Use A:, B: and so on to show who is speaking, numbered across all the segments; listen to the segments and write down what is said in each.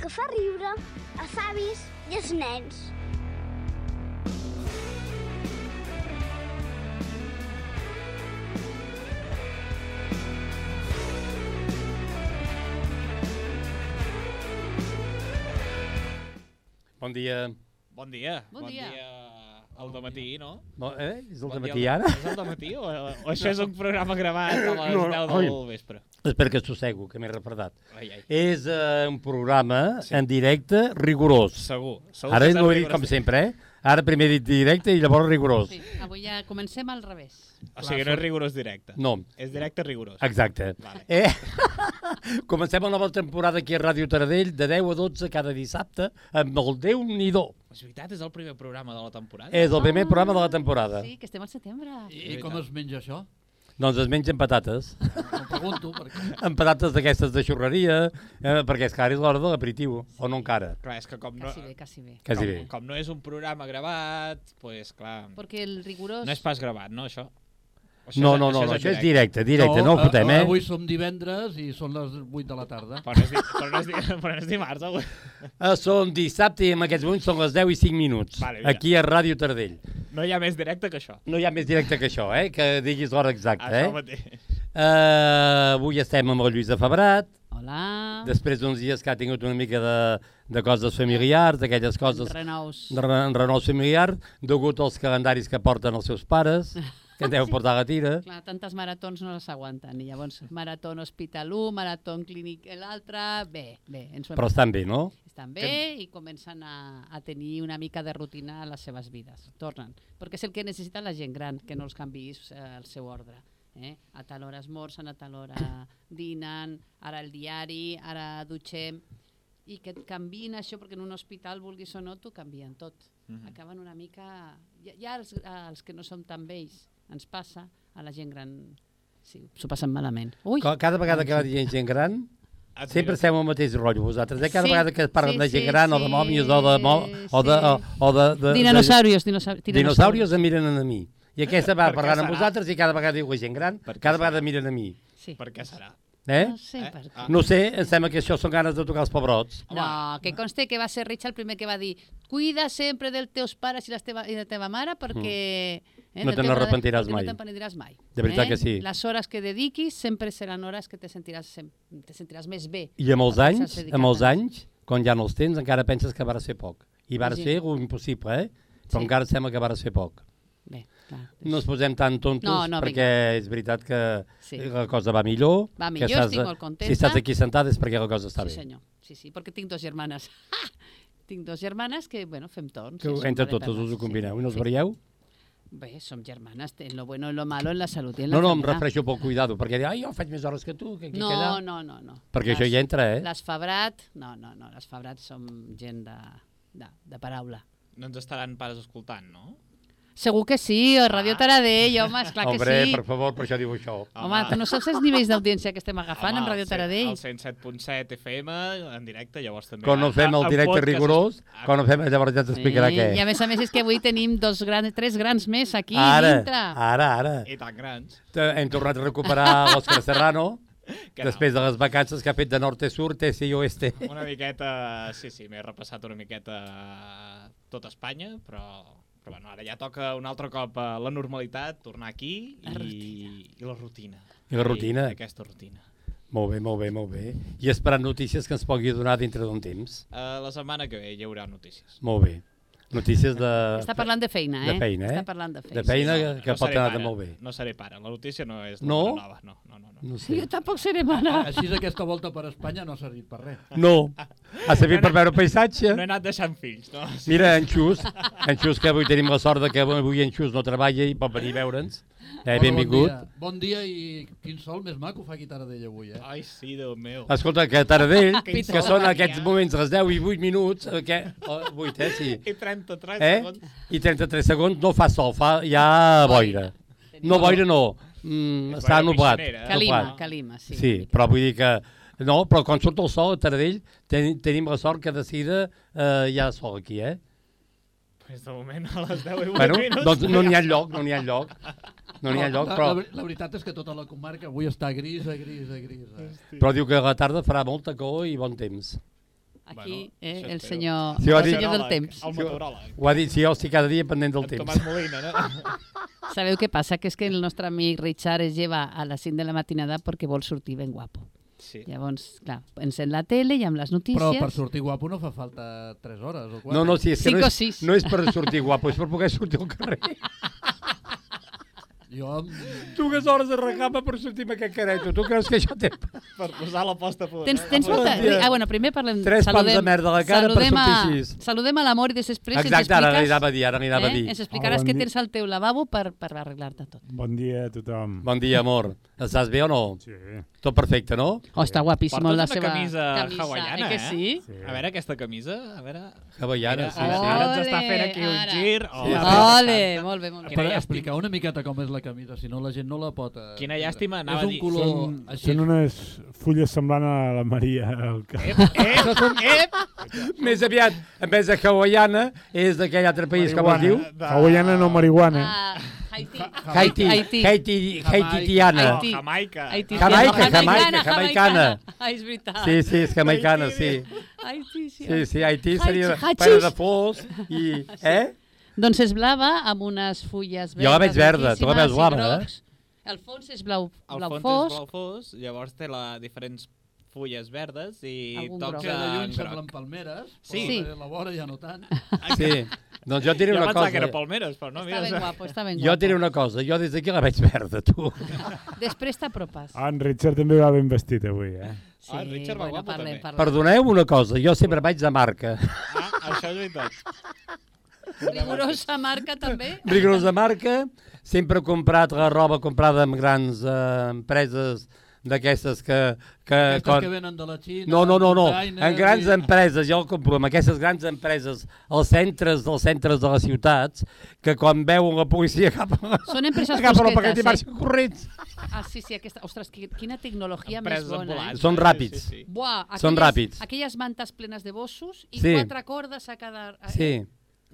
A: que fa riure els avis i els nens.
B: Bon dia.
C: Bon dia.
D: Bon dia.
C: Al dematí, no?
B: No, eh? És el
C: Bon
B: de
C: dia
B: matí
C: al-
B: ara?
C: És el dematí o, o això és un programa gravat a les
B: No,
C: 10
B: no,
C: del
B: oi.
C: vespre?
B: Espera que sossego, que m'he retardat.
C: Ai, ai.
B: És eh, un programa en directe rigorós.
C: Segur. segur
B: Ara
C: que
B: no ho
C: saps
B: he dit
C: que
B: com
C: gràcies.
B: sempre, eh? Ara primer he dit directe i llavors rigorós.
D: Sí, avui ja comencem al revés.
C: O sigui, no és rigorós directe.
B: No,
C: És directe rigorós.
B: exacte.
C: Vale.
B: Eh? Comencem una nova temporada aquí a Ràdio Taradell de 10 a 12 cada dissabte amb el déu nhi do
C: És veritat, és el primer programa de la temporada?
B: És el primer
D: Ah,
B: programa de la temporada.
D: Sí, que estem al setembre.
C: I
E: I com
C: tant.
E: es menja això?
B: Doncs es mengen patates.
E: Ho pregunto, perquè...
B: amb patates d'aquestes de xurreria, eh, perquè és que ara és l'hora de l'aperitiu, o no encara,
C: Clar, és que com no,
D: Quasi bé, quasi bé.
B: quasi bé.
C: com, com no és un programa gravat, doncs pues, clar,
D: Perquè el rigorós...
C: no és pas gravat, no, això? O
B: No, no, no, no, això és directe, directe, no ho
E: a-
B: fotem,
E: a-
B: eh?
E: Avui som divendres i són les 8 de la tarda.
C: Però no és, di però no és, di però no és dimarts, avui.
B: Eh, Són dissabte i en aquests moments són les 10 i 5 minuts,
C: Vale, mira.
B: aquí a Ràdio Tardell.
C: No hi ha més directe que això.
B: No hi ha més directe que això, eh? Que diguis l'hora exacta,
C: Això
B: eh?
C: mateix.
B: eh? Avui estem amb el Lluís de Febrat,
D: Hola.
B: després d'uns dies que ha tingut una mica de, de coses familiars, d'aquelles coses
D: Renous.
B: de re- renous familiar, degut als calendaris que porten els seus pares, que deu portar la tira.
D: Ah, Clar, tantes maratons no les aguanten. I llavors, marató en hospital 1, marató clínic l'altre... Bé, bé, ens ho hem
B: Però estan bé, no?
D: estan bé i comencen a, a tenir una mica de rutina a les seves vides. Tornen. Perquè és el que necessita la gent gran, que no els canvis eh, el seu ordre. Eh? A tal hora esmorzen, a tal hora dinen, ara el diari, ara dutxem... I que et canviïn això, perquè en un hospital, vulguis o no, t'ho canvien tot.
C: Mhm.
D: Acaben una mica... Ja, ja els, els que no som tan vells ens passa, a la gent gran sí, s'ho passen malament. Ui! Doncs
B: Ca- Cada vegada que va dient gent gran,
C: Et miro.
B: sempre estem al mateix rotllo vosaltres. Eh? Cada
D: Sí,
B: vegada que es parlen
D: sí,
B: de gent
D: sí,
B: gran o de
D: sí,
B: mòmies o de... Mo o de, o, o de, de
D: Dinosaurios, dinosaurios.
B: de dinosaurios em miren a mi. I aquesta va
C: Per què
B: parlant amb
C: serà?
B: vosaltres i cada vegada diu la gent gran,
C: Per què
B: cada
C: serà?
B: vegada miren a mi.
D: Sí.
C: Per què serà?
B: Eh?
D: No sé
C: Eh?
D: per què.
C: Ah.
B: No sé, em sembla que això són ganes de tocar els pebrots.
D: No, que conste que va ser Rich el primer que va dir cuida sempre dels teus pares i, les teva, i la teva mare perquè... Eh,
B: Mm. No
D: del
B: te
D: teu
B: n'arrepentiràs
D: brother- perquè
B: mai.
D: No t'arrepentiràs mai. Eh?
B: De veritat que sí.
D: Les hores que dediquis sempre seran hores que te sentiràs, sem te sentiràs més bé.
B: I amb els
D: Perquè s'has
B: anys,
D: dedicat
B: amb els
D: a-
B: anys, quan ja no els tens, encara penses que va ser poc. I va
D: Sí.
B: ser un impossible, eh? Però
D: Sí.
B: encara sembla que va ser poc.
D: Bé, clar.
B: No ens posem tan tontos
D: No, no,
B: perquè és veritat que
D: Sí.
B: la cosa va millor.
D: Va
B: que
D: millor,
B: estàs-
D: estic molt contenta.
B: Si estàs aquí sentada és perquè la cosa està
D: sí,
B: bé.
D: senyor. Sí, sí, perquè tinc dos germanes. tinc dos germanes que, bueno, fem torns. i
B: Que
D: som
B: entre
D: molt
B: totes us
D: eternes,
B: ho combineu
D: Sí.
B: i no us varieu?
D: Bé, som germanes, en lo bueno, en lo malo, en la salut i en la
B: No, no, em
D: enfermedad.
B: refereixo pel cuidado, perquè dir, ai, jo faig més hores que tu, que aquí, que allà...
D: No, no, no, no.
B: Perquè això ja entra, eh?
D: Les Fabrat, no, no, no, les Fabrat som gent de, de, de paraula.
C: No ens estaran pares escoltant, no?
D: Segur que sí, o Radio Taradell, home, esclar que
B: Hombre,
D: sí.
B: per favor, per això diu això.
D: Home, tu no saps els nivells d'audiència que estem agafant amb Radio Taradell?
C: El 107.7 FM, en directe, llavors també...
B: Quan no fem
C: Ah,
B: el
C: en
B: directe
C: podcast es-
B: rigorós,
C: Ah,
B: quan no fem, llavors ja t'explicarà
D: Sí,
B: què.
D: I a més a més és que avui tenim dos grans, tres grans més aquí
B: Ara,
D: dintre.
B: ara, ara.
C: I tan grans.
B: Te- Hem tornat a recuperar l'Òscar Serrano,
C: Que
B: després de les vacances que ha fet de nord a sud, este i oeste.
C: No, una miqueta... Sí, sí, m'he repassat una miqueta tot Espanya, però... Però bueno, ara ja toca un altre cop a la normalitat, tornar aquí
D: La
C: i, i la rutina.
B: I la rutina.
C: I aquesta rutina.
B: Molt bé, molt bé, molt bé. I esperant notícies que ens pugui donar dintre d'un temps.
C: Uh, la setmana que ve hi haurà notícies.
B: Molt bé. Notícies de...
D: Està parlant de feina, eh?
B: De feina, eh?
D: Està parlant de feina.
B: De feina que pot
C: seré
B: anar de
C: pare,
B: molt bé.
C: No seré pare, la notícia no és la
B: No?
C: bona nova. No, no, no. no.
B: No
D: Sí.
B: sé.
D: Jo tampoc seré mare.
E: Així aquesta volta per Espanya no ha servit per res.
B: No. Ha servit per veure paisatge.
C: No he anat deixant fills, no? Sí.
B: Mira, en Xus, en Xus, que avui tenim la sort de que avui en Xus no treballa i pot venir a veure'ns. Eh,
E: Hola,
B: benvingut.
E: Bon dia, bon dia i quin sol més maco fa aquí Taradell avui, eh?
C: Ai, sí, Déu meu.
B: Escolta, que Taradell,
C: Quin
B: que
C: sol,
B: són en
C: Maria.
B: aquests moments les 10 i 8 minuts, eh, que, o 8, eh, sí,
C: I 33
B: eh?
C: segons.
B: i 33 segons no fa sol, fa ja boira. No, boira no, mm,
C: És
B: està
C: boira
B: nublat.
C: pixonera, eh?
D: Calima,
B: nublat.
D: calima, sí.
B: Sí, però vull dir que... No, però quan surt el sol a Taradell ten, tenim la sort que de seguida eh, hi ha sol aquí, eh?
C: Pues de moment a les 10 i 8
B: Bueno,
C: minuts.
B: doncs no n'hi ha lloc, no n'hi ha lloc. No n'hi ha lloc,
E: la,
B: però,
E: la, la, veritat és que tota la comarca avui està grisa, grisa, grisa.
B: però diu que a la tarda farà molta calor i bon temps.
D: Aquí,
C: Bueno,
D: eh,
C: això
D: el
C: espero.
D: senyor,
B: Sí, ho ha
D: el
B: dit-
D: senyor del temps.
C: El meteoròleg.
B: Ho ha dit, si jo estic cada dia pendent del
C: En
B: temps.
C: Tomàs Molina, no?
D: Sabeu què passa? Que és que el nostre amic Richard es lleva a les 5 de la matinada perquè vol sortir ben guapo.
C: Sí.
D: Llavors, clar, encén la tele i amb les notícies...
E: Però per sortir guapo no fa falta 3 hores o 4.
B: No, no, sí, és que no
D: Cinc o
B: és,
D: sis.
B: no és per sortir guapo, és per poder sortir al carrer.
E: Jo,
B: Dues hores de recama per sortir amb aquest careto. Tu creus que això té...
C: Per posar l'aposta a punt.
D: Tens, tens
B: Bon
D: molta...
B: dia.
D: Ah, bueno, primer parlem...
B: Tres pams de merda a la cara per
D: saludem A,
B: sortir sis.
D: saludem a l'amor i després ens
B: Exacte, ara
D: expliques...
B: anirava a dir, ara anirava a
D: eh?
B: dir.
D: Ens explicaràs
F: Hola, Ah,
D: què
F: bon dia.
D: tens al teu lavabo per, per arreglar-te tot.
F: Bon dia a tothom.
B: Bon dia, amor. Estàs bé o no?
F: Sí,
B: Tot perfecte, no?
D: Oh, està guapíssim
C: Portes
D: la
C: una
D: seva
C: camisa
D: eh?
C: hawaiana,
D: que
C: eh?
D: sí?
F: sí.
C: A veure aquesta camisa, a veure...
B: Hawaiana,
C: Mira,
B: sí,
C: ara,
B: sí.
C: ara ens està
D: Ole,
C: fent aquí un
D: ara.
C: gir. Oh, la meva
D: Ole,
C: santa.
D: molt bé, molt bé.
E: per
C: Quina llàstima.
E: explicar una miqueta com és la camisa, si no la gent no la pot... eh,
C: Quina
E: veure.
C: llàstima, anava
E: És
C: a
E: un
C: dir,
E: color
F: Són,
E: així.
F: són unes fulles semblant a la Maria. El que...
C: Ep, ep,
D: eh?
C: ep!
B: Més aviat, en vez de hawaiana, és d'aquell altre país, com es diu?
C: De-
F: Hawaiana no marihuana.
D: Ah, Haití.
B: Haiti, Haiti,
D: Haití.
B: Haiti,
E: Jamaica.
B: Haitiana.
D: Haití.
C: No, Jamaica.
D: Haití.
B: Jamaica,
D: sí,
B: Jamaica, jamaicana.
D: Ah, és veritat.
B: Sí, sí, és jamaicana, sí.
D: Haití, sí.
B: Sí, sí, Haití seria
D: Haití.
B: pare de fos i... Eh?
D: Doncs és blava amb unes fulles verdes.
B: Jo la veig verda, tu la
D: blanquíssimes
B: veus
D: i
B: blava, eh?
D: grocs. El fons és blau,
C: El
D: blau
C: fons
D: fosc.
C: és blau fosc, llavors té la, diferents fulles verdes i
D: Algun
C: tocs
D: groc.
E: Que de lluny
C: en
E: semblen
C: groc.
E: palmeres,
C: Sí.
E: però de la vora ja no tant.
B: Sí. Doncs jo et diré
C: Jo
B: una
C: pensava que era
B: cosa.
C: palmeres, però no,
D: Està ben
C: mira...
D: guapo, està ben guapo.
B: Jo et diré una cosa, jo des d'aquí la veig verda, tu.
D: Després t'apropes.
F: Ah, En Richard també va ben vestit avui, eh?
C: Ah, en Richard va
D: bueno,
C: guapo,
D: parlem,
C: també.
D: parlem.
B: Perdoneu una cosa, jo sempre vaig de marca.
C: Ah, això és veritat.
D: Rigorosa marca, també.
B: Rigorosa marca, sempre he comprat la roba comprada amb grans eh, empreses d'aquestes que... que,
E: Aquestes
B: quan-
E: que venen de la Xina...
B: No, no, no, no.
E: containers
B: En grans
E: i-
B: empreses, jo el compro, amb aquestes grans empreses, als centres dels centres de les ciutats, que quan veuen la policia cap a...
D: Són empreses
B: Agafen el
D: fosquetes,
B: paquet i
D: eh?
B: marxen corrents.
D: Ah, sí, sí, aquesta... Ostres, qui- quina tecnologia
C: Empreses
D: més bona.
C: ambulants.
D: Eh?
B: Són
C: Sí,
B: ràpids.
C: Sí, sí.
D: Buah, aquelles,
B: Són ràpids.
D: Aquelles mantes plenes de bossos i
B: Sí.
D: quatre cordes a cada... eh, a-
B: Sí,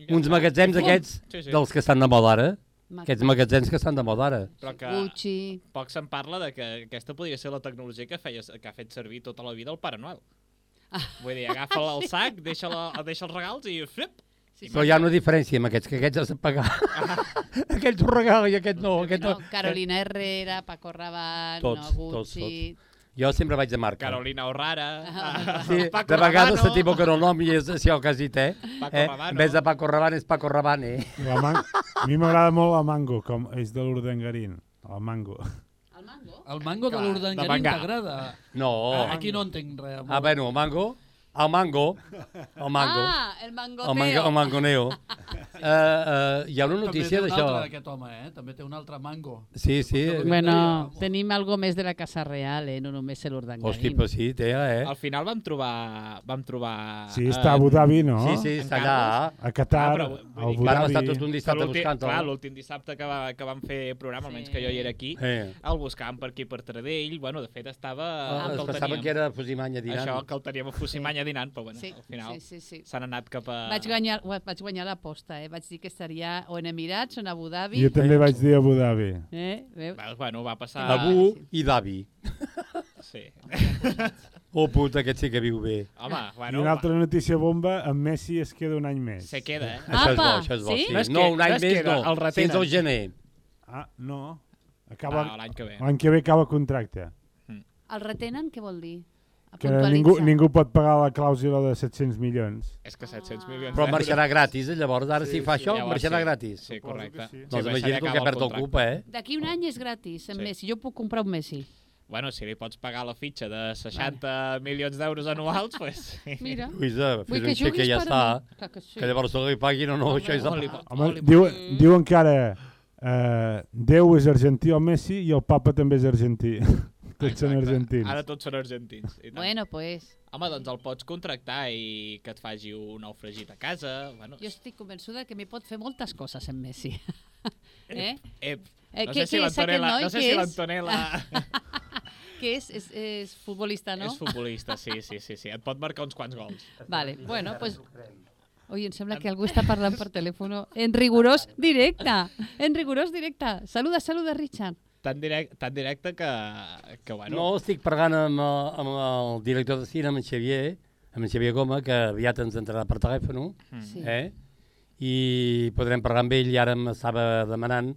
B: uns magatzems
D: Fum.
B: aquests
C: Sí, sí.
B: dels que estan de moda ara.
D: Ma-
B: Aquests magatzems que estan de moda ara.
C: Però que
D: Gucci...
C: poc se'n parla de que aquesta podria ser la tecnologia que, feia, que ha fet servir tota la vida el Pare Noel.
D: Ah.
C: Vull dir, agafa el sac, deixa, la, deixa els regals i... Ah. Flip,
D: Sí, sí.
B: Però hi ha una diferència amb aquests, que aquests has de pagar. aquest t'ho regala i aquest no, aquest no.
D: No, Carolina Herrera, Paco Rabanne,
B: Tots,
D: Ah, no,
B: tots,
D: Gucci...
B: Jo sempre vaig de marca.
C: Carolina Horrara... ah,
B: Sí,
C: Paco
B: de vegades
C: Rabanne.
B: s'equivoquen el nom i és això que has dit, eh?
C: Paco
B: eh?
C: Rabanne.
B: En vez de Paco Rabanne és Paco Rabanne.
F: La man... A mi m'agrada molt la mango, com és de l'Urdangarín. La mango.
D: El mango?
E: El mango de
C: Clar, de
E: l'Urdangarín
C: mangar.
E: t'agrada? Ah,
B: No.
C: Ah,
E: Aquí no entenc res. amor.
B: Ah, bueno, el mango. El mango. El mango.
D: Ah, el mangoteo.
B: el, mango, el mangoneo. Eh, eh, hi ha una notícia
E: També té un altre,
B: d'això.
E: aquest home, eh? També té un altre mango.
B: Sí, sí.
D: Bueno, tenim algo més de la Casa Real, eh? no només l'Urdangarín.
B: Hosti, però sí, té, eh?
C: Al final vam trobar... Vam trobar
F: Sí, està a Abu Dhabi, no?
B: Sí, sí,
C: En
B: està allà.
F: A Qatar,
C: Ah, però
F: a
C: vull dir que
F: Abu
B: Vam estar
F: Dhabi...
B: tot un dissabte
C: L'últim-
B: buscant-lo.
C: Clar, l'últim dissabte que, va, que vam fer programa, almenys que jo hi era aquí,
B: Eh.
C: el buscàvem per aquí, per Taradell. Bueno, de fet, estava...
B: Ah,
C: que
B: es
C: el
B: pensava
C: teníem.
B: que era Fusimanya dinant.
C: Això, que el teníem a Fusimanya dinant, però bueno,
D: Sí,
C: al final
D: sí, sí, sí.
C: s'han anat cap a...
D: Vaig guanyar, ua- vaig guanyar l'aposta, eh? vaig dir que estaria o en Emirats o en Abu Dhabi.
F: Jo també vaig dir Abu Dhabi.
D: Eh? Veus?
C: Veus, Bueno, va passar...
B: Abu
D: Ah, sí.
B: i Davi.
C: Sí.
B: Oh, puta, aquest sí que viu bé.
C: Home,
F: I
C: bueno...
F: una altra notícia bomba, en Messi es queda un any més.
C: Se queda, eh?
B: Això és bo,
D: Apa,
B: això és bo,
D: sí?
B: sí.
C: No es
B: No,
C: que-
B: un
C: no
B: any
C: es
B: més
C: queda,
B: no,
C: el retenen.
B: fins al gener.
F: Ah, no. Acaba...
C: Ah, L'any que ve.
F: L'any que ve acaba contracte.
D: El retenen, què vol dir?
F: Que
D: Puntualitza.
F: ningú, ningú pot pagar la clàusula de 700 milions.
C: És que
D: Ah.
C: 700 milions
B: Però
C: d'euros-
B: marxarà gratis, eh, llavors, ara si fa això,
C: Llavors,
B: marxarà
C: sí.
B: gratis.
C: Sí, correcte.
F: Suposo que sí.
B: Doncs
C: baixaria
B: imagina't el
C: acaba
B: que perd el
C: contracte.
B: cupa, eh?
D: D'aquí un any és gratis, en
C: Oh. Sí.
D: sí. Messi. Jo puc comprar un Messi.
C: Bueno, si li pots pagar la fitxa de 60 milions d'euros anuals, pues... sí.
D: Mira,
B: Luisa,
D: vull
B: fes
D: que
B: un xec
D: juguis
B: que ja
D: per
B: està,
D: mi. Clar que sí.
B: que llavors no li paguin o no, això és...
C: Oli,
B: el-
F: Home,
C: oli,
F: diu, diu encara eh, Déu és argentí el Messi i el papa també és argentí. Tots són
C: Exacte.
F: argentins.
C: Ara tots són argentins. I tant.
D: Bueno, pues,
C: Home, doncs el pots contractar i que et faci un ou fregit a casa. Bueno,
D: jo estic convençuda que m'hi pot fer moltes coses en Messi. eh?
C: ep,
D: Eh,
C: no
D: què-
C: sé si
D: què és aquest
C: l'Antonella...
D: noi?
C: No sé
D: Què
C: si
D: és?
C: l'Antonella...
D: Que és, és, és futbolista, no?
C: És futbolista, sí, sí, sí, sí. Et pot marcar uns quants gols.
D: Vale, bueno, pues... Oi, em sembla que algú està parlant per telèfon. En rigorós directe. En rigorós directe. Saluda, saluda, Richard.
C: Tan directe, tan directe que, que bueno...
B: No, estic parlant amb, eh, amb el director de cine, amb en Xavier, amb en Xavier Goma, que aviat ens entrarà per telèfon,
D: Sí.
B: eh? i podrem parlar amb ell, i ara m'estava demanant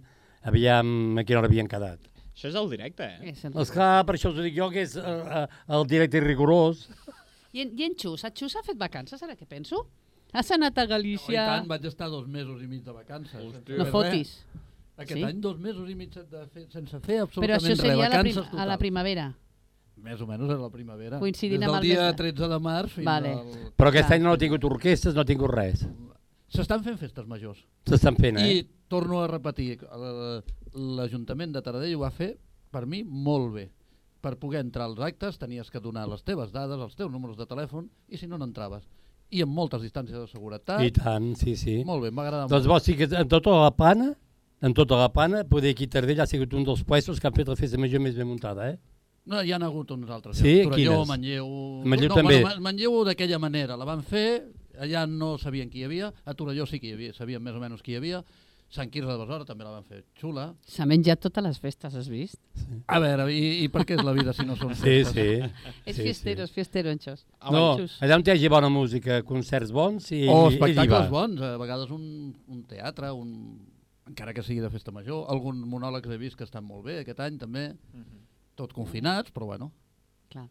B: aviam a quina hora havien quedat.
C: Això és el directe, eh?
D: És el...
B: Esclar, Doncs per això us ho dic jo, que és eh, eh, el directe i rigorós.
D: I, en, I en Xus, en Xus ha fet vacances, ara què penso? Has anat a
E: Oh, I
D: Galícia...
E: tant, vaig estar dos mesos i mig de vacances. sense fer
D: no
E: res.
D: fotis.
E: Aquest
D: Sí?
E: any dos mesos i mig de fer, sense fer
D: Però
E: absolutament
D: això seria a
E: res,
D: la, prim
E: vacances
D: a la
E: primavera.
D: primavera.
E: Més o menys a la primavera.
D: Coincidint
E: Des
D: amb
E: del
D: el mes
E: dia
D: de-
E: 13 de març fins
D: Vale.
E: al...
B: Però aquest
D: Clar.
B: any no he tingut orquestres, no he tingut res.
E: S'estan fent festes majors.
B: S'estan fent, eh?
E: I torno a repetir, eh, l'Ajuntament de Taradell ho va fer, per mi, molt bé. Per poder entrar als actes tenies que donar les teves dades, els teus números de telèfon, i si no, no entraves. I amb moltes distàncies de
D: Ah.
E: seguretat.
B: I tant, sí, sí.
E: Molt bé, m'ha agradat
B: Doncs vos sí que en tota la plana, en tota la plana, poder aquí a Tardell ha sigut un dels puestos que han fet la festa major més ben muntada, eh?
E: No, hi ha hagut uns altres. eh?
B: Sí?
E: Torelló,
B: Quines?
E: Manlleu...
B: Manlleu
E: no,
B: també.
E: Bueno, Ma- Manlleu d'aquella manera. La van fer, allà no sabien qui hi havia, a Torelló sí que hi havia, sabien més o menys qui hi havia, Sant Quirze de Besora també la van fer xula.
D: S'ha menjat totes les festes, has vist?
E: A veure, i, i per què és la vida si no són
B: Sí,
E: festes?
B: sí.
D: És
B: Sí,
D: fiestero, és fiestero, en Xus.
C: Ah,
B: No,
D: Xus.
B: allà on hi hagi bona música, concerts bons, i
E: O
B: ell, ell hi va.
E: Oh, espectacles bons, a vegades un, un teatre, un encara que sigui de festa major, algun monòleg he vist que estan molt bé aquest any també, tot confinats, però bueno.
D: Clar.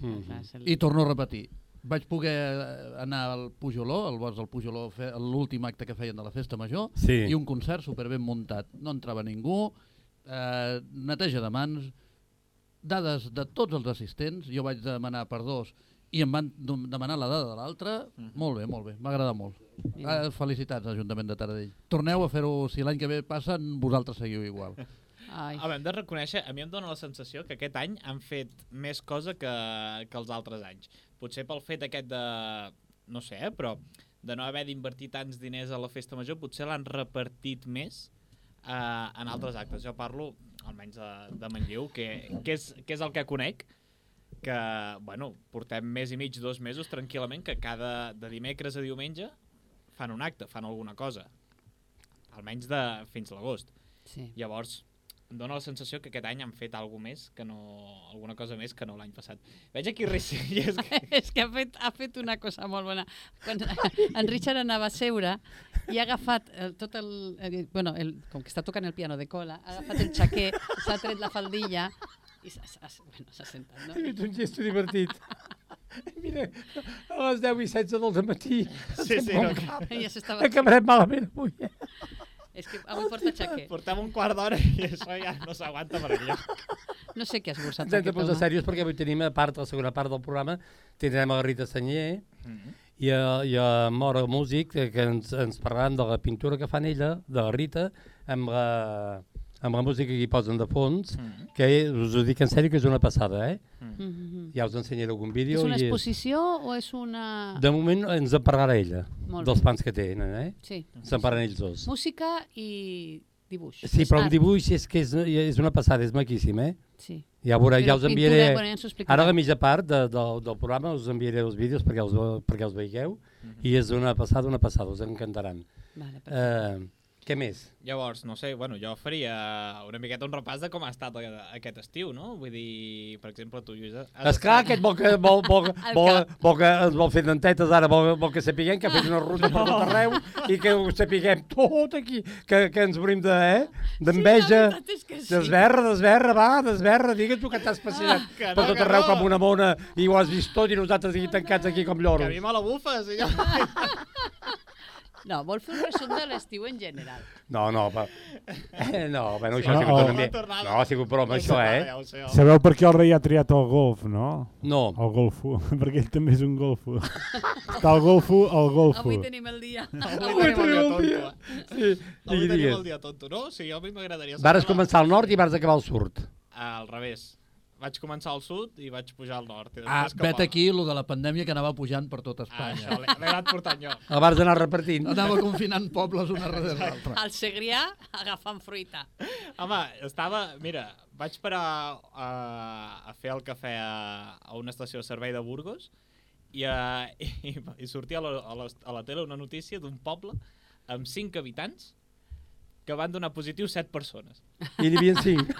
B: Mhm.
D: clar, és el-
E: I torno a repetir, vaig poder eh, anar al Pujoló, al bosc del Pujoló, a fer l'últim acte que feien de la festa major,
B: Sí.
E: i un concert superben muntat. No entrava ningú, eh, neteja de mans, dades de tots els assistents, jo vaig demanar per dos i em van dom- demanar la dada de l'altre, molt bé, molt bé, m'ha agradat molt.
D: Mm-hmm. Mira.
E: Eh, felicitats, Ajuntament de Taradell. Torneu a fer-ho, si l'any que ve passa, vosaltres seguiu igual.
D: Ai.
C: Home, hem de reconèixer, a mi em dóna la sensació que aquest any han fet més cosa que, que els altres anys. Potser pel fet aquest de... no sé, eh, però de no haver d'invertir tants diners a la festa major, potser l'han repartit més eh, en altres actes. Jo parlo, almenys de, de Manlleu, que, que, és, que és el que conec, que, bueno, portem més i mig, dos mesos, tranquil·lament, que cada de dimecres a diumenge fan un acte, fan alguna cosa. Almenys de, fins l'agost.
D: Sí.
C: Llavors, em dóna la sensació que aquest any han fet alguna més que no... alguna cosa més que no l'any passat. Veig aquí Ricellas que...
D: És que ha fet, ha fet una cosa molt bona. Quan en Richard anava a seure i ha agafat el, tot el, el... Bueno, el, com que està tocant el piano de cola, ha agafat el xaquer, s'ha tret la faldilla i s'ha s'ha- bueno, s'ha sentat,
B: Ha
D: no?
B: fet un gesto divertit. Mira, a les 10 i 16 del matí
C: Sí, sí, no, que
D: I ja s'estava...
B: acabarem malament avui.
D: És que avui porta xaquer.
C: portem un quart d'hora i això ja no s'aguanta per enlloc.
D: No sé què has esmorzat.
B: Ens hem de
D: aquest
B: posar
D: home.
B: serios perquè avui tenim, a part, la segona part del programa, tindrem a la Rita Senyer i a, i a Mora Músic, que, que ens, ens parlaran de la pintura que fan ella, de la Rita, amb la, amb la música que hi posen de fons,
C: Mhm.
B: que és- us ho dic en sèrio que és una passada, eh?
D: Mhm.
B: Ja us ensenyaré algun vídeo.
D: És una
B: i
D: exposició o és una...
B: De moment ens en parlarà ella,
D: Molt
B: dels
D: bé.
B: plans que tenen, eh?
D: Sí.
B: Se'n parlen ells dos.
D: Música i dibuix.
B: Sí,
D: És
B: però un
D: art.
B: dibuix és que és, eh, és una passada, és maquíssim, eh?
D: Sí.
B: Ja, veurà, ja
D: Però
B: us
D: pintura,
B: enviaré...
D: bueno, ja ens ho explicarà.
B: ara la mitja part de, del, del programa us enviaré els vídeos perquè els, ve- perquè els veieu i és una passada, una passada, us encantaran.
D: Vale, perfecte.
B: Eh, què més?
C: Llavors, no sé, bueno, jo faria una miqueta un repàs de com ha estat a- aquest estiu, no? Vull dir, per exemple, tu, Lluís... has
B: Esclar,
C: estat-
B: aquest vol que, vol, vol,
D: El
B: vol,
D: cap.
B: vol que ens vol fer dentetes ara, vol, vol que sapiguem que ha fet una ruta per tot arreu i que ho sapiguem tot aquí, que, que ens morim de, eh? d'enveja.
D: veritat és que sí.
B: Desverra, desverra, va, desverra, digues tu que t'has passejat
C: que no,
B: per tot
C: que
B: arreu
C: Ah, no.
B: com una mona i ho has vist tot i nosaltres aquí tancats aquí com
C: Que a
B: lloros.
C: mi me la bufes, i jo...
D: No, vol fer un resum de l'estiu en general.
B: No, no, però... No, bueno, això
F: no,
B: ha sigut
F: no,
B: una
C: no,
B: mica...
C: tornada.
B: No, ha sigut broma,
C: Ja ho sé,
B: això, eh?
C: Ja ho sé, home.
F: Sabeu per què el rei ha triat el golf, no?
B: No.
F: El golfo, perquè ell també és un golfo. Està el golfo, el golfo.
D: Avui tenim el dia.
C: Avui tenim el dia tonto. eh?
B: Sí,
C: Avui
B: i
C: tenim el
B: digues.
C: dia tonto, no? O sigui, a mi m'agradaria... saber
B: Vares
C: la-
B: començar al nord i vas acabar al sud.
C: Al revés. Vaig començar al sud i vaig pujar al nord. I
E: Ah,
C: després cap
E: vet
C: a-
E: aquí lo de la pandèmia que anava pujant per tot
C: Ah,
E: Espanya.
C: això l'he l'he anat portant jo.
B: El vas anar repartint.
E: Anava confinant pobles una darrere l'altra.
D: Al Segrià agafant fruita.
C: Home, estava... Mira, vaig parar a, a fer el cafè a, a una estació de servei de Burgos i, a, i, i sortia a la, a, la, a la tele una notícia d'un poble amb 5 habitants que van donar positiu 7 persones.
B: I n'hi havia cinc.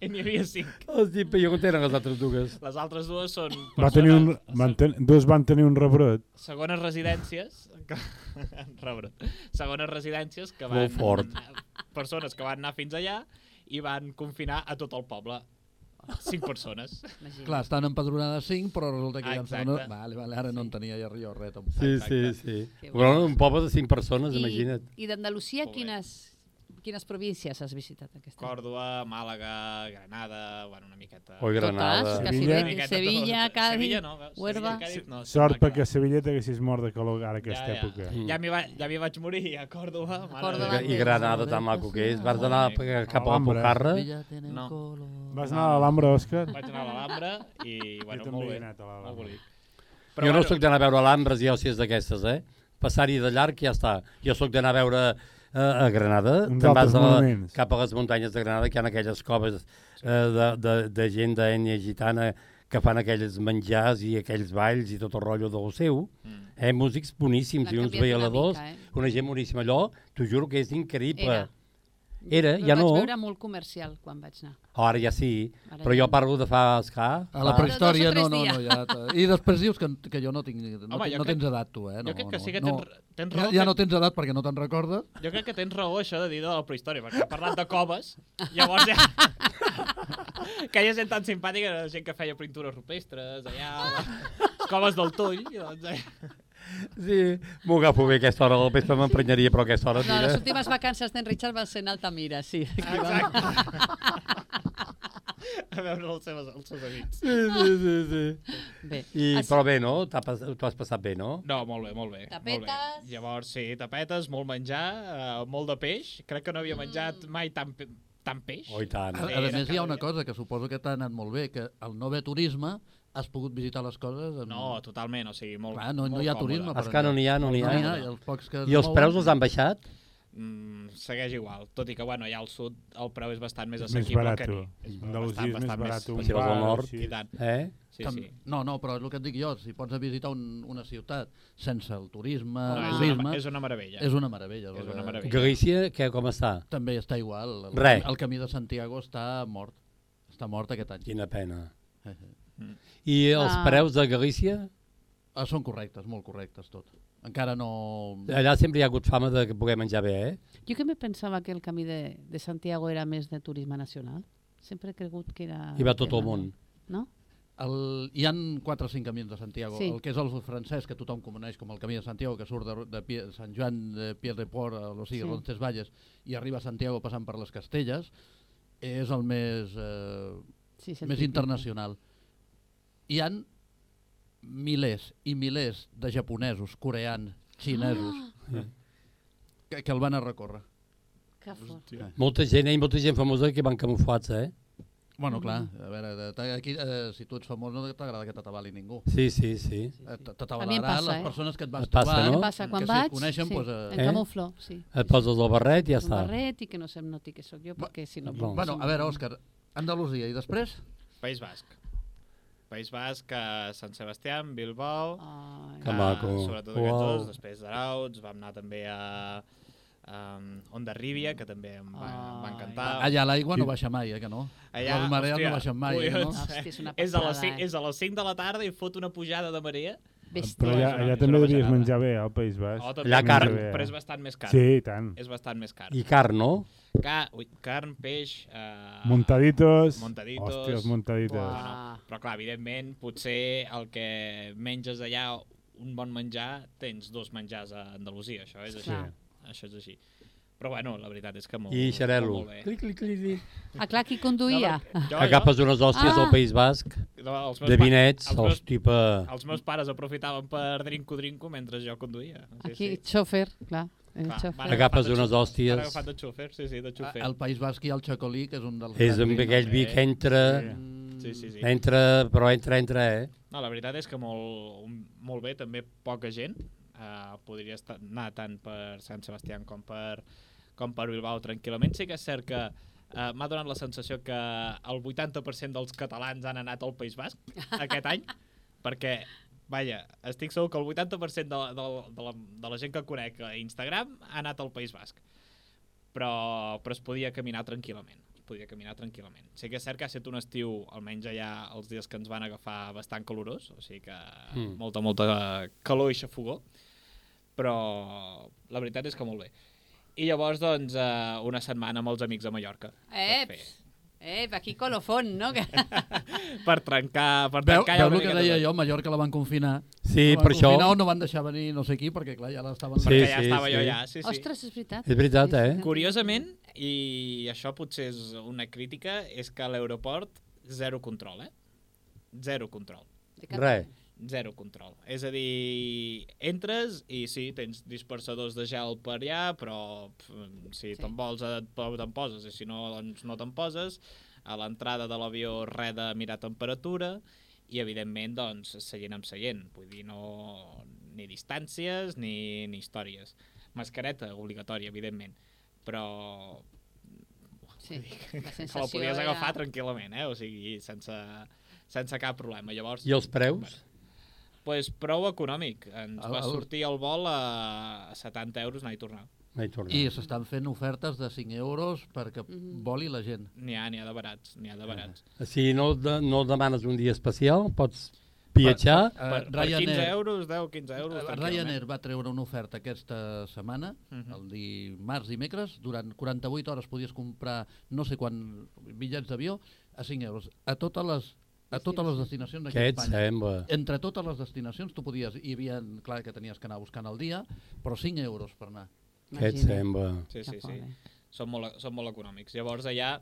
C: I n'hi havia cinc.
B: Els tipus, jo on eren les altres dues?
C: Les altres dues són
F: Va tenir un,
C: persones-
F: van ten, dos van tenir un rebrot.
C: segones residències que... rebre segones residències que van
B: Molt fort.
C: persones que van anar fins allà i van confinar a tot el poble cinc persones
D: Imagina't.
E: Clar, estan empadronades 5, però resulta que...
C: Ah,
E: ja en
C: exacte.
E: segona- Vale, vale, ara no en tenia ja jo res. tampoc.
B: Sí,
C: Exacte.
B: sí, sí.
D: Que
B: Però un poble de cinc persones, Doncs imagina't.
D: I, i d'Andalusia,
C: Molt bé.
D: quines, quines províncies has visitat aquesta?
C: Còrdoba, Màlaga, Granada bueno, una miqueta
B: O Granada.
D: Totes, que
F: Sevilla.
D: Sevilla,
F: Una
D: Sevilla,
C: miqueta tot.
D: Cádiz,
C: Sevilla no, Sevilla,
D: Huelva.
C: Cádiz, no,
F: Sort
C: Sevilla,
F: perquè a
C: Cádiz.
F: Sevilla t'haguessis mort de calor ara aquesta
C: ja,
F: època.
C: ja, ja m'hi va, ja m'hi vaig morir a Còrdoba, mare de
D: Còrdoba.
C: Déu.
B: I Granada tan maco que és. Vas anar per- cap a la
F: Alhambra.
B: Pujarra.
E: Ella tiene un
C: No.
E: color.
F: Vas anar a l'Alhambra, Òscar?
C: vaig anar a l'Alhambra i bueno,
F: també
C: molt
F: hi he
C: bé,
F: anat a l'Alhambra.
C: molt bonic
B: Però jo no sóc d'anar a veure alambres i òssies d'aquestes, eh? Passar-hi de llarg i ja està. Jo sóc d'anar a veure eh, a Granada,
F: Uns
B: te'n vas
F: altres
B: a la,
F: monuments.
B: cap a les muntanyes de Granada, que hi ha aquelles coves eh, de, de, de gent d'ètnia gitana que fan aquells menjars i aquells balls i tot el rotllo del seu,
C: Mm.
B: eh, músics boníssims
D: L'han
B: i uns
D: canviat una
B: balladors,
D: mica, eh?
B: una gent boníssima. Allò, t'ho juro que és increïble.
D: Era.
B: Era,
D: Però
B: ja
D: vaig
B: no.
D: veure molt comercial quan vaig anar.
B: Ara ja sí,
D: Ara
B: però
D: ja
B: jo
D: no.
B: parlo de fa escà.
E: A la
B: fa-
D: pre-
E: prehistòria,
D: Dos
E: no,
D: o tres
E: no, no, ja... I després dius que, que jo no tinc... No,
C: Home,
E: Home,
C: jo
E: no
C: crec-
E: tens edat, tu, eh? No,
C: jo crec que
E: no,
C: sí que
E: no.
C: tens, tens raó
E: Ja, ja no tens edat perquè no te'n recordes.
C: Jo crec que tens raó, això de dir de la prehistòria, perquè ha parlat de coves, llavors ja... que hi ha gent tan simpàtica, era gent que feia pintures rupestres, allà, les coves del Tull, i doncs... Eh?
B: Sí, m'ho agafo bé aquesta hora del vespre, m'emprenyaria, però aquesta hora...
D: No,
B: mira.
D: les últimes vacances d'en Richard van ser en Altamira, sí.
C: Exacte. A veure els seus, els seus amics.
B: Sí, sí, sí, sí.
D: Bé,
B: I,
D: has-
B: però bé, no? T'ha pas- T'ho has passat bé, no?
C: No, molt bé, molt bé. Molt bé.
D: Tapetes.
C: Llavors, sí, tapetes, molt menjar, eh, molt de peix. Crec que no havia menjat mai tant, pe- tant peix.
B: Oh, i tant.
E: A, a
C: era
E: més, hi ha
C: cada
E: una
C: dia.
E: cosa que suposo que t'ha anat molt bé, que al no haver turisme has pogut visitar les coses... Amb...
C: No, totalment, o sigui, molt
E: Clar, no, no
C: molt
E: hi ha
C: còmode.
E: turisme.
B: Els que no n'hi ha, no n'hi
E: No n'hi ha, i
B: ha.
E: els pocs que es
B: I els
E: mouen-
B: preus els han baixat?
C: Mm, segueix igual, tot i que bueno, ja al sud el preu és bastant més
F: És més
C: assequible
F: barat.
C: que aquí. És
F: Andalusia és més barat. Un
B: si vas al
F: bar,
B: nord,
F: així.
C: I tant.
B: Eh?
C: Sí,
E: Tam-
C: sí.
E: No, no, però és el que et dic jo, si pots visitar un, una ciutat sense el turisme,
C: No,
E: el
C: és,
E: turisme,
C: una, és una meravella.
E: és una meravella.
C: És
E: el que-
C: una meravella.
B: Galícia, que com està?
E: També està igual. El,
B: Res.
E: el camí de Santiago està mort. Està mort aquest any.
B: Quina pena.
E: Eh, eh.
B: I els
D: Ah.
B: preus de Galícia?
E: Ah, són correctes, molt correctes tot. Encara no...
B: Allà sempre hi ha hagut fama de que poder menjar bé, eh?
D: jo que me pensava que el camí de, de Santiago era més de turisme nacional. Sempre he cregut que era...
B: Hi va tot el món.
D: No?
E: El, hi han quatre o cinc camins de Santiago.
D: Sí.
E: El que és el francès, que tothom coneix com el camí de Santiago, que surt de, de Pie, Sant Joan de Pied de Port, eh, o sigui,
D: Sí.
E: sí. Roncesvalles, i arriba a Santiago passant per les Castelles, és el més, eh,
D: Sí, és el
E: més
D: típic.
E: internacional. Hi han milers i milers de japonesos, coreans, xinesos, ah. que, que el van a recórrer.
D: Que fort.
B: Molta gent, eh? I molta gent famosa que van camuflats, eh?
C: Mm.
E: Bueno, clar, a veure, de- t'ha- aquí, eh, si tu ets famós no t'agrada que t'atabali ningú.
B: Sí, sí, sí.
E: Eh, t-
D: A mi em
E: T'atabalarà
D: passa,
E: les
D: eh?
E: persones que et vas
B: Et passa,
E: trobar.
B: no?
D: Què passa? Quan
E: que
D: vaig,
E: Si et coneixen,
D: sí,
E: doncs...
D: en
B: Eh?
D: camuflo, sí.
B: Et poses el Eh? barret i ja
D: Un
B: està. doncs.
D: barret i que no se'm noti que sóc jo, perquè si no...
B: no.
E: Bueno, a veure, Òscar, Andalusia i després?
C: País Basc. País Basc, a Sant Sebastià, en Bilbao.
D: Ai.
B: Que maco.
C: Ah, sobretot aquests
B: Uau.
C: dos, després d'Arauts, vam anar també a, a Onda Rívia, que també em va, em va
D: Ai.
C: encantar.
E: Allà l'aigua no baixa mai, eh, que no? Les marees no baixen mai, eh,
C: collons,
E: no?
D: Hòstia, és una
C: és, a les
D: passada,
C: 5,
D: eh?
C: és a les 5 de la tarda i fot una pujada de marea.
F: Però
D: Bèstia.
F: allà,
C: Barcelona,
F: allà
C: és
F: també
C: una
F: devies
C: bajanada.
F: menjar bé, eh, al País Basc.
C: Oh,
B: La
C: també,
B: carn.
C: Però és bastant més car.
F: Sí, i tant.
C: És bastant més car.
B: I car, no?
C: Ca... Ui, carn, peix... Uh...
F: Montaditos.
C: Montaditos.
F: Hòstia, els montaditos.
D: Buah.
C: Bueno, però clar, evidentment, potser el que menges allà, un bon menjar, tens dos menjars a Andalusia, això és així.
D: Clar.
C: Això és així. Però bueno, la veritat és que molt,
B: I xerelo.
C: molt bé.
B: Clic, clic, clic, clic.
D: Ah, clar, qui conduïa?
C: No, perquè jo,
B: Que capes unes hòsties
D: Ah.
B: al País Basc,
C: jo, no, els meus
B: de
C: pa-
B: vinets,
C: els meus,
B: hòstia, pa-
C: els meus pares aprofitaven per drinco-drinco mentre jo conduïa. Sí,
D: Aquí,
C: sí.
D: xòfer, clar. Eh,
C: Clar,
D: xòfer.
C: van
B: Agafes
C: agafat de
B: unes
C: xu-
B: hòsties.
C: Han agafat de xòfer, sí, sí, de xòfer.
E: Al País Basc hi ha el xacolí, que és un dels... eh?
B: És un
E: grans vins.
B: aquell vi que entra,
C: Sí, sí, sí.
B: entra, però entra, entra, eh?
C: No, la veritat és que molt, un- molt bé, també poca gent. Uh, podria estar, anar tant per Sant Sebastià com per, com per Bilbao tranquil·lament. Sí que és cert que uh, m'ha donat la sensació que el 80% dels catalans han anat al País Basc aquest any, perquè, vaja, estic segur que el 80% de, la- de, la- de, la, de la gent que conec a Instagram ha anat al País Basc. Però, però es podia caminar tranquil·lament. Es podia caminar tranquil·lament. Sí que és cert que ha estat un estiu, almenys allà els dies que ens van agafar, bastant calorós, o sigui que mm.
B: Mm.
C: molta, molta eh, calor i xafogó, però la veritat és que molt bé. I llavors, doncs, eh, una setmana amb els amics a Mallorca. per
D: Ep,
C: fer-
D: ep, aquí colofón, no? Que...
C: Per trencar... Per
E: Veu,
C: trencar ja
E: veu
C: una
E: el que
C: miqueta
E: deia
C: tot.
E: jo, Mallorca la van confinar.
B: Sí,
E: la van
B: per això...
E: confinar o no van deixar venir no sé qui, perquè clar, ja l'estaven...
B: Sí.
C: Perquè ja estava jo
B: sí.
C: allà, sí, sí.
D: Ostres, és veritat.
B: És veritat, eh?
C: Curiosament, i això potser és una crítica, és que a l'aeroport zero control, eh? Zero control.
D: De cap-
B: Res.
C: Zero control. És a dir, entres i sí, tens dispersadors de gel per allà, però pf, si
D: Sí.
C: te'n vols eh, po- te'n poses i si no, doncs no te'n poses. A l'entrada de l'avió res de mirar temperatura i evidentment doncs seient amb seient. Vull dir, no, ni distàncies ni, ni històries. Mascareta obligatòria, evidentment. Però
D: Sí, la
C: que la
D: sensació
C: podies
D: era-
C: agafar tranquil·lament, eh? O sigui, sense, sense cap problema. Llavors,
B: I els preus? Ah,
C: pues prou econòmic. Ens
E: El-
C: va
E: el-
C: sortir el vol a 70 euros anar i tornar.
B: No hi torno.
E: I s'estan fent ofertes de 5 euros perquè voli la gent.
C: N'hi ha, n'hi ha de barats, n'hi ha
B: Ah.
C: de barats.
B: Si no, de, no demanes un dia especial, pots viatjar.
E: Eh,
C: per, per 15 euros, 10, 15 euros.
E: Eh, Ryanair va treure una oferta aquesta setmana,
C: Mhm.
E: el dimarts, dimecres, durant 48 hores podies comprar no sé quant bitllets d'avió a 5 euros. A totes les, a totes les destinacions d'aquí
B: Què
E: a
B: et
E: Espanya.
B: sembla?
E: Entre totes les destinacions tu podies, hi havia, clar que tenies que anar buscant al dia, però 5 euros per anar.
B: Què et
D: Imagina't.
B: sembla?
C: Sí, sí,
D: Que
C: sí.
D: fora.
C: Són molt, són molt econòmics. Llavors allà,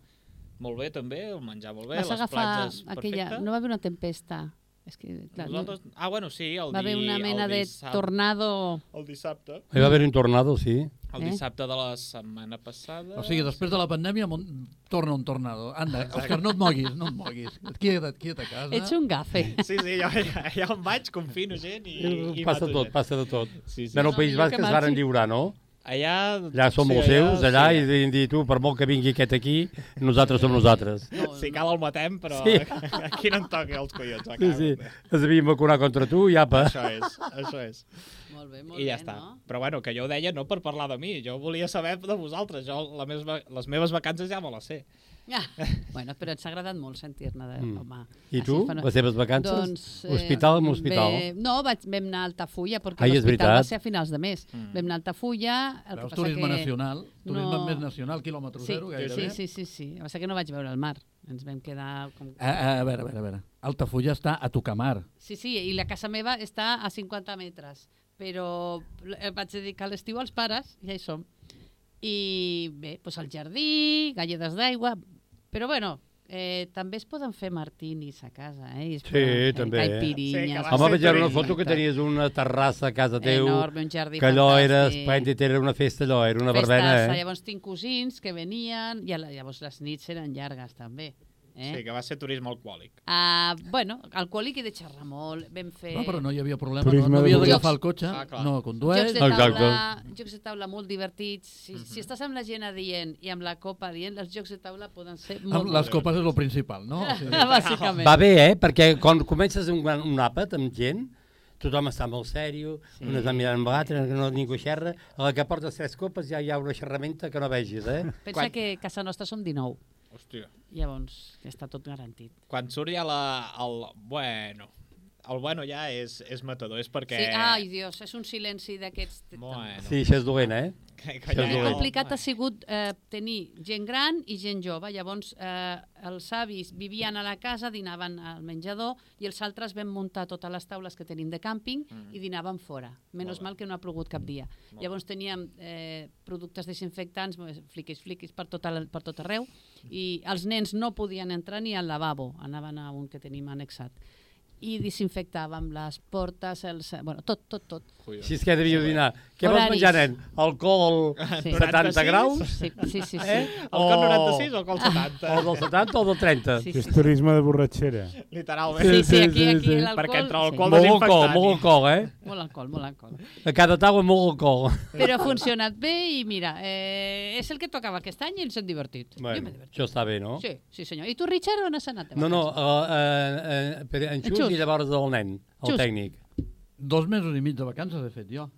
C: molt bé també, el menjar molt bé,
D: Vas
C: les
D: agafar
C: platges
D: aquella...
C: perfecte.
D: No va haver una tempesta. És que, clar, no-
C: Nosaltres... Ah, bueno, sí, el
D: va
C: di,
D: haver una mena
C: el
D: de
C: dissab-
D: tornado...
C: El dissabte.
B: Hi va haver un tornado, sí.
C: El
D: Eh?
C: dissabte de la setmana passada...
E: O sigui, després de la pandèmia mon- torna un tornado. Anda, Òscar, no et moguis, no et moguis. Queda't, queda't a casa.
D: Ets un gafe.
C: Sí, sí, jo, ja, ja on vaig, confino gent i... i
B: passa
C: mato
B: tot,
C: gent.
B: passa de tot.
C: Sí, sí.
B: Bé, no,
D: No,
B: el País
D: millor
B: Basc
D: que
B: es varen
D: marxi.
B: lliurar, no?
C: Allà...
B: Allà som els seus, allà, i dir, dir tu, per molt que vingui aquest aquí, nosaltres som nosaltres.
C: No, si cal el matem, però sí.
B: Sí.
C: aquí no em toqui els collons.
B: Sí, sí, es devien vacunar contra tu i apa.
C: eh. Això és, això és.
D: Molt bé, molt
C: I ja
D: bé,
C: està.
D: no?
C: Però bueno, que jo ho deia no per parlar de mi, jo volia saber de vosaltres. Jo la mes, les meves vacances ja me les sé.
D: Ah, bueno, però ens ha agradat molt sentir-ne de
B: Mm.
D: home.
B: I
D: Així
B: tu,
D: fa no-
B: les teves vacances?
D: eh,
B: hospital amb hospital.
D: Bé, no, vaig, vam anar a Altafulla, perquè
B: Ai, és
D: l'hospital va
B: veritat.
D: ser a finals de mes. Mm. Vam anar a Altafulla... El
E: Veus,
D: que
E: turisme
D: passa que...
E: nacional, turisme
D: no-
E: més nacional, quilòmetre
D: Sí,
E: zero, gairebé.
D: sí, sí, sí, sí. El que passa que no vaig veure el mar. Ens vam quedar... Com...
E: A, a, a veure, a veure, a veure. Altafulla està a Tocamar.
D: Sí, sí, i la casa meva està a 50 metres, però eh, vaig dedicar l'estiu als pares, ja hi som. I bé, doncs al jardí, galledes d'aigua, però bueno, eh, també es poden fer martinis a casa, eh? I es
B: Sí,
D: poden fer
B: també.
C: Sí, que
D: Caipirinhas. eh,
C: va
B: Home,
C: ser eh.
B: vaig veure una
C: turisme.
B: foto que tenies una terrassa a casa teu,
D: Enorme, un jardí
B: que allò era,
D: fantàstic.
B: esplèndid, era una festa allò, era una
D: Festes,
B: verbena, eh?
D: Llavors tinc cosins que venien, i a la- llavors les nits eren llargues també.
C: Eh?
D: Eh?
C: Sí, que va ser turisme alcohòlic.
D: Ah, bueno, alcohòlic i de xerrar molt, vam fer...
E: No, però no hi havia problema,
F: Turisme
E: no, no
F: de
E: havia
F: luxe.
E: d'agafar el cotxe,
C: Ah, clar.
E: no
D: Jocs
E: condueix.
D: de
B: Exacte. Mhm.
D: taula, jocs de taula molt divertits. Si, si estàs amb la gent adient i amb la copa adient, els jocs de taula poden ser molt...
E: Amb les copes és el principal, no?
C: Oh,
E: O sigui,
D: Bàsicament.
B: Va bé, eh? Perquè quan comences un, gran- un àpat amb gent, tothom està molt sèrio, sí. un està mirant amb l'altre, no ningú xerra, a la que portes tres copes ja hi ha una xerramenta que no vegis, eh?
D: Pensa
C: Quan-
D: que a casa nostra som 19,
C: Hòstia.
D: llavors està tot garantit.
C: Quan surt ja la, el... Bueno... El bueno ja és, és matador, és perquè...
D: Sí, ah, ai, Dios, és un silenci d'aquests...
C: Bueno.
B: Sí, això és dolent, eh?
C: Que,
B: això és
D: El
B: dolent.
D: complicat ha sigut eh, tenir gent gran i gent jove. Llavors, eh, els avis vivien a la casa, dinaven al menjador i els altres vam muntar totes les taules que tenim de càmping mm. i dinaven fora. Menys
C: bé.
D: mal que no ha plogut cap dia. Molt Llavors teníem eh, productes desinfectants, eh, fliquis, fliquis, per tot, el, per tot arreu i els nens no podien entrar ni al lavabo, anaven a un que tenim annexat i desinfectàvem les portes, els, eh, bueno, tot, tot, tot.
B: Així és que devíeu dinar. Què vols
D: Horaris.
B: menjar, nen? Alcohol
C: Ah,
D: Sí.
B: 70 graus?
D: Sí, sí, sí. sí.
B: Eh?
C: El cop 96 o el cop
B: O
C: 70?
B: del 70 o del 30?
D: Sí,
F: Que és turisme de borratxera.
C: Literalment.
D: Sí, sí,
B: Sí,
D: aquí,
B: sí,
D: aquí
B: sí.
D: l'alcohol...
C: Perquè entre l'alcohol-
B: Molt alcohol,
C: Desinfectant.
B: molt alcohol, eh?
D: Sí, molt alcohol, molt alcohol.
B: A cada taula molt alcohol.
D: Però ha funcionat bé i mira, eh, és el que tocava aquest any i ens hem divertit. Jo m'he
B: Bueno,
D: divertit.
B: això està bé, no?
D: Sí, sí senyor. I tu, Richard, on has anat? de
B: No, no,
D: vacances?
B: eh, eh, eh, en Xus
D: Xus.
B: i llavors el nen, el
D: Xus.
B: tècnic.
E: Dos mesos i mig de vacances he fet jo.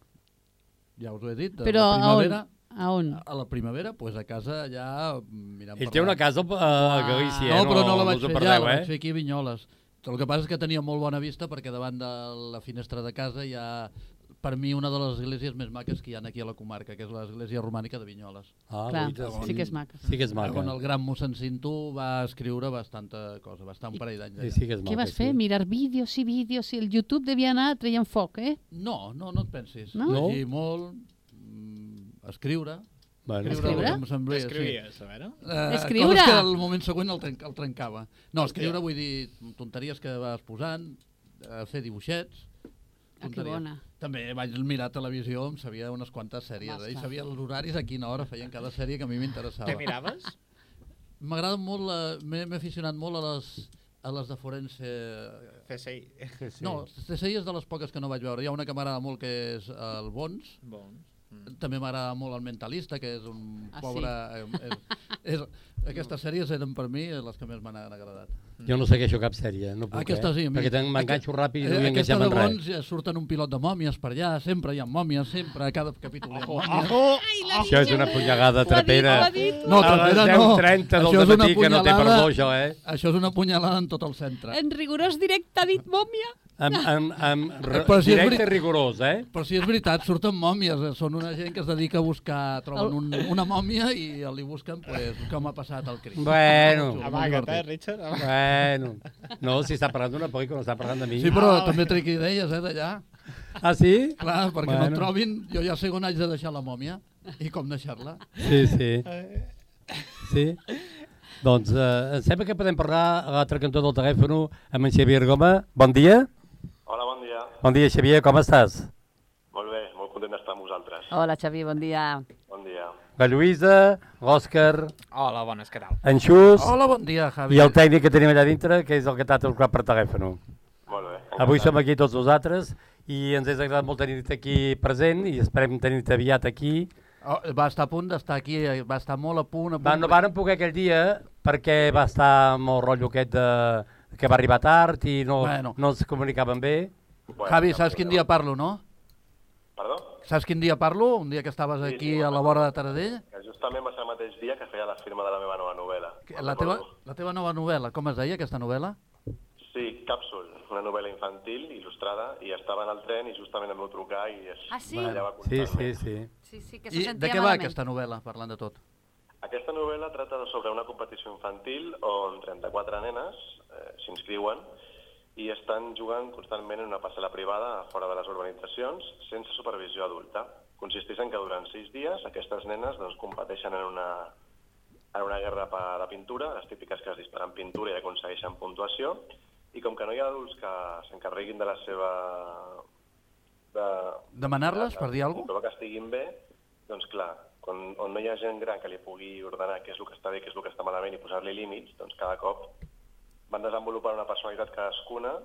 E: Ja us ho he dit, de
D: Però
E: la primavera.
D: on? A on?
E: A la primavera, pues a casa ja mirant
B: Ell
E: per
B: té
E: la-
B: una casa eh, a Galícia,
E: Ah. No, però no la
B: us
E: vaig
B: ho
E: fer allà,
B: perdeu,
E: la vaig
B: eh?
E: fer aquí a Vinyoles. El que passa és que tenia molt bona vista perquè davant de la finestra de casa hi ha, per mi, una de les esglésies més maques que hi ha aquí a la comarca, que és l'església romànica de Vinyoles,
B: Ah,
D: Clar,
B: guaita,
D: sí que és maca.
B: Sí que és maca.
E: on el gran mossèn Cinto va escriure bastanta cosa, va estar un parell d'anys
B: Sí,
E: allà.
B: sí que és maca.
D: Què vas
B: sí.
D: fer? Mirar vídeos i vídeos i el YouTube devia anar traient foc, eh?
E: No, no, no et pensis.
D: No?
B: No?
E: Llegir molt, mm, escriure...
B: Bueno,
D: Escriure?
E: em sembla, sí.
C: Escrivies, a veure.
E: Eh,
D: Escriure.
E: Coses que al moment següent el, trenc, el trencava. No, escriure vull dir tonteries que vas posant, eh, fer dibuixets...
D: Ah, que
E: tonteries.
D: bona.
E: També vaig mirar televisió, em sabia unes quantes sèries,
D: Basta.
E: eh? i sabia els horaris a quina hora feien cada sèrie que a mi
C: Què
E: m'interessava.
C: miraves?
E: M'agrada molt, la- m'he m'he aficionat molt a les, a les de forense...
C: CSI.
F: Sí, sí.
E: No, CSI és de les poques que no vaig veure. Hi ha una que m'agrada molt que és eh, el Bons,
C: Bon.
E: també m'agrada molt el Mentalista, que és un
D: Ah, sí?
E: pobre... Eh, és, és, aquestes sèries eren per mi les que més m'han agradat.
B: jo no segueixo cap sèrie, no puc,
E: Aquesta
B: eh?
E: sí, a mi.
B: Perquè tenc- m'enganxo ràpid i no
E: Eh,
B: vull
E: aquesta
B: enganxar-me
E: de
B: en
E: bons
B: res.
E: ja surten un pilot de mòmies per allà, sempre hi ha mòmies, sempre, a cada capítol hi ha mòmies.
B: Això és una punyagada trapera.
E: No,
B: a les
E: trapera no.
B: 10.30
E: Això és
B: del
E: una
B: matí que no té
E: punyalada.
B: perdó, això, eh?
E: Això és una punyalada en tot el centre.
D: En rigorós directe ha dit mòmia.
B: Amb, amb, amb re-
E: Però si és
B: directe
E: veri-
B: i rigorós, eh?
E: Però si és veritat, surten mòmies, eh, són una gent que es dedica a buscar, troben un, una mòmia i li busquen pues, com ha passat el crim.
B: Bueno.
E: Molt
C: Amaga't, eh,
E: divertit.
C: Richard? Amaga't.
B: Bueno, no, si està parlant d'una pel·lícula, no està parlant de mi.
E: Sí, però també trec idees, eh, d'allà.
B: Ah, sí?
E: Clar, perquè
B: Bueno.
E: no et trobin, jo ja sé on haig de deixar la mòmia i com deixar-la.
B: Sí, sí. Sí? Doncs eh, em sembla que podem parlar a l'altre cantó del telèfon amb en Xavier Goma. Bon dia.
G: Hola, bon dia.
B: Bon dia, Xavier, com estàs?
G: Molt bé, molt content d'estar amb vosaltres.
D: Hola, Xavi, bon dia.
G: Bon dia.
B: La Lluïsa, l'Òscar,
C: Hola, bones, què tal?
B: en Xus
E: Hola, bon dia, Javi.
B: i el tècnic que tenim allà dintre, que és el que t'ha trucat per telèfon.
G: Molt bé.
B: Avui som aquí tots nosaltres i ens és agradat molt tenir-te aquí present i esperem tenir-te aviat aquí.
E: Oh, va estar a punt d'estar aquí, eh, va estar molt a punt. A punt
B: Va, no vàrem poder aquell dia perquè va estar molt rotllo aquest de, que va arribar tard i no,
E: Bueno.
B: bueno. no ens comunicaven bé.
G: Bueno,
E: Javi,
G: cap
E: saps quin dia
G: problema.
E: parlo, no?
G: Perdó?
E: Saps quin dia parlo? Un dia que estaves
G: Sí,
E: aquí
G: sí,
E: a la
G: bueno.
E: vora de Taradell?
G: Que justament va ser el mateix dia que feia la firma de la meva nova novel·la.
E: Que-
G: Me'n
E: La teva,
G: recordo.
E: la teva nova novel·la, com es deia aquesta novel·la?
G: Sí, Càpsul, una novel·la infantil, il·lustrada, i estava en el tren i justament em vau trucar i... Es...
H: Ah, sí?
G: allà va
B: Sí,
G: comptar-me.
B: sí, sí.
H: Sí, sí, que se
E: I
H: sentia
E: de què va
H: malament.
E: aquesta novel·la, parlant de tot?
G: Aquesta novel·la trata de- sobre una competició infantil on 34 nenes eh, s'inscriuen i estan jugant constantment en una parcel·la privada fora de les urbanitzacions sense supervisió adulta. Consisteix en que durant sis dies aquestes nenes doncs, competeixen en una, en una guerra pa- de pintura, les típiques que es disparen pintura i aconsegueixen puntuació, i com que no hi ha adults que s'encarreguin de la seva... De,
E: Demanar-les, per dir alguna cosa?
G: Comprovar que estiguin bé, doncs clar, quan, on no hi ha gent gran que li pugui ordenar què és el que està bé, què és el que està malament i posar-li límits, doncs cada cop van desenvolupant una personalitat cadascuna,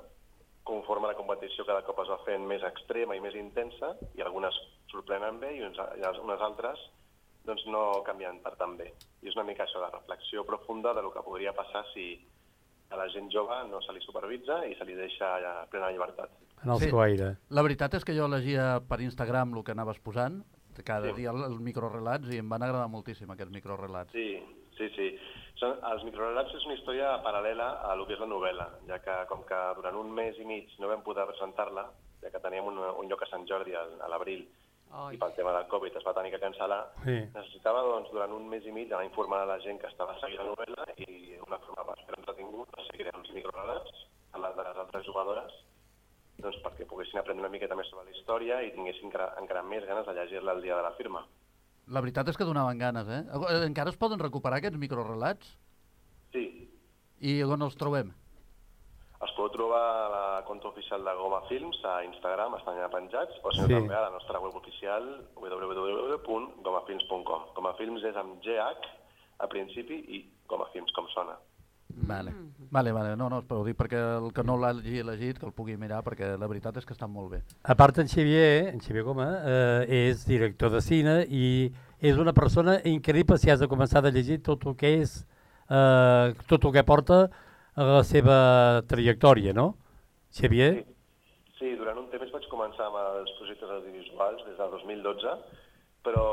G: conforme la competició cada cop es va fent més extrema i més intensa, i algunes sorprenen bé i uns, i als- unes altres doncs no canvien per tan bé. I és una mica això, la reflexió profunda de lo que podria passar si a la gent jove no se li supervitza i se li deixa ja plena llibertat.
B: En el
E: Sí.
B: seu aire.
E: La veritat és que jo llegia per Instagram el que anaves posant, cada dia el- els microrelats, i em van agradar moltíssim aquests microrelats.
G: Sí, sí, sí. Són, els microrelats és una història paral·lela a lo que és la novel·la, ja que com que durant un mes i mig no vam poder presentar-la, ja que teníem un, un lloc a Sant Jordi al- a l'abril i pel tema del Covid es va tenir que cancel·lar,
B: Sí.
G: necessitava doncs, durant un mes i mig anar informant a la gent que estava seguint la novel·la i una forma per ser entretingut va ser crear uns microrelats a les de les altres jugadores doncs perquè poguessin aprendre una miqueta més sobre la història i tinguessin encara, encara més ganes de llegir-la el dia de la firma.
E: La veritat és que donaven ganes, eh? Eh, Encara es poden recuperar aquests microrelats?
G: Sí,
E: I on els trobem?
G: Els podeu trobar a la compte oficial de Goma Films, a Instagram, estan allà penjats, o si no,
B: Sí.
G: també a la nostra web oficial www.gomafilms.com. Gomafilms és amb GH al principi i Gomafilms, com sona.
E: Vale. Vale, vale, no, no, però ho dic perquè el que no l'hagi llegit que el pugui mirar perquè la veritat és que estan molt bé.
B: A part, en Xavier, en Xavier Goma, eh, és director de cine i és una persona increïble si has de començar a llegir tot el que és, eh, tot el que porta a la seva trajectòria, no? Xavier?
G: Sí. Sí, durant un temps vaig començar amb els projectes audiovisuals, des del 2012, però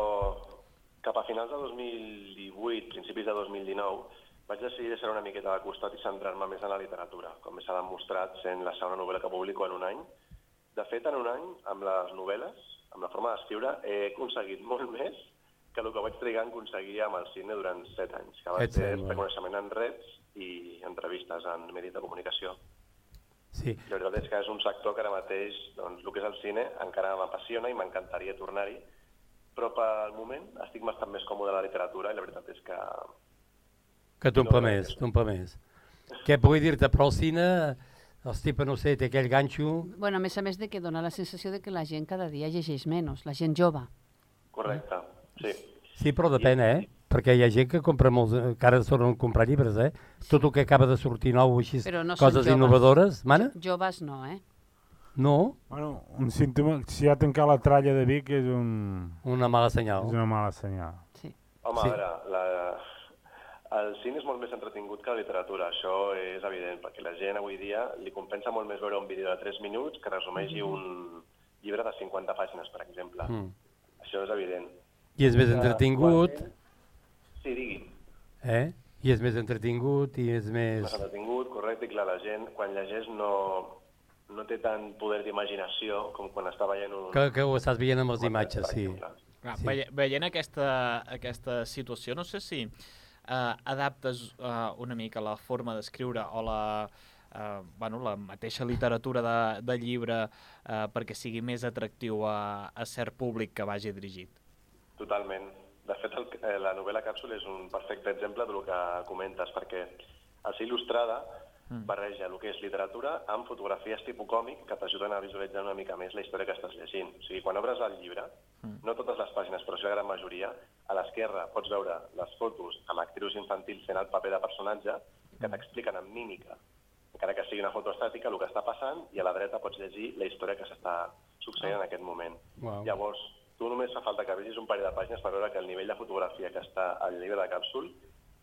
G: cap a finals de 2018, principis de 2019, vaig decidir deixar una miqueta de costat i centrar-me més en la literatura, com s'ha demostrat sent la segona novel·la que publico en un any. De fet, en un any, amb les novel·les, amb la forma d'escriure, he aconseguit molt més que el que vaig trigar a aconseguir amb el cine durant set anys, que va
B: Et
G: ser
B: sembla.
G: reconeixement en rets i entrevistes en medis de comunicació.
B: Sí.
G: La veritat és que és un sector que ara mateix, doncs, el que és el cine, encara m'apassiona i m'encantaria tornar-hi, però pel moment estic bastant més còmode a la literatura i la veritat és que
B: Que t'omple
G: No,
B: més,
G: gràcies.
B: t'omple més. Què puc dir-te, però el cine, el Stipe, no ho sé, té aquell ganxo...
D: Bueno, a més a més de que dona la sensació de que la gent cada dia llegeix menys, la gent jove.
G: correcte, sí.
B: Sí, però depèn, eh? Perquè hi ha gent que compra molts... eh, que ara solen comprar llibres, eh? Tot el que acaba de sortir nou, així,
D: Però no són
B: coses
D: joves.
B: innovadores, mana?
D: Joves no, eh?
B: No,
F: Bueno, un símptoma, si ha tancat la tralla de Vic és un...
B: una mala
F: És
B: senyal.
F: una mala senyal.
D: Sí.
G: Home,
B: Sí.
G: sí. a veure, la... el cine és molt més entretingut que la literatura, això és evident, perquè la gent avui dia li compensa molt més veure un vídeo de 3 minuts que resumeixi un llibre de 50 pàgines, per exemple.
B: Mm.
G: Això és evident.
B: I és més entretingut,
G: Sí, digui'm.
B: eh? I és més entretingut, i és
G: més
B: més...
G: entretingut, correcte, i clar, la gent quan llegeix no, no té tant poder d'imaginació com quan està veient un...
B: Que, que ho estàs veient amb les
G: un-
B: imatges, sí.
C: Clar,
B: Sí.
C: sí. veient, veient aquesta, aquesta situació, no sé si eh, adaptes eh, una mica la forma d'escriure o la, eh, bueno, la mateixa literatura de, de llibre eh, perquè sigui més atractiu a, a cert públic que vagi dirigit.
G: Totalment. De fet, el, eh, la novel·la Càpsula és un perfecte exemple del que comentes, perquè al ser il·lustrada barreja el que és literatura amb fotografies tipus còmic que t'ajuden a visualitzar una mica més la història que estàs llegint. O sigui, quan obres el llibre, no totes les pàgines, però sí la gran majoria, a l'esquerra pots veure les fotos amb actrius infantils fent el paper de personatge que t'expliquen amb mímica, encara que sigui una foto estàtica, el que està passant, i a la dreta pots llegir la història que s'està succeint en aquest moment.
D: Ah.
B: Uau.
G: Llavors, tu només fa falta que vegis un parell de pàgines per veure que el nivell de fotografia que està al llibre de càpsul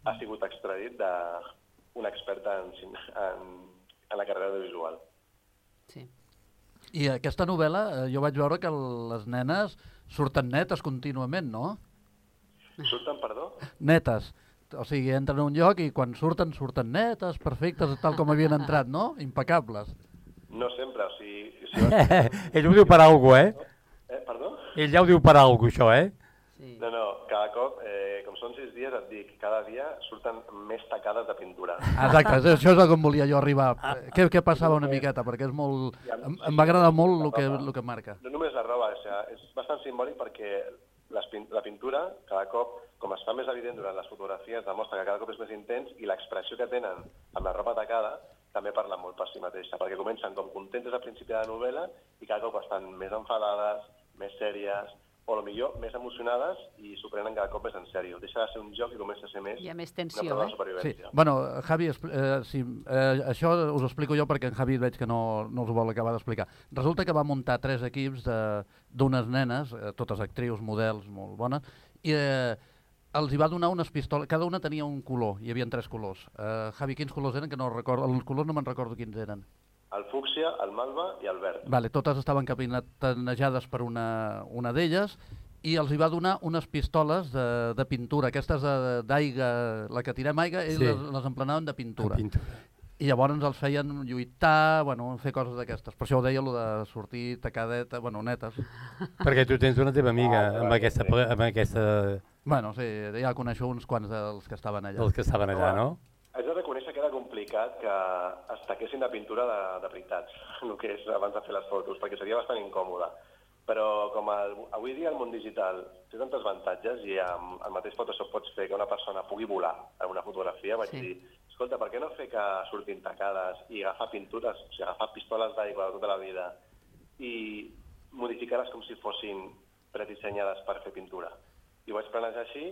G: ha sigut extradit d'un expert en, cin- en, en la carrera audiovisual.
D: sí.
E: I aquesta novel·la, eh, jo vaig veure que les nenes surten netes contínuament, no?
G: Surten, perdó?
E: Netes. O sigui, entren a un lloc i quan surten, surten netes, perfectes, tal com havien entrat, no? Impecables.
G: No sempre, o sigui... Si vas...
B: Ell ho diu per algo, eh?
G: eh, perdó?
B: Ell ja ho diu per algo, això, eh?
D: sí.
G: No, no, cada cop, eh, com són sis dies, et dic, cada dia surten més tacades de pintura.
E: Exacte, és- això és a com volia jo arribar.
G: Ah,
E: Eh, Què, què passava una miqueta? Perquè és molt... Em, em va agradar molt el que, el que marca.
G: No només la roba, o sigui, és bastant simbòlic perquè les pin la pintura cada cop, com es fa més evident durant les fotografies, demostra que cada cop és més intens i l'expressió que tenen amb la roba tacada també parla molt per si mateixa, perquè comencen com contentes al principi de la novel·la i cada cop estan més enfadades, més sèries, o a lo millor més emocionades i s'ho prenen cada cop més en sèrio. Deixa de ser un joc i comença a ser més...
D: Hi ha més tensió,
G: una prova
D: eh?
G: de
E: Sí.
G: supervivència.
E: Bueno, Javi, expl- eh, sí, eh, això us ho explico jo perquè en Javi veig que no, no us ho vol acabar d'explicar. Resulta que va muntar tres equips de- d'unes nenes, eh, totes actrius, models, molt bones, i eh, els hi va donar unes pistoles, cada una tenia un color, hi havia tres colors. Eh, Javi, quins colors eren? Que no recordo, els colors no me'n recordo quins eren.
G: El fúcsia, el malva i el verd.
E: Vale, totes estaven capitanejades per una, una d'elles i els hi va donar unes pistoles de, de pintura, aquestes de- d'aigua, la que tirem aigua, ells
B: Sí.
E: sí. les, les emplenaven de pintura.
B: Pintura.
E: I llavors els feien lluitar, bueno, fer coses d'aquestes. Per això ho deia, lo de sortir tacadeta, bueno, netes.
B: Perquè tu tens una teva amiga
G: Ah,
B: amb
G: vale,
B: aquesta,
G: sí.
B: amb aquesta
E: Bueno, sí, ja coneixo uns quants dels que estaven allà.
B: dels que estaven allà, no?
G: Haig de reconèixer que era complicat que es taquessin de pintura de, de veritat, el que és abans de fer les fotos, perquè seria bastant incòmode. Però com el, avui dia el món digital té tantes avantatges i amb el mateix Photoshop pots fer que una persona pugui volar en una fotografia, vaig
D: Sí.
G: sí. dir, escolta, per què no fer que surtin tacades i agafar pintures, o sigui, agafar pistoles d'aigua de tota la vida i modificar-les com si fossin predissenyades per fer pintura? I ho vaig planejar així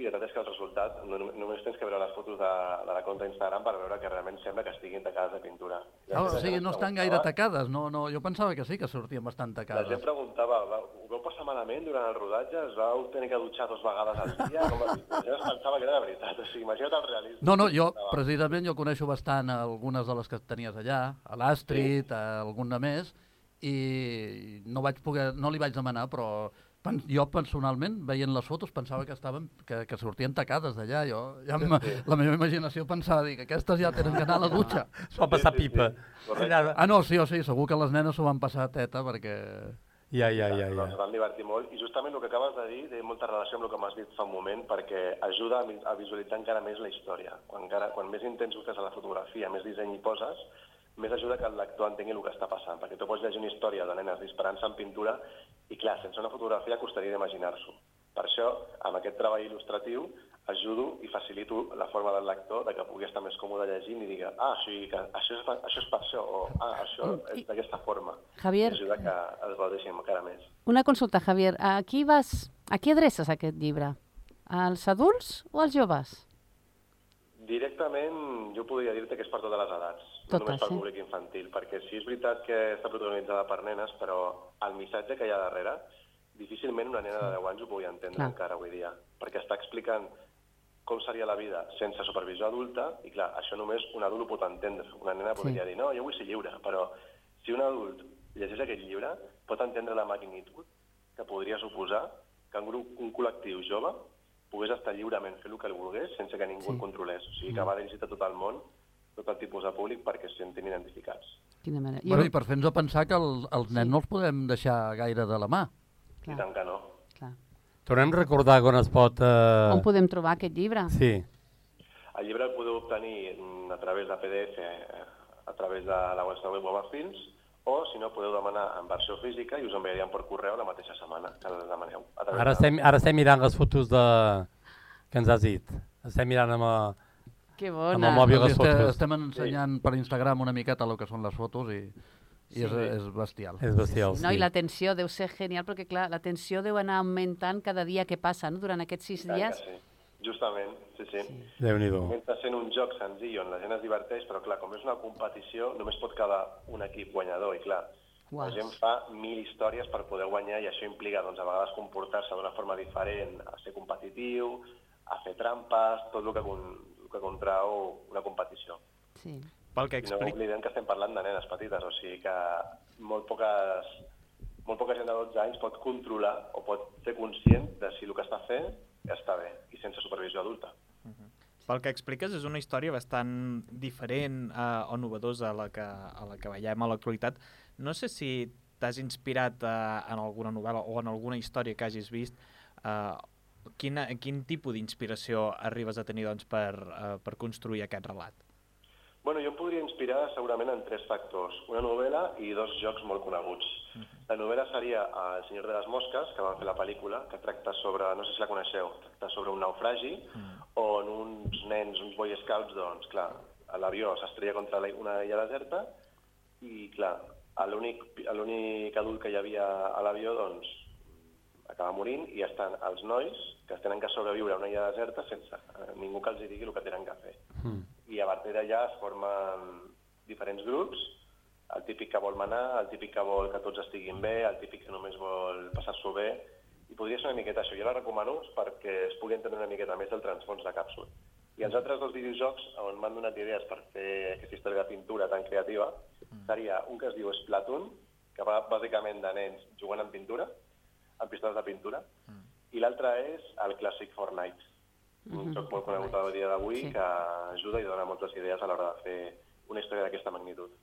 G: i la veritat és que el resultat, no, no- només tens que veure les fotos de, de la compte Instagram per veure que realment sembla que estiguin tacades de pintura. I
E: Ah,
G: després
E: o
G: la
E: sigui,
G: gent
E: no
G: em
E: estan gaire
G: preguntava-
E: tacades. No, no, jo pensava que sí, que sortien bastant
G: La gent
E: tacades.
G: preguntava, "Va, ho vau passar malament durant el rodatge? Es vau tenir que dutxar dues vegades al dia? Com va... La gent es pensava que era de veritat, o sigui, imagina't el realisme.
E: No, no, jo precisament jo coneixo bastant algunes de les que tenies allà, a l'Astrid, a alguna més, i no, vaig poder, no li vaig demanar, però Pen- Jo personalment, veient les fotos, pensava que estaven que, que sortien tacades d'allà. Jo, ja em, la meva imaginació pensava dir que aquestes ja tenen que anar a la dutxa.
B: S'ho va passar
G: Sí, sí, sí.
B: pipa.
G: Correcte.
B: Allà-
E: Ah, no, sí, o sí, segur que les nenes s'ho van passar a teta perquè...
B: Ja, ja, ja,
G: No, ens
B: ja.
G: vam divertir molt. I justament el que acabes de dir té molta relació amb el que m'has dit fa un moment, perquè ajuda a mi- a visualitzar encara més la història. Quan, encara, quan més intens busques a la fotografia, més disseny hi poses, més ajuda que el lector entengui el que està passant, perquè tu pots llegir una història de nenes disparant-se en pintura i, clar, sense una fotografia costaria d'imaginar-s'ho. Per això, amb aquest treball il·lustratiu, ajudo i facilito la forma del lector de que pugui estar més còmode llegint i digui ah, sí, que això, és, per- això és per això, o ah, això és d'aquesta forma.
D: Javier.
G: I ajuda que es gaudeixi encara més.
D: Una consulta, Javier. A qui, vas, a qui adreces aquest llibre? Als adults o als joves?
G: Directament, jo podria dir-te que és per totes les edats, no
D: Totes,
G: només pel
D: sí.
G: públic infantil, perquè sí és veritat que està protagonitzada per nenes, però el missatge que hi ha darrere, difícilment una nena de 10 anys ho pugui entendre
D: Clar.
G: encara avui dia, perquè està explicant com seria la vida sense supervisió adulta, i clar, això només un adult ho pot entendre. Una nena podria dir, no, jo vull ser lliure, però si un adult llegeix aquest llibre, pot entendre la magnitud que podria suposar que un grup, un col·lectiu jove pogués estar lliurement fent el que el volgués sense que ningú sí. el controlés. O
D: Mm.
G: sigui que va dirigit a tot el món, tot el tipus de públic, perquè es sentin identificats.
D: Quina manera.
E: Bueno, I per fer-nos a pensar que el, els nens no els podem deixar gaire de la mà.
G: I
D: clar,
G: tant que no.
D: clar.
B: Tornem a recordar on es pot... eh,
D: On podem trobar aquest llibre?
B: Sí.
G: El llibre el podeu obtenir mm, a través de PDF, eh, a través de la vostra web Films, o si no podeu demanar en versió física i us enviaríem per correu la mateixa setmana que la demaneu. A través
B: Ara
G: de-
B: estem, ara estem mirant les fotos de... que ens has dit. Estem mirant amb... eh,
D: Que
B: amb
D: bona.
B: el mòbil
E: Avui
B: les
E: este,
B: fotos.
E: estem ensenyant per Instagram una miqueta el que són les fotos i, i és, és bestial.
B: És bestial, sí.
D: No, I la tensió deu ser genial, perquè clar, la tensió deu anar augmentant cada dia que passa, no? durant aquests sis
G: Tant que
D: dies.
G: Sí. Justament, sí, sí. sí.
B: Déu-n'hi-do.
G: Comença sent un joc senzill on la gent es diverteix, però clar, com és una competició, només pot quedar un equip guanyador, i clar,
D: Uau.
G: la gent fa mil històries per poder guanyar i això implica, doncs, a vegades comportar-se d'una forma diferent, a ser competitiu, a fer trampes, tot el que, con, el que contrau una competició.
D: Sí.
C: Pel que
G: I no
C: explica...
G: oblidem que estem parlant de nenes petites, o sigui que molt poques molt poca gent de 12 anys pot controlar o pot ser conscient de si el que està fent està bé i sense supervisió adulta.
C: Pel que expliques és una història bastant diferent eh, o novedosa a la que, a la que veiem a l'actualitat. No sé si t'has inspirat eh, en alguna novel·la o en alguna història que hagis vist. Eh, quina, quin tipus d'inspiració arribes a tenir doncs, per, eh, per construir aquest relat?
G: Bueno, jo em podria inspirar segurament en tres factors. Una novel·la i dos jocs molt coneguts. La novel·la seria eh, El senyor de les mosques, que van fer la pel·lícula, que tracta sobre, no sé si la coneixeu, tracta sobre un naufragi, on uns nens, uns boy scouts, doncs, clar, l'avió s'estrella contra la- una illa deserta i, clar, l'únic l'únic adult que hi havia a l'avió, doncs, acaba morint i estan els nois que tenen que sobreviure a una illa deserta sense eh, ningú que els hi digui el que tenen que fer. Mm. I a partir d'allà es formen diferents grups, el típic que vol manar, el típic que vol que tots estiguin bé, el típic que només vol passar-s'ho bé, i podria ser una miqueta això. Jo la recomano perquè es pugui entendre una miqueta més el transfons de càpsula. I els altres dos videojocs on m'han donat idees per fer aquesta història de pintura tan creativa seria un que es diu Splatoon, que va bàsicament de nens jugant amb pintura, amb pistoles de pintura, mm. i l'altre és el clàssic Fortnite, un joc molt conegut a dia d'avui
D: Mhm. Sí.
G: que ajuda i dona moltes idees a l'hora de fer una història d'aquesta magnitud.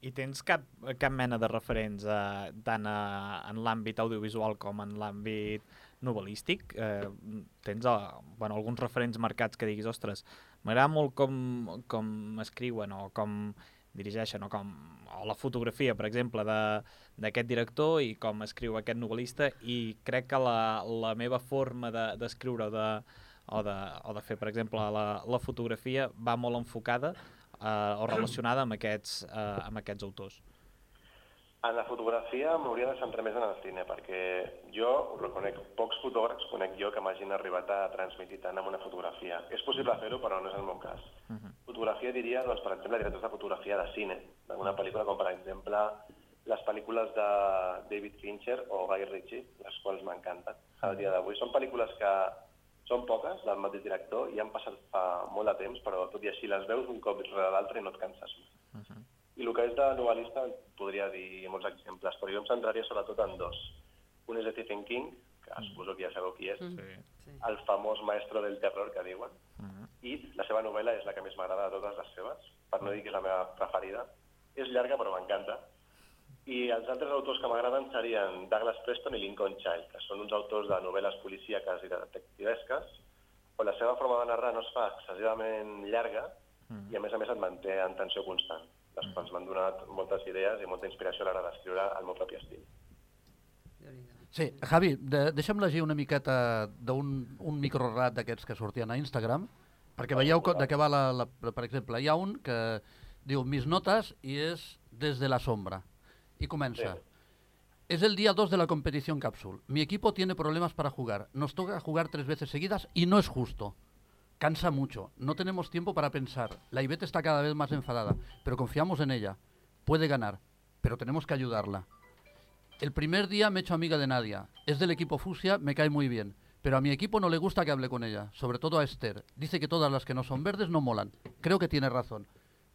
C: I tens cap, cap mena de referents eh, tant a, en l'àmbit audiovisual com en l'àmbit novel·lístic? Eh, tens eh, bueno, alguns referents marcats que diguis, ostres, m'agrada molt com, com escriuen o com dirigeixen o com o la fotografia, per exemple, de- d'aquest director i com escriu aquest novel·lista i crec que la, la meva forma de- d'escriure de, o, de, o de fer, per exemple, la, la fotografia va molt enfocada eh, o relacionada amb aquests, eh, amb aquests autors.
G: En la fotografia m'hauria de centrar més en el cine, perquè jo ho reconec, pocs fotògrafs conec jo que m'hagin arribat a transmitir tant amb una fotografia. És possible fer-ho, però no és el meu cas. Fotografia diria, doncs, per exemple, directors de fotografia de cine, d'una pel·lícula com, per exemple, les pel·lícules de David Fincher o Guy Ritchie, les quals m'encanten a dia d'avui. Són pel·lícules que són poques, del mateix director, i han passat fa molt de temps, però tot i així les veus un cop rere l'altre i no et canses mai. I el que és de novel·lista podria dir molts exemples, però jo em centraria sobretot en dos. Un és de Stephen King, que suposo que ja sabeu qui és,
C: Sí.
G: el famós maestro del terror que diuen, i la seva novel·la és la que més m'agrada de totes les seves, per no dir que és la meva preferida. És llarga, però m'encanta. I els altres autors que m'agraden serien Douglas Preston i Lincoln Child, que són uns autors de novel·les policíaques i de detectivesques, on la seva forma de narrar no es fa excessivament llarga i, a més a més, et manté en tensió constant. Les quals m'han donat moltes idees i molta inspiració a l'hora d'escriure el meu propi estil.
E: Sí, Javi, de, deixa'm llegir una miqueta d'un un microrelat d'aquests que sortien a Instagram, perquè veieu co- de què va la, la... Per exemple, hi ha un que diu Mis notes i és Des de la sombra. I comença.
G: Sí.
E: Es el día 2 de la competición Capsule. Mi equipo tiene problemas para jugar. Nos toca jugar tres veces seguidas y no es justo. Cansa mucho. No tenemos tiempo para pensar. La Ivette está cada vez más enfadada, pero confiamos en ella. Puede ganar, pero tenemos que ayudarla. El primer día me he hecho amiga de Nadia. Es del equipo Fusia, me cae muy bien. Pero a mi equipo no le gusta que hable con ella, sobre todo a Esther. Dice que todas las que no son verdes no molan. Creo que tiene razón.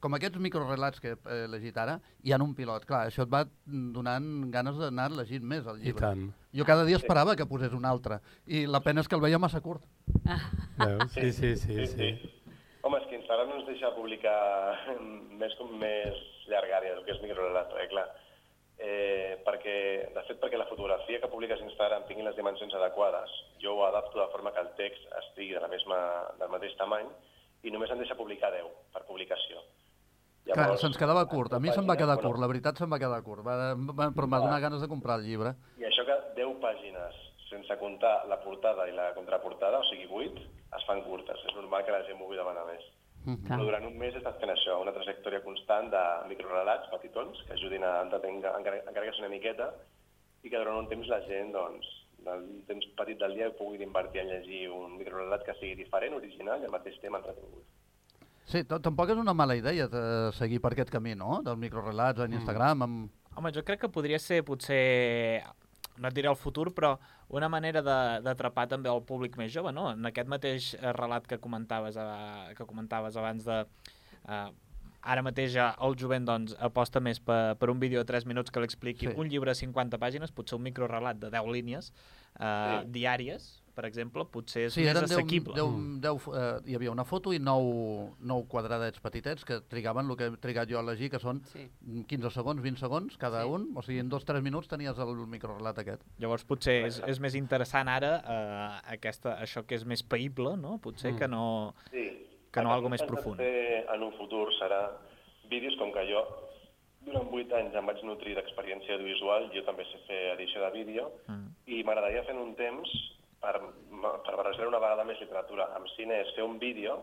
E: Com aquests microrelats que eh, he llegit ara, hi ha un pilot. Clar, això et va donant ganes d'anar llegint més el
B: I
E: llibre.
B: tant.
E: Jo cada dia esperava que posés un altre. I la pena és que el veia massa curt.
B: Veus? Sí, sí, sí, sí.
G: Home, és que Instagram no ens deixa publicar més com més llargàries, el que és microrelat, eh, clar. Eh, perquè, de fet, perquè la fotografia que publiques a Instagram tingui les dimensions adequades, jo ho adapto de forma que el text estigui de la mesma, del mateix tamany i només em deixa publicar 10 per publicació.
E: Clar, se'ns quedava
G: la
E: curt. A mi
G: pàgina,
E: se'm va quedar
G: bueno,
E: curt, la veritat se'm va quedar curt. Va, va, però em va donar ganes de comprar el llibre.
G: I això que 10 pàgines, sense comptar la portada i la contraportada, o sigui 8, es fan curtes. És normal que la gent m'ho vull demanar més.
D: Mm, Clar.
G: Però durant un mes he estat fent això, una trajectòria constant de microrelats, petitons, que ajudin a entretenir, encara, encara que sigui una miqueta, i que durant un temps la gent, doncs, del temps petit del dia puguin invertir en llegir un microrelat que sigui diferent, original i al mateix temps entretingut.
E: Sí, t- tampoc és una mala idea de seguir per aquest camí, no? Dels microrelats en Instagram, amb...
C: Home, jo crec que podria ser potser no et diré el futur, però una manera de- d'atrapar també el públic més jove, no? En aquest mateix eh, relat que comentaves, eh, que comentaves abans de... Eh, ara mateix eh, el jovent doncs, aposta més per, per un vídeo de 3 minuts que l'expliqui
E: Sí.
C: sí. un llibre de 50 pàgines, potser un microrelat de 10 línies eh, sí. diàries, per exemple, potser és
E: Sí,
C: sí, més
E: eren 10,
C: assequible.
E: 10, 10, eh, hi havia una foto i 9, 9 quadradets petitets que trigaven el que he trigat jo a llegir, que són
D: Sí.
E: 15 segons, 20 segons cada
D: Sí.
E: un. O sigui, en 2-3 minuts tenies el microrelat aquest.
C: Llavors potser és, és més interessant ara eh, aquesta, això que és més païble, no? potser mm. que no...
G: Sí.
C: Que no
G: El
C: algo més
G: hem de
C: profund.
G: Fer en un futur serà vídeos com que jo durant 8 anys em vaig nutrir d'experiència audiovisual, jo també sé fer edició de vídeo, mm. i m'agradaria fer en un temps, per, per barrejar una vegada més literatura amb cine, és fer un vídeo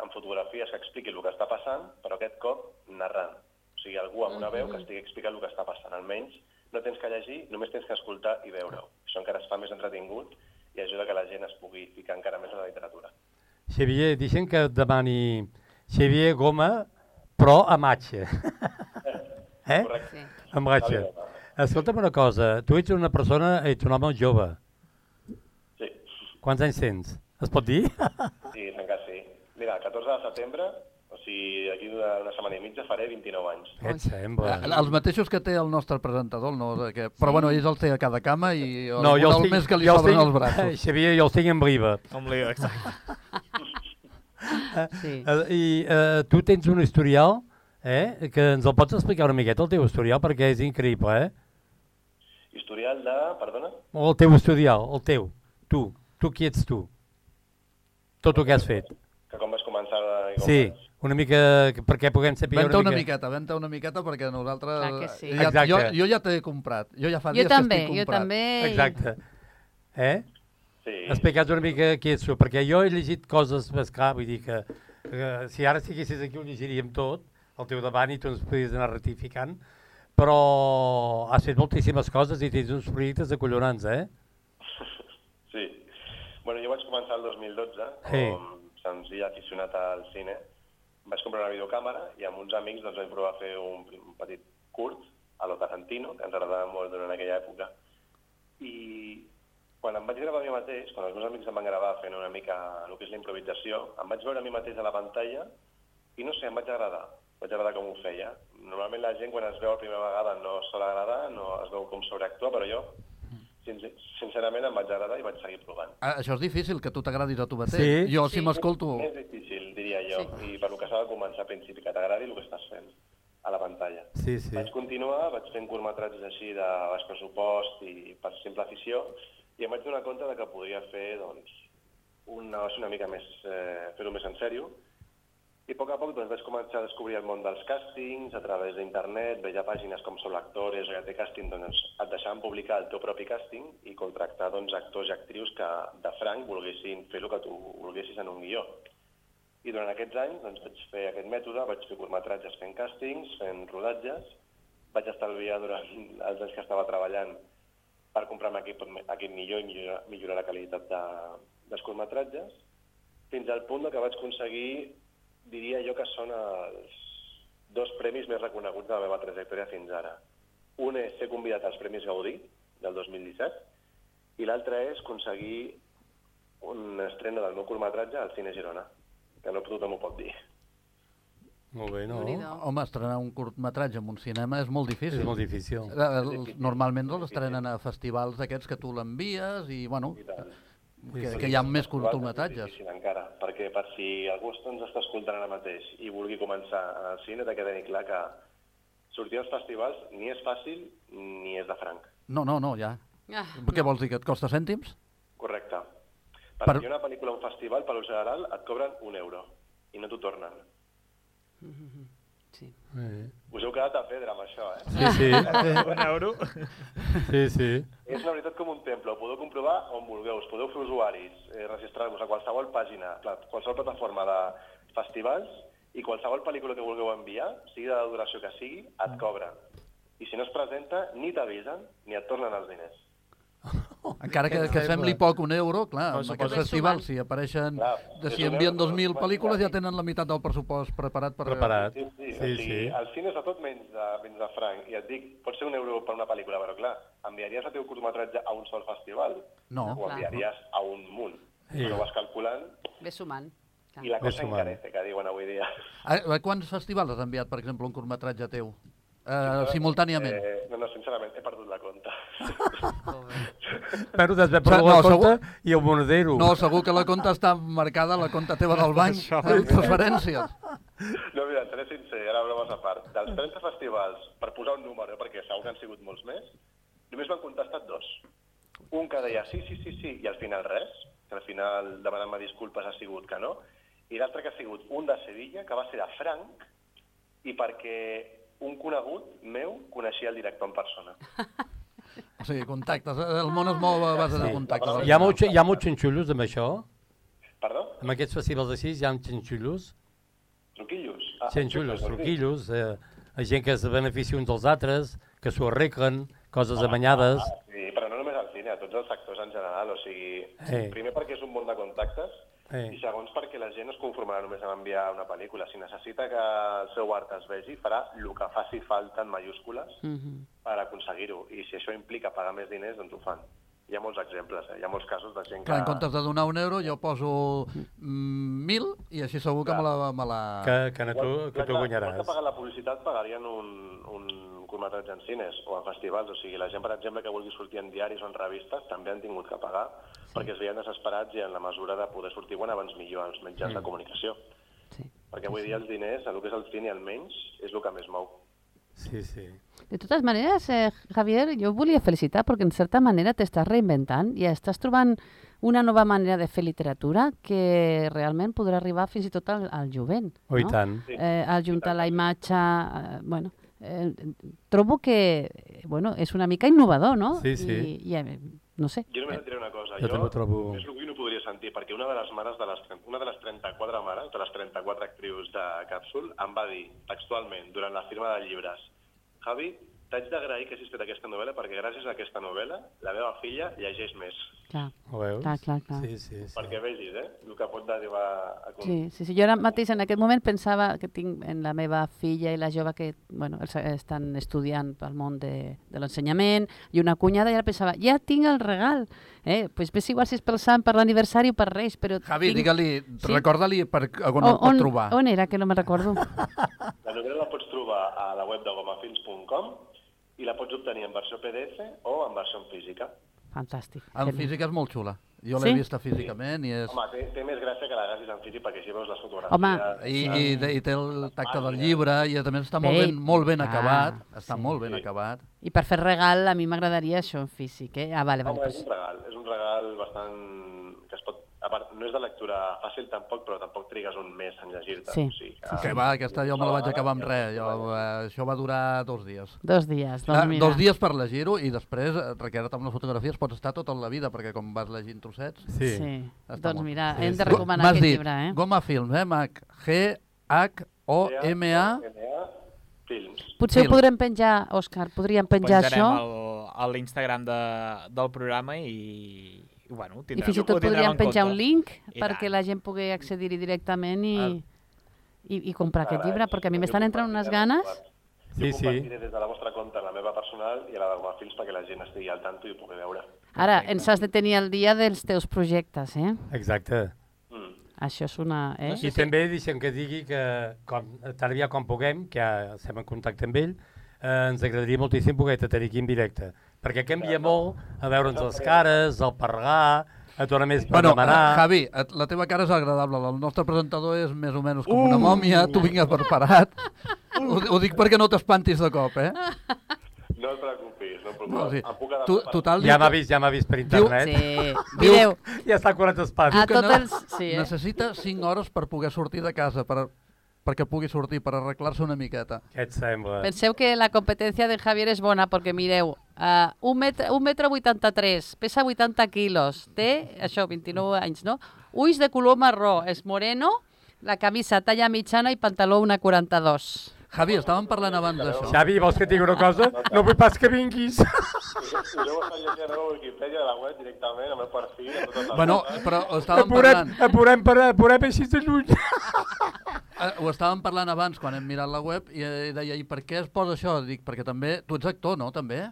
G: amb fotografies que expliqui el que està passant, però aquest cop narrant. O sigui, algú amb una
C: Mm-hmm.
G: veu que estigui explicant el que està passant. Almenys no tens que llegir, només tens que escoltar i veure-ho. Això encara es fa més entretingut i ajuda que la gent es pugui ficar encara més a la literatura.
B: Xavier, deixa'm que et demani Xavier Goma, però a matxa. eh?
G: Correcte?
D: Sí.
B: A matxa. Escolta'm una cosa, tu ets una persona, ets un home jove.
G: Sí,
B: Quants anys tens? Es pot dir?
G: sí, en cas sí. Mira, el 14 de setembre, o sigui, aquí una, una setmana i mitja faré 29 anys.
B: Et sembla.
E: El- Els mateixos que té el nostre presentador, no? De Que... Però bueno, ells el té a cada cama i el, el, més que li
B: jo els
E: sobren
B: tinc-
E: els braços.
B: Xavier, jo els tinc en briva.
C: Com li diu, exacte.
D: Sí.
B: Eh, I eh, tu tens un historial, eh? Que ens el pots explicar una miqueta, el teu historial, perquè és increïble, eh?
G: Historial de... Perdona?
B: O el teu historial, el teu. Tu, tu qui ets tu? Tot el que has fet.
G: Que com vas començar... i Com
B: Sí,
G: Vas...
B: una mica que- perquè puguem saber
E: Venta una miqueta, venta una miqueta perquè nosaltres...
D: Clar que sí.
E: ja, jo,
B: Exacte.
E: jo ja t'he comprat. Jo ja fa
D: Jo
E: dies
D: també,
E: que estic
D: jo
E: comprat.
D: també. i-
B: Exacte. Eh?
G: Sí.
B: Explica'ns una mica qui ets tu, perquè jo he llegit coses més clar, vull dir que eh, si ara estiguessis aquí ho llegiríem tot, al teu davant, i tu ens podries anar ratificant, però has fet moltíssimes coses i tens uns projectes acollonants, eh?
G: Sí. Bueno, jo vaig començar el 2012
B: Sí.
G: com senzill aficionat al cine. Vaig comprar una videocàmera i amb uns amics doncs, vam provar a fer un, un petit curt a lo Tarantino, que ens agradava molt durant aquella època. I quan em vaig gravar a mi mateix, quan els meus amics em van gravar fent una mica el que és la improvisació, em vaig veure a mi mateix a la pantalla i no sé, em vaig agradar. Em Vaig agradar com ho feia. Normalment la gent quan es veu la primera vegada no sol agradar, no es veu com sobreactua, però jo sin- sincerament em vaig agradar i vaig seguir provant.
E: Ah, això és difícil, que tu t'agradis a tu mateix.
B: Sí.
E: Jo,
D: Sí.
E: si m'escolto...
G: És difícil, diria jo,
D: Sí.
G: sí. i per lo que s'ha de començar al principi, que t'agradi el que estàs fent a la pantalla.
B: Sí, sí.
G: Vaig continuar, vaig fent curtmetratges així de baix pressupost i per simple afició, i em vaig donar compte de que podria fer doncs, un negoci una mica més, eh, fer-ho més en sèrio, i a poc a poc doncs, vaig començar a descobrir el món dels càstings a través d'internet, veia pàgines com Sol Actores, GT Càsting, doncs et deixaven publicar el teu propi càsting i contractar doncs, actors i actrius que de franc volguessin fer el que tu volguessis en un guió. I durant aquests anys doncs, vaig fer aquest mètode, vaig fer curtmetratges fent càstings, fent rodatges, vaig estalviar durant els anys que estava treballant per comprar-me equip, equip millor i millorar, millorar la qualitat de, dels curtmetratges, fins al punt de que vaig aconseguir, diria jo que són els dos premis més reconeguts de la meva trajectòria fins ara. Un és ser convidat als Premis Gaudí del 2017 i l'altre és aconseguir un estreno del meu curtmetratge al Cine Girona, que no tothom ho pot dir.
B: Molt bé, no?
D: Déu-n'hi-do.
E: Home, estrenar un curtmetratge en un cinema és molt difícil.
B: És molt difícil.
E: Eh, els- Normalment els estrenen a festivals d'aquests que tu l'envies i, bueno,
G: I tant.
E: que, que hi ha més
G: És
E: curtmetratges.
G: difícil encara, perquè per si algú ens està escoltant ara mateix i vulgui començar en el cine, t'ha de tenir clar que sortir als festivals ni és fàcil ni és de franc.
E: No, no, no, ja.
D: Ah,
E: Què vols dir, que et costa cèntims?
G: Correcte. Per,
E: Per-
G: per... una pel·lícula a un festival, per lo general, et cobren un euro i no t'ho tornen.
D: Mhm. sí.
B: Eh.
G: Us heu quedat a pedra amb això, eh?
B: Sí, sí,
C: Un euro.
B: sí, sí.
G: És una veritat com un temple, ho podeu comprovar on vulgueu, us podeu fer usuaris, eh, registrar-vos a qualsevol pàgina, pla- qualsevol plataforma de festivals i qualsevol pel·lícula que vulgueu enviar, sigui de la duració que sigui,
B: Ah.
G: et cobren. I si no es presenta, ni t'avisen ni et tornen els diners.
E: Encara que, que sembli poc un euro, clar,
C: Però
E: amb
C: sí que
E: aquests
D: és
E: festivals,
D: sumant.
E: si apareixen,
G: Clar,
E: de
G: és
E: si
G: un
E: envien
G: euro,
E: 2.000
G: però-
E: pel·lícules ja tenen la meitat del pressupost preparat per...
B: Preparat.
G: Sí, sí,
B: Sí,
G: o sigui,
B: sí.
G: el cine és de tot menys de, menys de franc. I et dic, pot ser un euro per una pel·lícula, però clar, enviaries el teu curtmetratge a un sol festival?
E: No.
G: O
D: Clar.
G: enviaries a un munt.
B: Sí.
G: Sí. Però ho vas calculant
D: Ve sumant. clar.
G: i la
B: Ves
G: cosa
B: sumant.
G: encarece, que diuen avui dia.
E: A, a Ah, eh, quants festivals has enviat, per exemple, un curtmetratge teu? Eh, simultàniament.
G: Eh, no, no, sincerament, he perdut la compta.
B: Però t'has de
E: No,
B: perdre la
E: segur-
B: compte i el monedero.
E: No, segur que la conta està marcada, la conta teva del banc, eh, amb transferències.
G: no, mira, seré sincer, ara bromes a part. Dels 30 festivals, per posar un número, perquè segur que han sigut molts més, només m'han contestat dos. Un que deia sí, sí, sí, sí, i al final res, que al final demanant-me disculpes ha sigut que no, i l'altre que ha sigut un de Sevilla, que va ser de Franc, i perquè un conegut meu coneixia el director en persona.
E: O sigui, contactes. eh, El món es mou a base de contactes.
B: Hi ha, molt, hi ha molts xinxullos amb això?
G: Perdó?
B: Amb aquests festivals així hi ha xinxullos?
G: Truquillos?
B: Xinxullos,
G: Ah, sí.
B: truquillos, eh, gent que es beneficia uns dels altres, que s'ho arreglen,
G: Ah,
B: coses amanyades.
G: Sí, però no només al cine, a tots els sectors en general. O sigui,
B: Eh.
G: primer perquè és un món de contactes
B: Eh.
G: i segons perquè la gent no es conformarà només amb enviar una pel·lícula. Si necessita que el seu art es vegi, farà el que faci falta en mayúscules
D: Mhm.
G: per aconseguir-ho. I si això implica pagar més diners, doncs ho fan. Hi ha molts exemples, eh? hi ha molts casos de gent que...
E: Clar, en comptes de donar un euro, jo poso mm, mil i així segur que me la... Me la...
B: Que, que, no tu,
G: Igual-
B: que tu
G: clar, igual
B: guanyaràs.
G: que pagar la publicitat, pagarien un, un curtmetratge en cines o en festivals. O sigui, la gent, per exemple, que vulgui sortir en diaris o en revistes, també han tingut que pagar sí. perquè es veien desesperats i en la mesura de poder sortir quan abans millor als mitjans mm. de comunicació.
D: Sí.
G: Perquè avui dia els diners, el que és el cine almenys, és el que més mou.
B: Sí, sí.
D: De totes maneres, eh, Javier, jo et volia felicitar perquè en certa manera t'estàs reinventant i estàs trobant una nova manera de fer literatura que realment podrà arribar fins i tot al, al jovent.
B: Oh, i
D: no?
B: tant.
D: eh, al juntar la imatge... Eh, bueno, eh, trobo que eh, bueno, és una mica innovador, no?
B: Sí, sí.
D: I, i eh, no sé.
G: Jo només et diré una cosa.
B: Jo també ho trobo-
G: És el que no podria sentir, perquè una de les mares de les, tre- una de les 34 mares, de les 34 actrius de Càpsul, em va dir textualment, durant la firma de llibres, Javi, t'haig d'agrair que hagis fet aquesta novel·la perquè gràcies a aquesta novel·la la meva filla llegeix més.
D: Clar.
B: Ho veus?
D: Clar, clar, clar.
B: Sí, sí, sí.
G: Perquè vegis, eh? El que pot arribar a... aconseguir.
D: Sí, sí, sí, jo ara mateix en aquest moment pensava que tinc en la meva filla i la jove que bueno, els- eh, estan estudiant pel món de, de l'ensenyament i una cunyada i ara pensava, ja tinc el regal. Eh? Pues ves igual si és pel Sant, per l'aniversari o per Reis, però
E: Javi,
D: tinc...
E: digue-li,
D: Sí.
E: recorda-li per on, on,
D: O-
E: et pot trobar.
D: On era, que no me'n recordo?
G: La novel·la la pots trobar a la web de gomafilms.com i la pots obtenir en versió PDF o en versió en física.
D: Fantàstic.
E: En
D: genial.
E: física és molt xula. Jo l'he
D: Sí?
E: vista físicament i és...
G: Home, té, té més gràcia que l'agafis en físic perquè així veus les fotografies.
D: Home.
E: I, i, i té el tacte del llibre i també està molt
D: Bé.
E: ben, molt ben
D: Ah,
E: acabat. Està
D: sí.
E: molt ben acabat.
D: I per fer regal, a mi m'agradaria això en físic, eh? Ah, vale, vale.
G: Home, és
D: Pues.
G: un regal, és un regal bastant... que es pot... A part, no és de lectura fàcil tampoc, però tampoc trigues un mes en llegir-te.
D: Sí.
G: que,
E: Que va, aquesta jo me la vaig acabar amb res. Jo, eh, això va durar dos dies.
D: Dos dies, doncs
E: Ah,
D: mira.
E: dos dies per llegir-ho i després, eh, requerir-te amb les fotografies, pots estar tota la vida, perquè com vas llegint trossets...
D: Sí.
B: Sí.
D: sí.
E: Està
D: Doncs
E: molt
D: mira,
B: bé.
D: hem de
B: Sí, sí.
D: recomanar
E: M'has
D: aquest
E: dit,
D: llibre, eh?
E: Goma Films, eh, Mac? G-H-O-M-A...
G: Films.
D: Potser ho
E: Sí.
D: podrem penjar, Òscar, podríem penjar
C: Penjarem
D: això.
C: al- a l'Instagram de, del programa i, i bueno, ho
D: I
C: tindrem,
D: fins i
C: ho
D: tot
C: tindrem
D: podríem
C: en
D: penjar
C: compte.
D: un link
C: I
D: perquè
C: tant.
D: la gent pugui accedir-hi directament i,
E: Al-
D: i, i comprar aquest llibre, perquè a mi m'estan entrant unes ganes.
G: Sí,
B: Sí, sí.
G: sí. des de la vostra compte la meva personal i a la de Gomafils perquè la gent estigui al tanto i ho pugui veure.
D: Ara, ens has de tenir al dia dels teus projectes, eh?
B: Exacte.
G: Mm.
D: Això és una... Eh?
B: I també deixem que digui que, com, tan aviat com puguem, que ja estem en contacte amb ell, eh, ens agradaria moltíssim poder-te tenir aquí en directe, perquè canvia molt a veure'ns les cares, al parlar, a tornar més per
E: Bueno,
B: demanar...
E: Ah, Javi, et- la teva cara és agradable, el nostre presentador és més o menys com
B: Uh!
E: una mòmia, tu vingues preparat. Ho, ho dic perquè no t'espantis de cop, eh?
G: No et preocupis, no et preocupis.
E: No, o sigui,
G: Em puc adaptar
E: tu,
G: per-
E: total,
B: Ja
E: diu
B: m'ha
E: que-
B: vist, ja m'ha vist per
E: Diu-
B: internet.
D: Sí,
E: Diu-
D: mireu,
B: Ja està curat espat.
D: a
E: que
D: tots
E: no-
D: els... Sí, eh?
E: necessita 5 hores per poder sortir de casa, per, perquè pugui sortir, per arreglar-se una miqueta.
B: Què et sembla?
D: Penseu que la competència de Javier és bona perquè mireu, uh, un, metre, un metre 83, pesa 80 quilos, té, això, 29 anys, no? Ulls de color marró, és moreno, la camisa talla mitjana i pantaló una 42.
E: Javi, estàvem parlant abans d'això.
B: Xavi, vols que et digui una cosa? No vull pas que vinguis.
G: Jo ho estic llegint a la meva Wikipedia, a la web, directament, al meu perfil, a totes les
E: Bueno,
G: coses.
E: però ho estàvem
B: Apurem,
E: parlant,
B: apurem, per, apurem així de lluny.
E: eh, ho estàvem parlant abans quan hem mirat la web i eh, deia, i per què es posa això? Dic, perquè també, tu ets actor, no, també?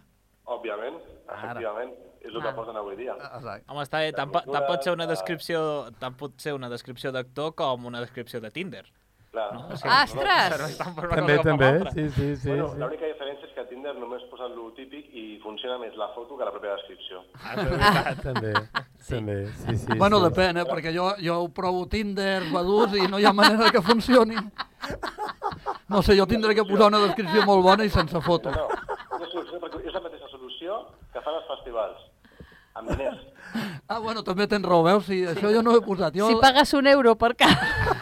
G: Òbviament, efectivament, és el que posen avui dia.
B: Ah,
E: Exacte.
C: Home, està bé, tant, po- tant pot ser una descripció, tant pot ser una descripció d'actor com una descripció de Tinder.
G: Clar.
E: Ah,
C: No? O
D: Ah, Ostres!
C: serveix tant per una
B: També,
C: cosa com
B: també,
C: per l'altra.
B: sí, sí, sí.
G: Bueno,
B: sí.
G: l'única diferència és que a Tinder només posen lo típic i funciona més la foto que la pròpia descripció.
C: Ah,
B: També, també, sí, sí.
E: Bueno,
B: sí.
E: depèn, eh? perquè jo, jo ho provo Tinder, Badús, i no hi ha manera que funcioni. No sé, jo tindré que posar una descripció molt bona i sense foto.
G: No, és, una solució, perquè és la mateixa solució que fan els festivals, amb diners.
E: Ah, bueno, també tens raó, veus? Sí, això jo no ho he posat. Jo...
D: Si pagues un euro per cada...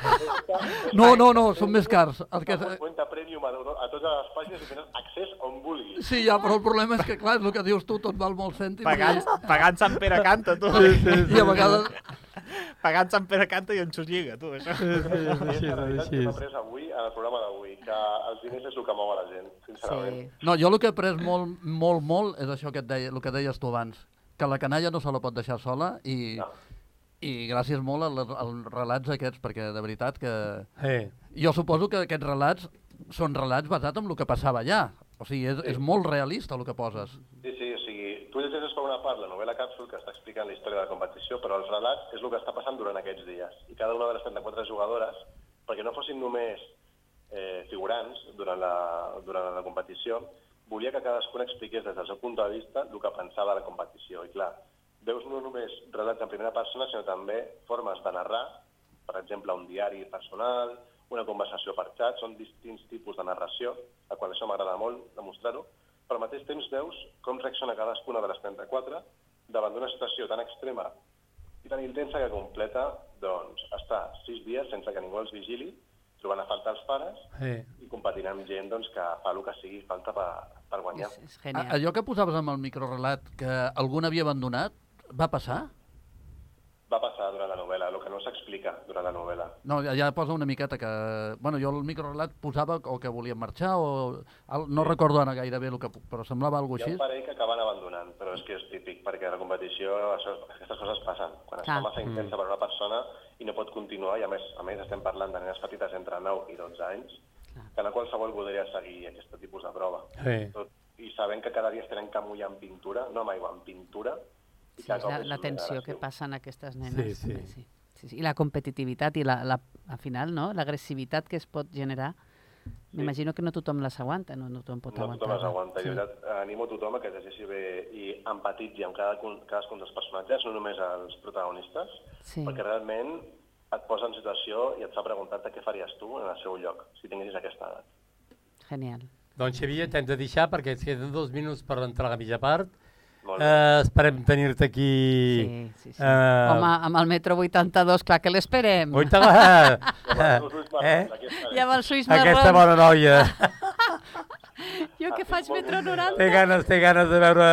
E: No, no, no, són més cars. El que...
G: Amb un compte premium a, euro- a totes les pàgines i tenen accés on vulguis.
E: Sí, ja, però el problema és que, clar, és el que dius tu, tot val molts cèntims.
C: Pagant, pagant Sant Pere Canta, tu.
E: I, i a vegades...
C: Pagant Sant Pere Canta i en Xus Lliga, tu, això.
B: És així,
G: És la
B: és
G: realitat que
B: així.
G: hem après avui en el programa d'avui, que els diners és el que mou a la gent, sincerament.
D: Sí.
E: No, jo el que he après molt, molt, molt és això que et deia, el que deies tu abans, que la canalla no se la pot deixar sola i,
G: No.
E: i gràcies molt a les- als relats aquests, perquè de veritat que...
B: Eh,
E: Jo suposo que aquests relats són relats basats en el que passava allà. O sigui, és, és molt realista el que poses.
G: Sí, sí, o sigui, tu llegeixes per una part la novel·la Càpsul, que està explicant la història de la competició, però els relats és el que està passant durant aquests dies. I cada una de les 34 jugadores, perquè no fossin només eh, figurants durant la, durant la competició, volia que cadascuna expliqués des del seu punt de vista el que pensava de la competició. I clar, veus no només relats en primera persona, sinó també formes de narrar, per exemple, un diari personal, una conversació per xat, són distints tipus de narració, a qual això m'agrada molt demostrar-ho, però al mateix temps veus com reacciona cadascuna de les 34 davant d'una situació tan extrema i tan intensa que completa, doncs, estar sis dies sense que ningú els vigili, trobant a falta els pares
B: eh.
G: i competint amb gent doncs, que fa el que sigui falta per, per guanyar.
D: És, és
E: A,
D: genial.
E: allò que posaves amb el microrelat que algun havia abandonat, va passar?
G: Va passar durant la novel·la, el que no s'explica durant la novel·la.
E: No, ja, ja posa una miqueta que... Bueno, jo el microrelat posava o que volien marxar o... al- No recordo ara gairebé el que... pu- Però semblava alguna
G: Hi ha
E: cosa
G: un
E: així.
G: parell que acaben abandonant, però és que és típic, perquè a la competició això, aquestes coses passen. Quan
D: Clar.
G: està massa
B: Mm.
G: intensa per una persona i no pot continuar, i a més, a més estem parlant de nenes petites entre 9 i 12 anys, que no qualsevol voldria seguir aquest tipus de prova.
B: Sí.
G: Tot, I sabent que cada dia es tenen que mullar en pintura, no amb aigua, en pintura, i
D: Sí,
G: cada
D: és
G: cop
D: la,
G: és
D: la
G: més
D: tensió que
G: agressiu.
D: passen aquestes nenes.
B: Sí, sí.
D: sí. sí, sí. I la competitivitat i la, la, al final, no? l'agressivitat que es pot generar M'imagino que no tothom les aguanta, no, no tothom pot
G: No
D: aguantar.
G: tothom les aguanta. Sí. Veritat, eh, animo a tothom a que es llegeixi bé i empatitzi amb cada, cadascun dels personatges, no només els protagonistes,
D: Sí.
G: perquè realment et posa en situació i et fa preguntar-te què faries tu en el seu lloc, si tinguessis aquesta edat.
D: Genial.
B: Doncs Xavier, t'hem de deixar perquè ens queden dos minuts per entrar a la mitja part.
G: Molt bé.
B: Eh, esperem tenir-te aquí...
D: Sí, sí, sí.
B: eh,
D: Home, amb el metro 82, clar que l'esperem.
B: Oi, te va!
G: Bueno, us ulls marrons,
B: eh?
G: aquí estaré.
D: I amb els ulls
B: Aquesta
D: marrons.
B: bona noia.
D: Jo que faig metro 90.
B: Té ganes, té ganes de veure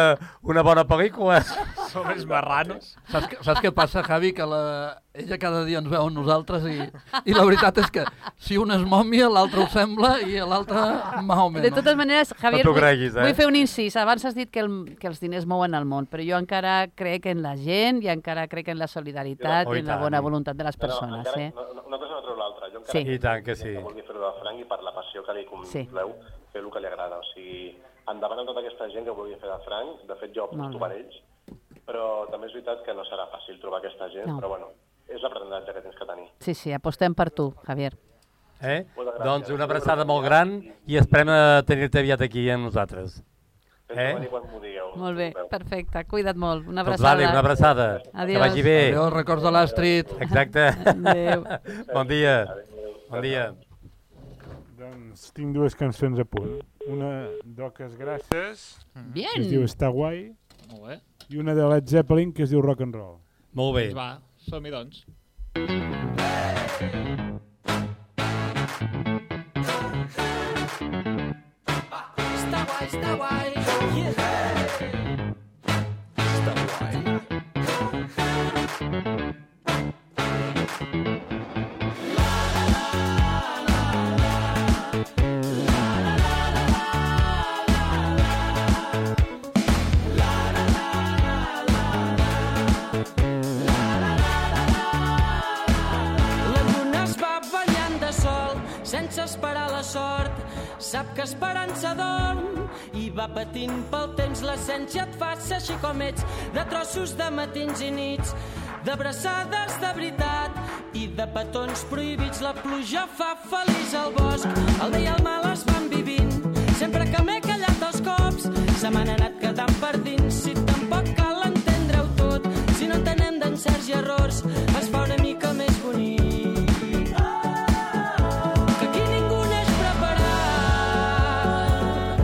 B: una bona pel·lícula.
C: Som els marranos.
E: Saps, que, saps què passa, Javi? Que la... ella cada dia ens veu a nosaltres i, i la veritat és que si una és mòmia, l'altra ho sembla i l'altra más o menos.
D: De totes maneres, Javier,
B: t'ho
D: vull-
B: creguis, eh?
D: vull fer un incís. Abans has dit que, el, que els diners mouen el món, però jo encara crec en la gent i encara crec en la solidaritat
B: Oh,
D: i
B: i
D: en la
B: tant.
D: bona voluntat de les
G: No, no,
D: persones.
G: encara,
D: eh?
G: no, una cosa no treu l'altra. Jo
D: Sí.
G: encara
B: I tant que sí.
G: que vulgui fer-ho de franc i per la passió que li convideu, sí. fer el que li agrada. O sigui, endavant amb tota aquesta gent que ho vulgui fer de franc, de fet jo
D: Molt
G: aposto
D: bé.
G: per ells, però també és veritat que no serà fàcil trobar aquesta gent,
D: No.
G: no. però bueno, és l'aprenentatge que tens que tenir.
D: Sí, sí, apostem per tu, Javier.
B: Eh?
G: Moltes gràcies.
B: Doncs una abraçada molt gran i esperem eh, tenir-te aviat aquí amb nosaltres.
G: Fes
B: Eh?
G: eh? venir quan m'ho digueu.
D: Molt bé,
G: Veus?
D: perfecte. Cuida't molt. Una
B: Doncs
D: abraçada.
B: vale, una abraçada.
D: Adiós.
B: Que vagi bé.
E: Adéu, records de l'Astrid.
B: Exacte.
D: Adéu.
B: bon dia. Bon dia.
F: Doncs tinc dues cançons a punt. Una d'Oques Grasses,
C: Mm.
F: que es diu
D: Bien.
F: Està guai,
C: Molt bé.
F: i una de Led Zeppelin, que es diu Rock and Roll.
B: Molt bé.
C: Doncs va, som-hi doncs.
H: Está guay, está guay. Yeah. Está guay. La lluna es va ballant de sol, sense esperar la sort. Sap que esperança dorm i va patint pel temps. L'essència et fa ser així com ets, de trossos de matins i nits, d'abraçades de veritat i de petons prohibits. La pluja fa feliç el bosc, el bé i el mal es van vivint. Sempre que m'he callat els cops, se m'han anat quedant per dins. Si tampoc cal entendre-ho tot, si no entenem d'encerts i errors, es fa una mica més bonic. Que aquí ningú n'és preparat,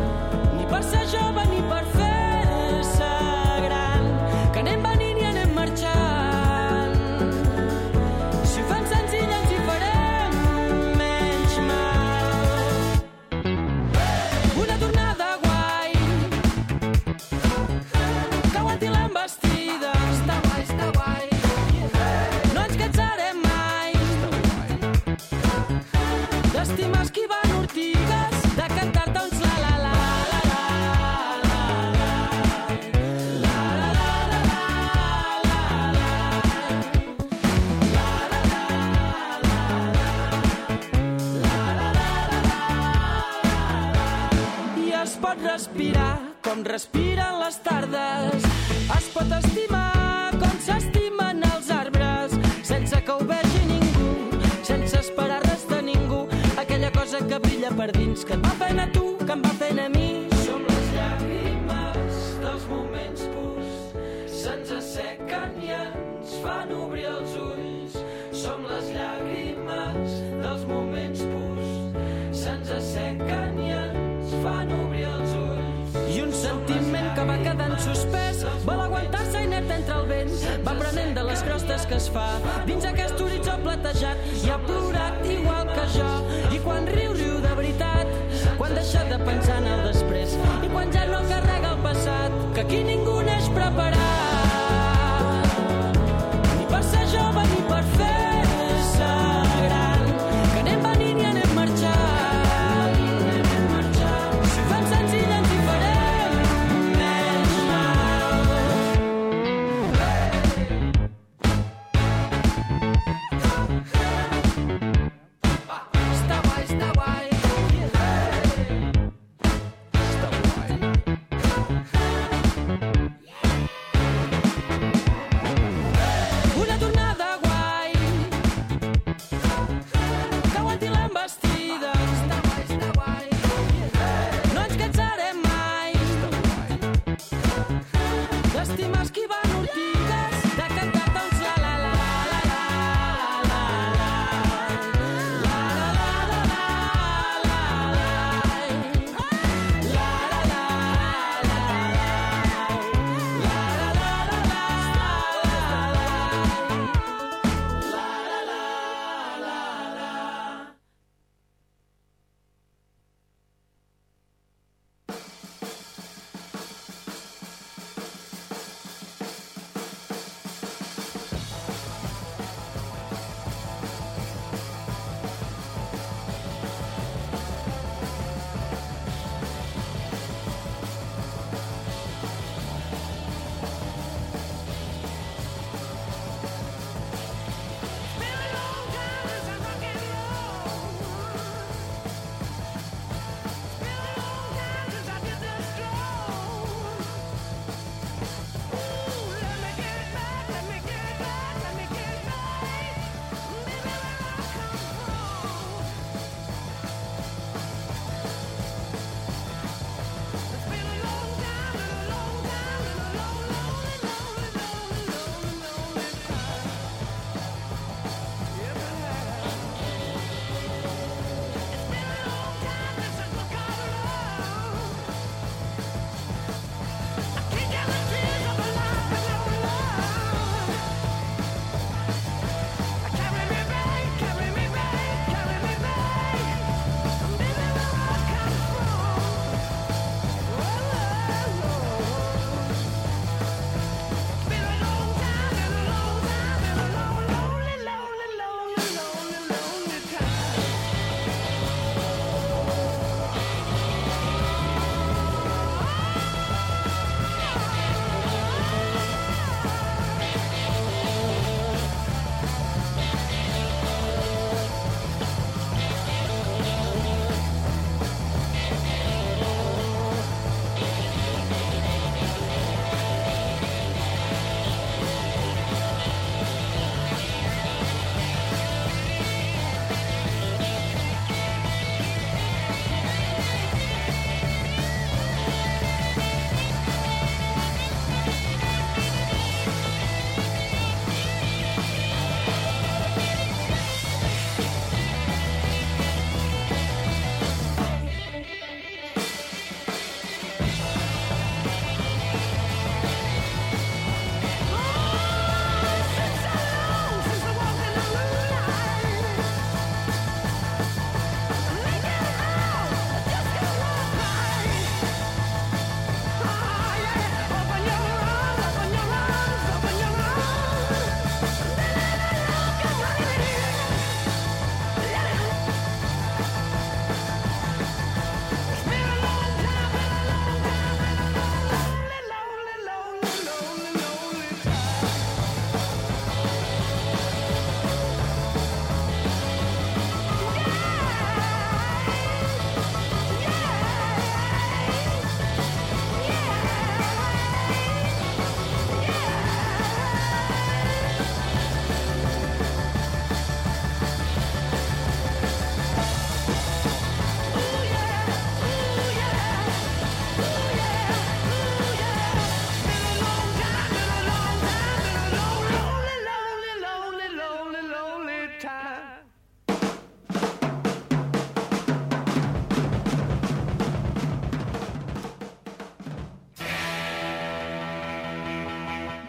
H: ni per ser jove ni per fer-se gran, que anem venint i anem marxant. Si ho fem senzill ens hi farem menys mal. Una tornada guai, que aguanti l'envestida. Està guai, està guai. No ens cansarem mai d'estimar esquivant ortigues, de cantar-te uns la la la la la. i es pot respirar com respiren les tardes. Es pot estimar com s'estimen els arbres, sense que ho vegi ningú, sense esperar res de ningú. Aquella cosa que brilla per dins, que et va fent a tu, que em va fent a mi. Som les llàgrimes dels moments purs, se'ns assequen i ens fan obrir els ulls. Som les llàgrimes dels moments purs, se'ns assequen i ens fan obrir els ulls. I un sentiment que va quedant suspès, vol aguantar-se inert entre el vent, va prenent de les crostes que es fa. Dins aquest horitzó platejat i ha plorat igual que jo. I quan riu, riu de veritat, quan deixa de pensar en el després. I quan ja no carrega el passat, que aquí ningú n'és preparat. Ni per ser jove ni per fer-se gran, que anem venint i anem marxant. Si ho fem senzill ens hi farem més mal. Està guai, està guai. Està guai.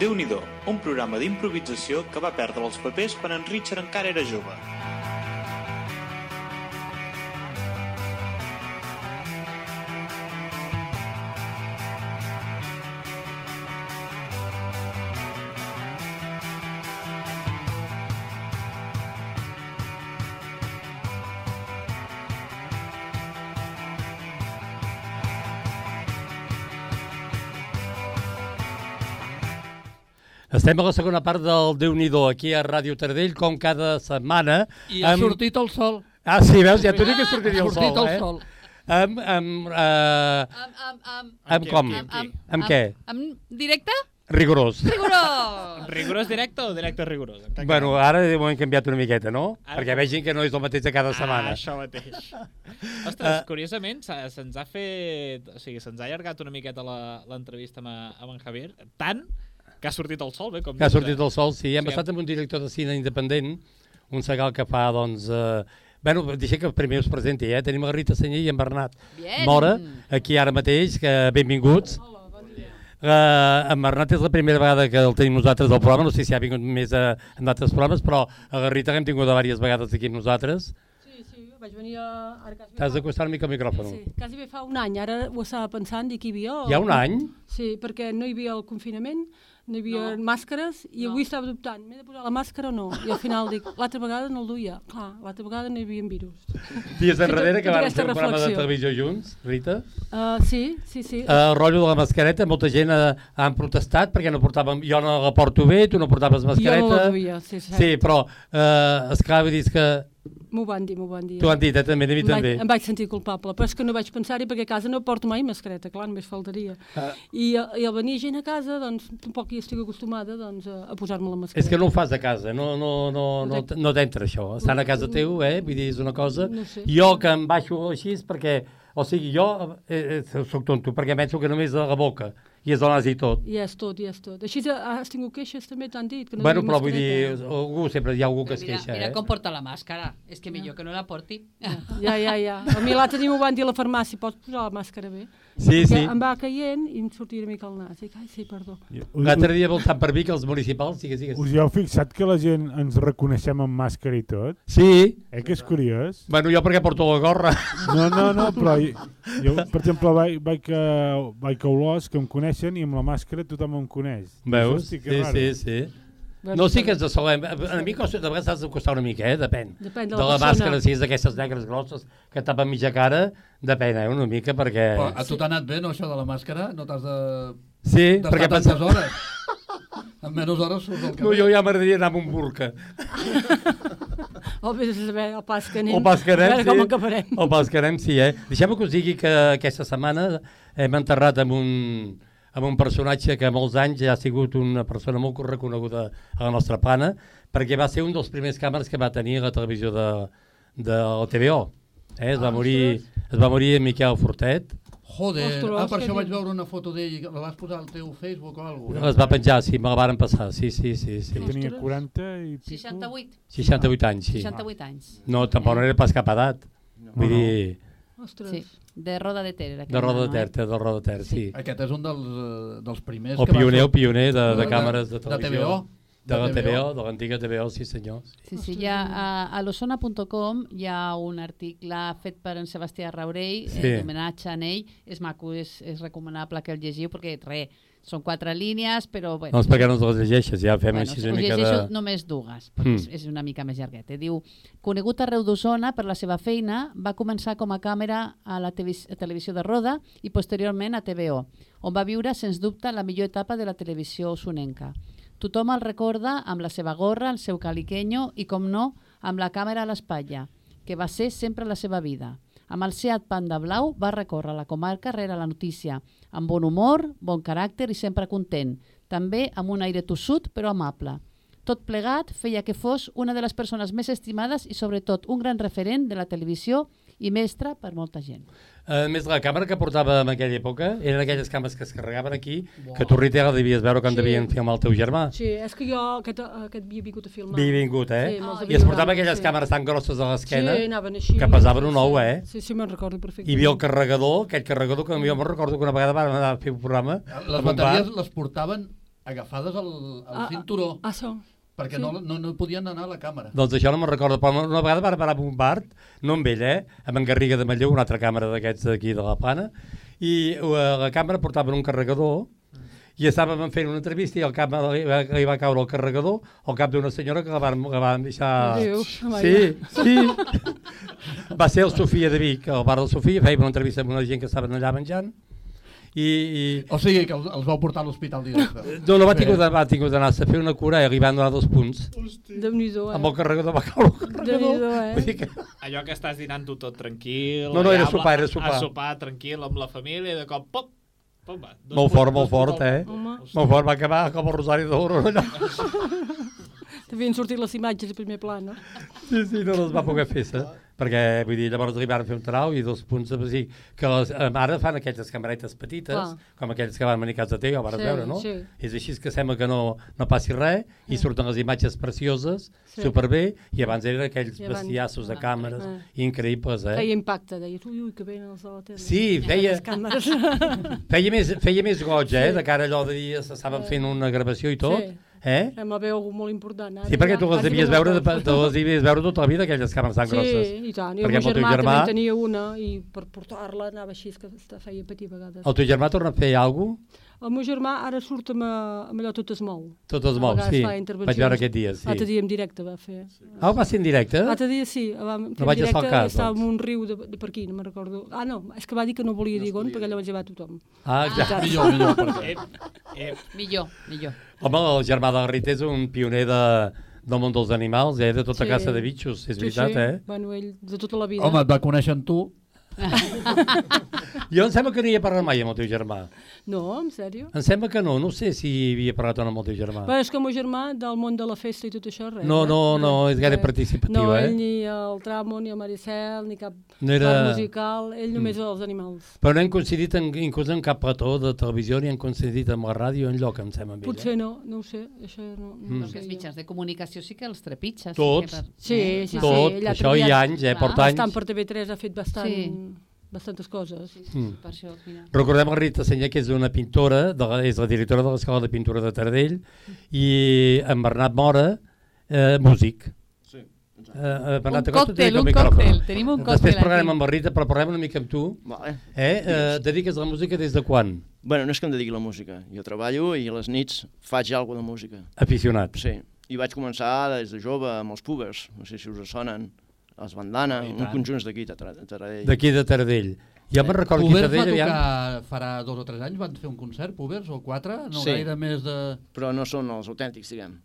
I: déu nhi un programa d'improvisació que va perdre els papers quan en Richard encara era jove.
B: Estem a la segona part del déu nhi aquí a Ràdio Tardell, com cada setmana.
E: I ha sortit el sol.
B: Ah, sí, veus? Ja t'ho dic que sortiria
E: ha
B: el sol,
E: sortit el
B: eh?
E: sol.
B: Amb, amb, eh,
D: Amb, amb, amb,
B: amb
C: Amb
B: com?
C: què,
D: amb, amb,
B: Amb què?
D: Amb, directe?
B: Rigorós.
D: Rigorós!
C: Oh. Rigorós directe o directe rigorós? Exacte.
B: Bueno, ara ho hem canviat una miqueta, no?
C: Ara-
B: Perquè vegin que no és el mateix de cada
C: Ah,
B: setmana.
C: això mateix.
B: Eh.
C: Ostres, curiosament, se- se'ns ha fet... O sigui, se'ns ha allargat una miqueta la- l'entrevista amb, a- amb en Javier, tant que ha sortit el sol, bé, com
B: Que ha
C: dius, eh?
B: sortit el sol, sí. Hem
C: Sí,
B: estat amb un director de cine independent, un segal que fa, doncs... Eh... Bueno, deixa que primer us presenti, eh? Tenim la Rita Senyer i en Bernat
D: Bien.
B: Mora, aquí ara mateix, que benvinguts. Hola, bon dia. Uh, en Bernat és la primera vegada que el tenim nosaltres al programa, no sé si ha vingut més a, en altres programes, però a la Rita l'hem tingut diverses vegades aquí amb nosaltres.
J: Sí, sí, vaig venir a... Ara quasi fa...
B: T'has d'acostar una mica al micròfon.
J: Sí, quasi bé fa un any. Ara ho estava pensant, dic, hi havia...
B: Hi ha un any?
J: Sí, perquè no hi havia el confinament, no hi havia
D: No.
J: no. màscares, i
D: No.
J: no. avui estava dubtant, m'he de posar la màscara o no? I al final dic, l'altra vegada no el duia. Clar, l'altra vegada no hi havia virus.
B: Dies enrere que
J: Tota
B: van
J: aquesta
B: fer un programa de
J: reflexió.
B: televisió junts, Rita.
J: Uh, sí, sí, sí. Uh,
B: El Eh, rotllo de la mascareta, molta gent eh, han protestat perquè no portàvem, jo no la porto bé, tu no portaves mascareta.
J: Jo no la duia, sí,
B: sí.
J: sí.
B: Sí, però eh, esclar, vull dir és que
J: M'ho van dir, m'ho van dir.
B: t'ho han dit, eh, també, a mi
J: Em
B: també.
J: vaig, em vaig sentir culpable, però és que no vaig pensar-hi perquè a casa no porto mai mascareta, clar, només faltaria.
B: Ah.
J: I, a- I al venir gent a casa, doncs, tampoc hi estic acostumada doncs, a, a posar-me la mascareta.
B: És que no ho fas a casa, no, no, no, no, t- no t'entra això. Estan a casa teu, eh? vull dir, és una cosa...
J: No sé.
B: Jo que em baixo així és perquè... O sigui, jo eh, eh, sóc tonto, perquè penso que només de la boca, i és del nas i tot.
J: I és tot, i és tot. Així eh, has tingut queixes també, t'han dit. Que no
B: bueno,
J: duis
B: però vull dir,
J: mascareta.
B: algú, sempre hi ha algú que es
D: mira,
B: queixa,
D: mira
B: eh?
D: com porta la màscara. És que millor que no la porti.
J: Ja, ja, ja. A mi l'altre dia m'ho van dir a la farmàcia, pots posar la màscara bé?
B: Sí,
J: Perquè
B: sí.
J: Em va caient i em sortia una mica el nas. Dic, ai, sí, perdó.
B: L'altre dia voltant per Vic, els municipals, digues, digues.
F: Us hi heu fixat que la gent ens reconeixem amb màscara i tot?
B: Sí,
F: Eh que és curiós?
B: Bueno, jo perquè porto la gorra.
F: No, no, no, però jo, jo per exemple, vaig, vaig, a, vaig a Olors, que em coneixen, i amb la màscara tothom em coneix.
B: Veus?
F: Hosti,
B: Sí,
F: que raro.
B: sí, sí. No, sí que ens assolem. eh? A mi costa, de vegades has de costar una mica, eh? Depèn.
J: Depèn de la
B: la
J: persona.
B: màscara, si és d'aquestes negres grosses que tapen mitja cara, depèn, eh? Una mica, perquè...
E: Però a tu t'ha anat bé, no, això de la màscara? No t'has de...
B: Sí,
E: d'estar
B: perquè
E: tantes
B: passa...
E: hores? En menys hores surts al
B: No,
E: carrer.
B: jo ja m'agradaria anar amb un burca.
J: O Oh, vés a saber el pas que anem.
B: O pas que
J: a
B: anem,
J: veure
B: sí.
J: com acabarem.
B: O pas que anem, sí, eh? Deixem-me que us digui que aquesta setmana hem enterrat amb un, amb un personatge que molts anys ja ha sigut una persona molt reconeguda a la nostra plana, perquè va ser un dels primers càmeres que va tenir la televisió de, de la TVO. Eh? Es, va morir, es va morir en Miquel Fortet,
E: Joder,
J: Ostres,
E: ah, per
J: què
E: això vaig
J: dius?
E: veure una foto d'ell i la vas posar al teu Facebook o alguna cosa.
B: es va penjar, sí, me la varen passar, sí, sí, sí. sí.
F: Jo tenia 40 i... pico.
D: 68,
B: 68 anys, sí.
D: 68 anys.
B: No, tampoc no era pas cap edat. Vull dir,
J: Ostres.
D: Sí, de Roda de Ter. era
B: de
D: aquell
B: roda de
D: home, eh?
B: terta, de roda de terta, sí.
E: Aquest és un dels, eh, dels primers
B: El
E: que va
B: pioner, el
E: sortir.
B: pioner de, de
E: de-
B: càmeres de
E: de TVO.
B: televisió. De la
E: De
B: TVO, de l'antiga TVO, sí senyor.
D: Sí, sí, hi ha, a, a l'osona.com hi ha un article fet per en Sebastià Raurell,
B: Sí.
D: sí. eh, d'homenatge a ell. És maco, és, és recomanable que el llegiu perquè, re, són quatre línies, però... Bueno,
B: Doncs perquè no ens les llegeixes, ja fem així
D: us
B: una mica
D: llegeixo
B: de...
D: només dues, perquè
B: Mm.
D: mm. és una mica més llargueta. Diu, conegut arreu d'Osona per la seva feina, va començar com a càmera a la tevis- a televisió de Roda i posteriorment a TVO, on va viure, sens dubte, la millor etapa de la televisió osonenca. Tothom el recorda amb la seva gorra, el seu caliquenyo i, com no, amb la càmera a l'espatlla, que va ser sempre la seva vida. Amb el Seat Panda Blau va recórrer la comarca rere la notícia, amb bon humor, bon caràcter i sempre content, també amb un aire tossut però amable. Tot plegat feia que fos una de les persones més estimades i sobretot un gran referent de la televisió i mestre per molta gent.
B: A Eh, més, la càmera que portava en aquella època eren aquelles càmeres que es carregaven aquí, que tu, Rita, ja la devies veure quan
J: Sí.
B: devien filmar el teu germà.
J: Sí, és que jo aquest, aquest havia vingut a filmar.
B: Benvingut, eh?
J: Sí, me'ls
B: I es
J: havia
B: portava
J: donat,
B: aquelles
J: sí.
B: càmeres tan grosses a l'esquena
J: Sí, anaven així.
B: que pesaven un ou, eh?
J: Sí, sí, me'n recordo
B: Hi
J: perfectament.
B: havia el carregador, aquell carregador que jo me'n recordo que una vegada vam anar a fer un programa
E: Les
B: en un bar.
E: bateries les portaven agafades al, al
J: Ah, ah,
E: cinturó
J: Això.
E: perquè
J: sí.
E: no, no, no podien anar a la càmera.
B: Doncs això no me'n recordo, però una vegada va parar a un bar, no amb ell, eh? amb en Garriga de Malló, una altra càmera d'aquests d'aquí de la Plana, i eh, la càmera portava un carregador i estàvem fent una entrevista i el cap li, va- li va caure el carregador al cap d'una senyora que la van, la van deixar...
J: Adéu,
B: sí,
J: Maria.
B: sí. va ser el Sofia de Vic, al bar del Sofia, fèiem una entrevista amb una gent que estaven allà menjant i, i
E: O sigui que els, els vau portar a l'hospital directe.
B: no, no va haver de- va haver d'anar a fer una cura i li van donar dos punts.
J: Déu-n'hi-do, eh?
B: Amb el carregador va caure el
J: Déu-n'hi-do, eh?
B: Vull dir que...
C: Allò que estàs dinant tu tot tranquil...
B: No, no,
C: allà
B: era
C: amb la-
B: sopar, era sopar.
C: A sopar, tranquil, amb la família, i de cop, pop, pop, va. Dos
B: Molt
C: punts,
B: fort,
C: dos punts
B: molt fort,
C: al-
B: eh? Molt fort, va acabar com el Rosari d'Oro. allò.
J: T'havien sortit les imatges a primer pla, no?
B: Eh? Sí, sí, no les va poder fer, eh? Perquè, vull dir, llavors li van fer un trau i dos punts, o sigui, que les, eh, ara fan aquelles cameretes petites,
J: Clar.
B: com aquelles que van venir a casa teva, ho vas
J: Sí,
B: veure, no?
J: sí.
B: És així que sembla que no, no passi res, i surten les imatges precioses,
J: Sí.
B: superbé, i abans eren aquells
J: I abans-
B: bestiassos de
J: abans,
B: càmeres
J: eh.
B: increïbles, eh?
J: Feia impacte, deies, ui, ui, que venen els de la tele.
B: Sí, feia-
J: Les càmeres.
B: Feia més, feia més goig, eh? De cara a allò de dir, s'estaven fent una gravació i tot,
J: Sí.
B: eh?
J: Amb la veu molt important. Ara
B: Sí, perquè
J: ja-
B: tu les
J: ara sí que
B: devies
J: no
B: veure,
J: veus.
B: de- te les devies veure tota la vida, aquelles càmeres tan
J: sí,
B: grosses.
J: i tant. I el
B: Perquè
J: meu
B: amb el teu
J: germà,
B: germà,
J: també en tenia una i per portar-la anava així, que es feia patir a vegades.
B: el teu germà torna a fer alguna cosa?
J: El meu germà ara surt amb, eh, amb allò tot es mou.
B: Tot es
J: A
B: mou,
J: vegades
B: sí.
J: fa
B: Vaig
J: intervencions.
B: veure aquest dia, sí.
J: L'altre dia en directe va fer.
B: Ah, ho va ser en directe?
J: L'altre dia sí, vam fer
B: No vaig
J: en
B: estar al
J: directe,
B: cas,
J: estava
B: doncs.
J: en un riu de, de per aquí, no me'n recordo. Ah, no, és que va dir que no volia dir on, perquè llavors ja va tothom.
B: Ah, exacte.
J: Ah.
E: Millor, millor, perquè...
D: Millor, millor.
B: Home, el germà de la Rita és un pioner de, del món dels animals, eh? De tota
J: Sí.
B: caça de bitxos, és
J: Sí,
B: veritat,
J: sí.
B: eh?
J: Bueno, ell de tota la vida.
E: Home, et va conèixer amb tu.
B: Jo em sembla que no hi he parlat mai amb el teu germà.
J: No, en sèrio?
B: Em sembla que no, no sé si hi havia parlat o no amb el teu germà.
J: Però és que el meu germà, del món de la festa i tot això, res.
B: Ah. No,
J: eh?
B: no, no, és gaire
J: Res.
B: participatiu,
J: no,
B: eh?
J: ell ni el Tramo, ni el Maricel, ni cap
B: No era- Mm.
J: part musical, ell només els animals.
B: Però no hem coincidit en, inclús en cap plató de televisió ni hem coincidit amb la ràdio en lloc, em sembla. amb ell,
J: Potser no, no ho sé, això no, no
B: Mm.
J: ho
D: Perquè
J: sé.
D: els
J: jo.
D: mitjans de comunicació sí que els trepitges.
B: Tots.
D: Sí, que
J: Sí,
D: eh,
J: sí,
D: clar.
B: Tot,
J: sí. ell ha
B: això hi ha
J: treballat-
B: anys, eh,
D: Clar.
B: porta anys.
J: Bastant per TV3 ha fet bastant,
D: Sí.
J: bastantes coses.
D: Sí, sí, per això, mira.
B: Mm. Recordem la Rita Senyà, que és una pintora, de la, és la directora de l'Escola de Pintura de Tardell, i en Bernat Mora, eh, músic.
K: Sí, exacte.
B: Eh,
D: Un
B: acosta't
D: còctel,
B: mica al
D: un
B: micròfon.
D: còctel, tenim un còctel
B: Després parlarem
D: aquí.
B: amb la Rita, però parlarem una mica amb tu.
K: Vale.
B: Eh? eh dediques la música des de quan?
K: Bueno, no és que em dediqui a la música. Jo treballo i a les nits faig alguna cosa de música.
B: Aficionat.
K: Sí, i vaig començar des de jove amb els pubers, no sé si us sonen, els bandana,
B: I
K: un
B: tant.
K: conjunts d'aquí, de Tra- de Taradell.
B: D'aquí de Tardell. Jo me'n recordo aquí a
E: Pubers va
B: Tardell,
E: tocar
B: aviam.
E: farà dos o tres anys, van fer un concert, Pubers, o quatre, no
K: Sí.
E: gaire més de...
K: Però no són els autèntics, diguem.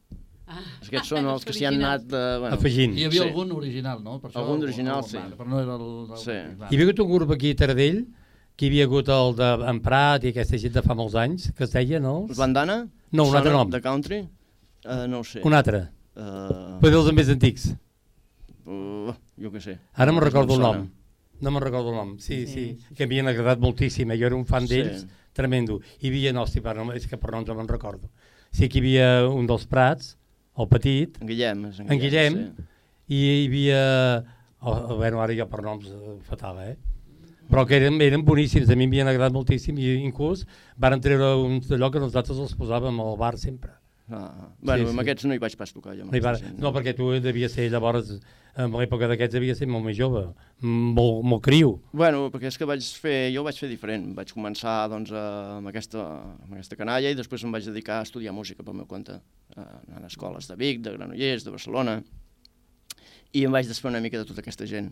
D: Ah,
K: Aquests són els que s'hi han
D: originals.
K: anat... De, bueno,
B: Afegint.
E: Hi havia
K: sí.
E: algun original, no? Per
K: Algun d'original, sí.
E: Vale, però no era el... el
K: Sí.
B: Hi havia hagut un grup aquí a Tardell, que hi havia hagut el de en Prat i aquesta gent de fa molts anys, que es deia, no?
K: Els bandana?
B: No, un altre
K: Sona
B: nom.
K: De country? Uh, no ho sé.
B: Un altre.
K: Uh,
B: Però dels més antics.
K: uh, jo què sé.
B: Ara me'n
K: No em
B: recordo el
K: sona.
B: nom. No me'n recordo el nom. Sí, sí, sí, que m'havien agradat moltíssim. eh? Jo era un fan
K: Sí.
B: d'ells, tremendo. Hi havia, no, hosti, però no, és que per noms no me'n recordo. Sí que hi havia un dels Prats, el petit,
K: En Guillem. és
B: en Guillem,
K: sí.
B: i hi havia... Oh, oh, bueno, ara jo per noms eh, fatal, eh? Però que eren, eren boníssims, a mi m'havien agradat moltíssim i inclús varen treure uns d'allò que nosaltres els posàvem al bar sempre.
K: Ah, bueno,
B: Sí,
K: sí,
B: sí.
K: amb aquests no hi vaig pas tocar, jo. eh.
B: No, hi va, no, perquè tu devies ser llavors, en l'època d'aquests devies ser molt més jove, Mm, molt, molt criu.
K: Bueno, perquè és que vaig fer, jo ho vaig fer diferent. Vaig començar doncs, eh, amb, aquesta, amb aquesta canalla i després em vaig dedicar a estudiar música pel meu compte. Eh, anant a escoles de Vic, de Granollers, de Barcelona. I em vaig desfer una mica de tota aquesta gent.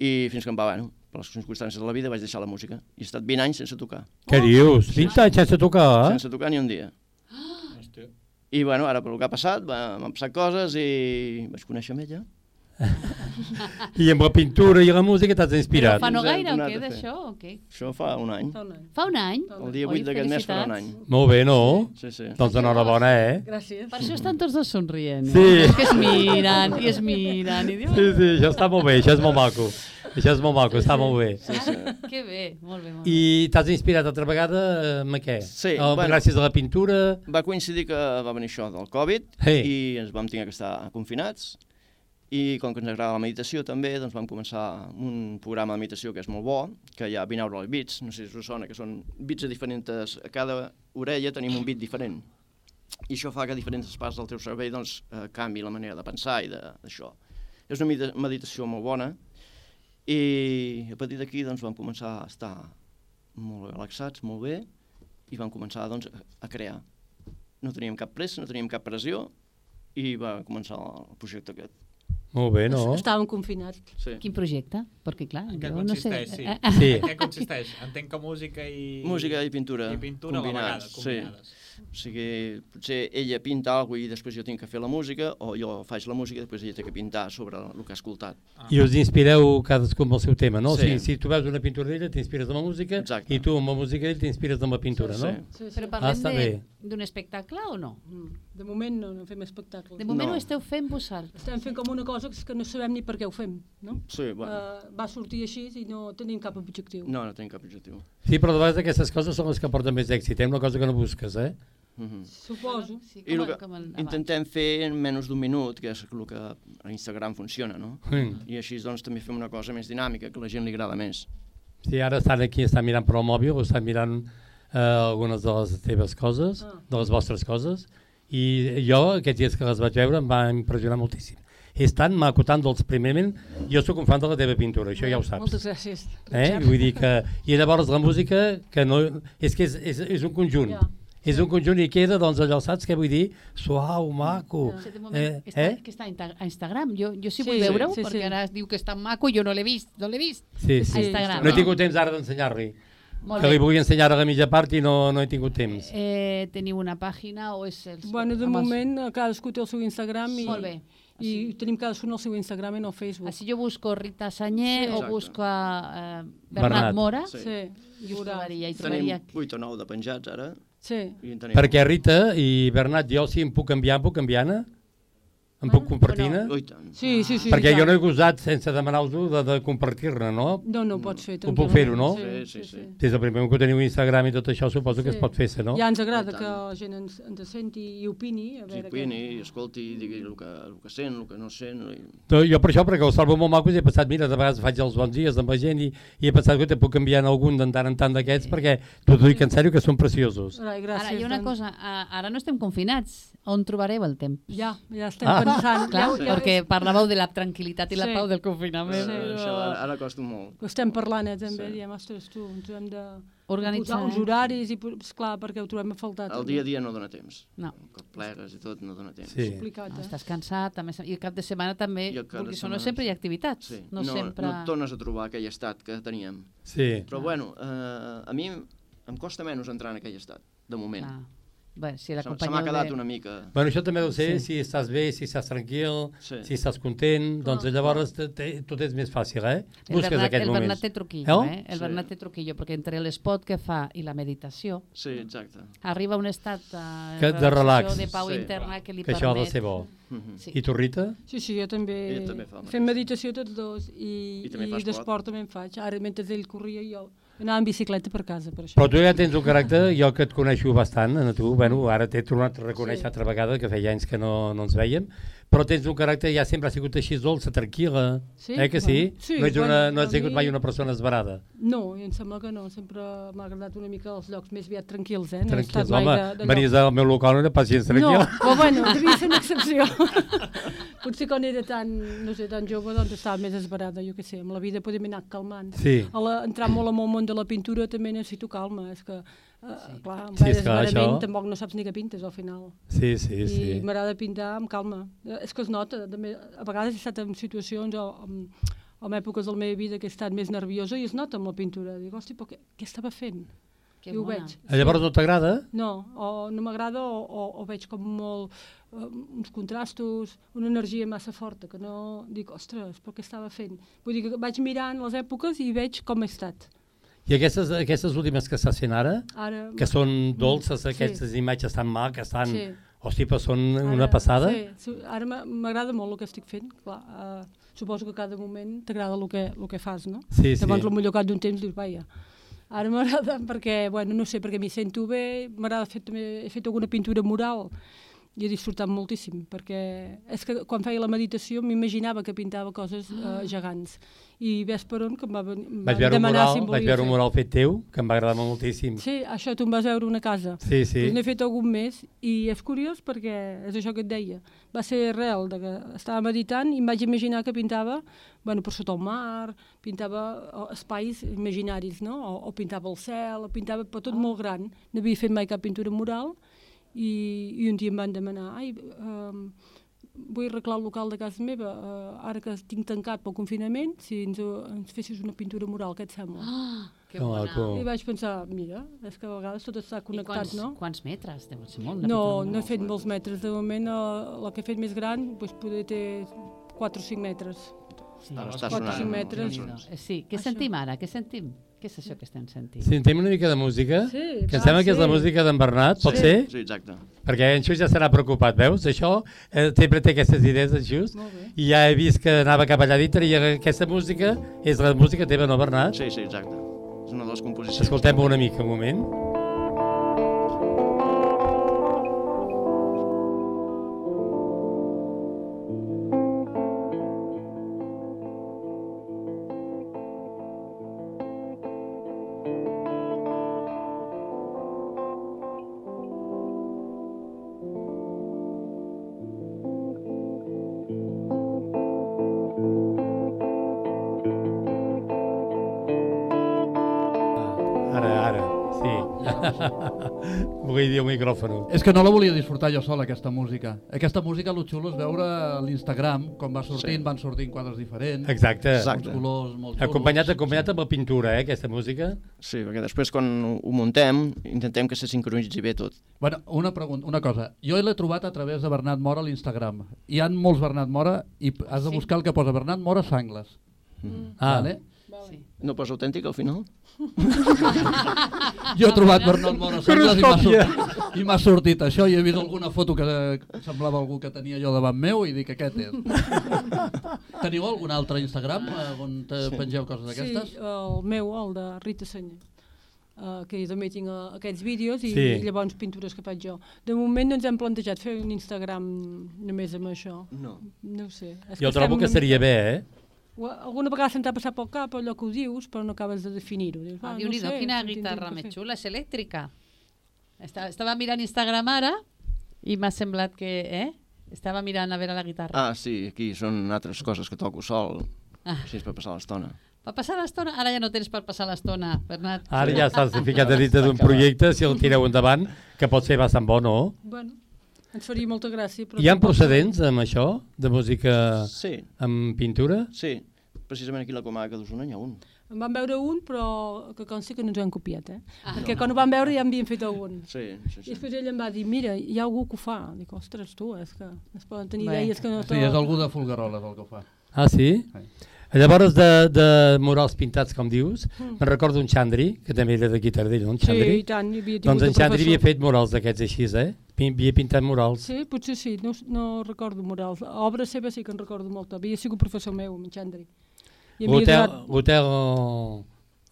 K: I fins que em va, bueno, per les circumstàncies de la vida vaig deixar la música. I he estat 20 anys sense tocar.
B: Què dius? 20 anys sense tocar, eh?
K: Sense tocar ni un dia.
C: Hòstia.
K: I bueno, ara pel que ha passat, va- m'han passat coses i vaig conèixer amb ella.
B: I amb la pintura i la música t'has
D: Però
B: inspirat.
D: fa no
K: Ens hem
D: gaire o
K: tornat
D: què
K: a fer.
D: d'això? o què?
K: Això fa un any.
J: Fa un any.
D: Fa un any?
K: El dia
D: Oi,
K: 8 d'aquest mes farà un any.
D: felicitats.
B: Molt bé, no?
K: Sí, sí.
B: Doncs enhorabona, eh?
J: Gràcies.
D: Per això estan tots dos somrient. Eh?
B: Sí.
D: És que es miren i es miren. I diuen,
B: Sí, sí, això està molt bé, això és molt maco. Això és molt maco, està molt bé.
D: "Ah, que bé, molt bé, molt bé.
B: I t'has inspirat altra vegada eh, amb què?
K: Sí,
B: Eh,
K: bueno.
B: Gràcies a la pintura?
K: Va coincidir que va venir això del Covid
B: Hey.
K: i ens vam tenir que estar confinats i com que ens agrada la meditació també, doncs vam començar un programa de meditació que és molt bo, que hi ha binaural beats, no sé si us sona, que són beats a diferents... A cada orella tenim un beat diferent. I això fa que diferents parts del teu cervell doncs, eh, canvi la manera de pensar i de- d'això. És una medita- meditació molt bona i a partir d'aquí doncs, vam començar a estar molt relaxats, molt bé, i vam començar doncs, a crear. No teníem cap pressa, no teníem cap pressió, i va començar el projecte aquest.
B: Molt bé, no?
J: Estàvem confinats.
K: Sí.
D: Quin projecte? Perquè, clar,
C: En què
D: jo no sé...
C: consisteix, sí.
D: Eh,
C: sí. En què consisteix? Entenc que música i...
K: Música i pintura.
C: I pintura a la vegada, combinades.
K: Sí. O sigui, potser ella pinta alguna cosa i després jo tinc que fer la música, o jo faig la música i després ella té que pintar sobre el que ha escoltat.
C: Ah.
B: I us inspireu cadascú amb el seu tema, no?
K: Sí.
B: Sí. Si, si tu veus una pintura d'ella, t'inspires amb la música, Exacte. i tu amb la música d'ell t'inspires amb la pintura,
K: Sí,
B: no?
J: sí. Sí, sí. Mm.
D: Però
B: ah,
D: parlem
B: està
D: de-
B: bé.
D: d'un espectacle o no?
J: De moment no, no fem espectacles.
D: De moment
B: No.
D: ho esteu fent vosaltres.
J: Estem fent com una cosa que no sabem ni per què ho fem, no?
K: Sí, bueno.
J: Uh, va sortir així i no tenim cap objectiu.
K: No, no tinc cap objectiu.
B: Sí, però de vegades aquestes coses són les que porten més èxit. Hi ha una cosa que no busques, eh?
K: Mm -hmm.
J: Suposo. Sí,
K: I el que intentem fer en menys d'un minut, que és el que a Instagram funciona, no?
B: Mm.
K: I així doncs també fem una cosa més dinàmica, que a la gent li agrada més.
B: Si ara estan aquí, estan mirant per el mòbil, o estan mirant eh, algunes de les teves coses, ah. de les vostres coses, i jo, aquests dies que les vaig veure, em va impressionar moltíssim. És tan maco, tan dolç, primerament, jo sóc un fan de la teva pintura, això ja ho saps.
J: Moltes gràcies,
B: Eh?
J: Richard.
B: Vull dir que... I llavors la música, que no... És que és, és, és un conjunt.
D: Ja.
B: És un conjunt i queda, doncs, allò, saps què vull dir? Suau, maco.
D: No sé, de moment,
B: Eh,
D: està,
B: eh?
D: que està a Insta- a Instagram. Jo, jo
J: Sí,
D: sí, vull
J: sí.
D: veure-ho,
J: Sí,
D: perquè
J: sí.
D: ara es diu que és tan maco i jo no l'he vist. No l'he vist.
B: Sí, sí.
D: A Instagram.
B: No he tingut temps ara d'ensenyar-li.
D: Molt
B: Que
D: bé.
B: li vull ensenyar a la mitja part i no, no he tingut temps.
D: Eh, teniu una pàgina o és... eh, Els,
J: Bueno, de
D: amb els-
J: moment eh, cadascú té el seu Instagram i,
D: Molt bé.
J: i tenim cadascun el seu Instagram i no el Facebook.
D: Així jo busco Rita
J: Sí.
D: Sanyer sí, o
J: Exacte.
D: busco eh, Bernat,
B: Bernat.
D: Mora
K: Sí.
J: sí.
D: i us trobaria. I trobaria...
K: Tenim 8 o 9 de penjats ara.
J: Sí.
K: I en tenim...
B: Perquè Rita i Bernat, jo si em puc enviar, em puc enviar-ne? Em puc compartir-ne?
K: Ui, tant.
J: Sí, sí, sí.
B: Perquè
J: i
B: jo
J: tant.
B: no he gosat sense demanar-vos de, de compartir-ne, no?
J: No, no, ho pots fer.
B: Ho puc fer-ho, no?
J: tranquil·lament. Sí, sí, sí.
B: Des del primer moment que teniu Instagram i tot això, suposo que es pot fer, se no?
J: Ja ens agrada que la gent ens, ens senti i opini. A
K: Sí,
J: veure
K: cuini, i escolti, digui el que, el que sent, el que no sent... I...
B: No, jo per això, perquè ho salvo molt macos, he pensat, mira, de vegades faig els bons dies amb la gent i, i he pensat que te puc enviar en algun de tant en tant d'aquests, perquè t'ho dic en sèrio que són preciosos.
J: Ai, gràcies,
D: Ara, hi ha una
J: doncs.
D: cosa, a- ara no estem confinats. On trobareu el temps?
J: Ja, ja estem Ah. pensant.
D: Clar,
J: Ja- ja-
D: perquè parlàveu de la tranquil·litat i la
J: Sí.
D: pau del confinament.
J: Sí.
K: Eh, Això ara, ara costa molt.
J: Ho estem parlant, eh, també, sí. diem, ostres, tu, ens ho hem de
D: Organitzar,
J: posar uns
D: eh?
J: horaris, i, po- esclar, perquè ho trobem a faltar.
K: El dia a dia no dona temps.
D: No.
K: Que plegues i tot no dona temps.
B: Sí.
J: Complicat, eh?
D: Estàs cansat, també, i el cap de setmana també,
K: I el cap de
D: perquè no
K: setmana,
D: sempre hi ha activitats.
K: Sí.
D: No, sempre... Ah.
K: no et tornes a trobar aquell estat que teníem.
B: Sí.
K: Però bueno, eh, a mi em- em costa menys entrar en aquell estat, de moment.
D: Clar. Bé, si
K: Se- se
D: l'acompanyeu
K: m'ha quedat
D: de-
K: una mica...
B: Bueno, això també deu ser
K: Sí.
B: si estàs bé, si estàs tranquil,
K: Sí.
B: si estàs content, doncs llavors te- te- tot és més fàcil, eh?
D: El Bernat, el
B: moments.
D: Bernat té truquillo, eh?
B: Eh?
D: El
K: Sí.
D: Bernat té truquillo, perquè entre l'espot que fa i la meditació
K: Sí, exacte.
D: arriba a un estat eh,
B: Que de relax.
D: de pau
K: Sí.
D: interna que li
B: Que això ha de
D: permet...
B: ser bo.
K: Mhm.
D: Sí.
B: I tu, Rita?
J: Sí, sí, jo també,
K: Ell també fa el
J: fem meditació tots dos i,
K: I també fa
J: i
K: esport.
J: d'esport també en faig. Ara, mentre ell corria, jo anava en bicicleta per casa, per això.
B: Però tu ja tens un caràcter, jo que et coneixo bastant, a tu, bueno, ara t'he tornat a reconèixer sí. altra vegada, que feia anys que no, no ens veiem, però tens un caràcter, ja sempre has sigut així dolça, tranquil·la,
J: Sí,
B: eh que sí?
J: bueno, sí,
B: no, ets una,
J: bueno,
B: no has
J: a
B: sigut
J: mi-
B: mai una persona esbarada.
J: No, i em sembla que no. Sempre m'ha agradat una mica els llocs més aviat tranquils, eh? No he estat
B: Tranquil,
J: mai
B: home,
J: de, de
B: venies al meu local, no era pacient, tranquil.
J: No, però bueno, devia ser una excepció. Potser quan era tan, no sé, tan jove, doncs estava més esbarada, jo què sé, amb la vida podem anar calmant.
B: Sí.
J: A la, entrar molt en el món de la pintura també necessito calma, és que, eh, clar, amb
B: Sí,
J: sí,
B: és clar,
J: esbarament
B: això-
J: tampoc no saps ni què pintes al final.
B: Sí, sí,
J: I
B: sí.
J: m'agrada pintar amb calma. Eh, És que es nota, també, a vegades he estat en situacions o, en, o en èpoques de la meva vida que he estat més nerviosa i es nota amb la pintura. Dic, hosti, però què, què estava fent?
D: Que
J: I ho
D: mona.
J: veig.
B: Eh, Llavors no t'agrada?
J: No, o no m'agrada o, o, o veig com molt eh, uns contrastos, una energia massa forta, que no dic, ostres, però què estava fent? Vull dir que vaig mirant les èpoques i veig com he estat.
B: I aquestes, aquestes últimes que estàs fent ara,
J: Ara- mm,
B: que són dolces,
J: Sí.
B: aquestes imatges tan maques, tan... Sí.
J: Sí.
B: Hosti, però són una
J: Ara-
B: passada.
J: Sí, sí, ara m'a- m'agrada molt el que estic fent, clar. eh, suposo que cada moment t'agrada el que, el que fas, no?
B: Sí, sí.
J: Llavors, potser al cap d'un temps dius, vaja, ara m'agrada perquè, bueno, no sé, perquè m'hi sento bé, m'agrada fer també, he fet alguna pintura mural i he disfrutat moltíssim, perquè és que quan feia la meditació m'imaginava que pintava coses eh, gegants. I ves per on que em va, ven- em
B: Ah. Vaig
J: va
B: veure, un
J: demanar
B: mural,
J: si em volia
B: vaig veure
J: fer.
B: un mural fet teu, que em va agradar moltíssim.
J: Sí, això tu em vas veure una casa.
B: Sí, sí.
J: Doncs n'he fet algun més i és curiós perquè és això que et deia. Va ser real, de que estava meditant i em vaig imaginar que pintava bueno, per sota el mar, pintava o, espais imaginaris, no? O, o pintava el cel, o pintava per
D: Ah.
J: tot molt gran. No havia fet mai cap pintura mural i, i un dia em van demanar ai, um, vull arreglar el local de casa meva, eh, ara que tinc tancat pel confinament, si ens, ho- ens fessis una pintura mural, què et sembla?
D: Ah, que
B: Que bona. maco.
J: I vaig pensar, mira, és que a vegades tot està connectat,
D: quants,
J: no?
D: quants metres? Deu ser molt. la
J: No,
D: pintura
J: no he fet molts metres. De moment, eh, la que he fet més gran, doncs, poder té 4 o 5 metres.
D: Sí.
K: Ara està
J: 4 o 5
K: sonant,
J: metres.
K: no
D: Eh, Sí, què sentim ara? Què sentim? Què és això que estem sentint?
B: Sentim una mica de música,
D: Sí,
B: que em
D: va,
B: sembla que és la
D: sí.
B: música d'en Bernat, pot
K: Sí.
B: ser?
K: Sí, exacte.
B: Perquè en Xus ja serà preocupat, veus? Això eh, sempre té aquestes idees, en Xus, i ja he vist que anava cap allà dintre i aquesta música és la música teva, no, Bernat?
K: Sí, sí, exacte. És una de les composicions.
B: Escoltem una mica, un moment. Ara, ara, sí. Vull dir un micròfon.
E: És que no la volia disfrutar jo sol, aquesta música. Aquesta música, lo xulo és veure a l'Instagram, com va sortint,
K: Sí.
E: van sortint quadres diferents,
B: Exacte.
E: uns colors molt xulos.
B: acompanyat, acompanyat amb la pintura, eh, aquesta música.
K: Sí, perquè després quan ho muntem intentem que se sincronitzi bé tot.
E: Bueno, una, pregunta, una cosa. Jo l'he trobat a través de Bernat Mora a l'Instagram. Hi han molts Bernat Mora i p- has de buscar el que posa Bernat Mora Sangles.
K: Mm.
E: Ah. Vale?
K: No posa autèntic al final?
E: Jo he trobat Bernat Mora Sangles i m'ha sortit, i m'ha sortit això i he vist alguna foto que eh, semblava algú que tenia jo davant meu i dic aquest és. Teniu algun altre Instagram eh, on eh, pengeu coses d'aquestes?
J: Sí, el meu, el de Rita Senyer. Uh, que jo també tinc uh, aquests vídeos i, sí.
E: Sí.
J: i llavors pintures que faig jo. De moment no ens hem plantejat fer un Instagram només amb això.
K: No.
J: No ho sé. És
B: Jo
J: estem
B: trobo que
J: una
B: seria
J: mica-
B: bé, eh?
J: Ho- Alguna vegada se'n t'ha passat pel cap allò que ho dius, però no acabes de definir-ho. Dius,
D: Ah,
J: "Va,
D: déu nhi
J: no sé,
D: quina
J: ho tindrem
D: guitarra
J: que
D: més
J: fer".
D: xula, és elèctrica. Estava, estava mirant Instagram ara i m'ha semblat que... Eh? Estava mirant a veure la guitarra.
K: Ah, sí, aquí són altres coses que toco sol,
D: Ah.
K: així és per passar l'estona.
D: Va passar l'estona? Ara ja no tens per passar l'estona, Bernat.
B: Ara ja s'ha ficat a dintre d'un projecte, si el tireu endavant, que pot ser bastant bo, no?
J: Bueno, ens faria molta gràcia. Però
B: Hi ha procedents amb això, de música
K: Sí.
B: amb pintura?
K: Sí, precisament aquí a la comarca d'Osona n'hi ha un.
J: En vam veure un, però que consti que no ens ho han copiat, eh? Ah, Perquè quan ho vam veure ja en havien fet algun.
K: Sí, sí,
J: I després ell em va dir, mira, hi ha algú que ho fa. Dic, ostres, tu, és que es poden tenir
E: Bé.
J: idees que no...
E: Sí, és algú de Folgueroles el que ho fa.
B: Ah, sí? Llavors, de, de murals pintats, com dius, me'n recordo un Xandri, que també era d'aquí a Tardell, no? En
J: Mm. Sí,
B: Xandri?
J: i tant, hi havia tingut
B: doncs
J: un
B: en Xandri
J: professor.
B: havia fet murals d'aquests així, eh? Pin- Havia pintat murals.
J: Sí, potser sí, no, no recordo morals. Obres seves sí que en recordo molta. Havia sigut professor meu, en Xandri. I havia
B: L'hotel
J: donat-
B: l'hotel,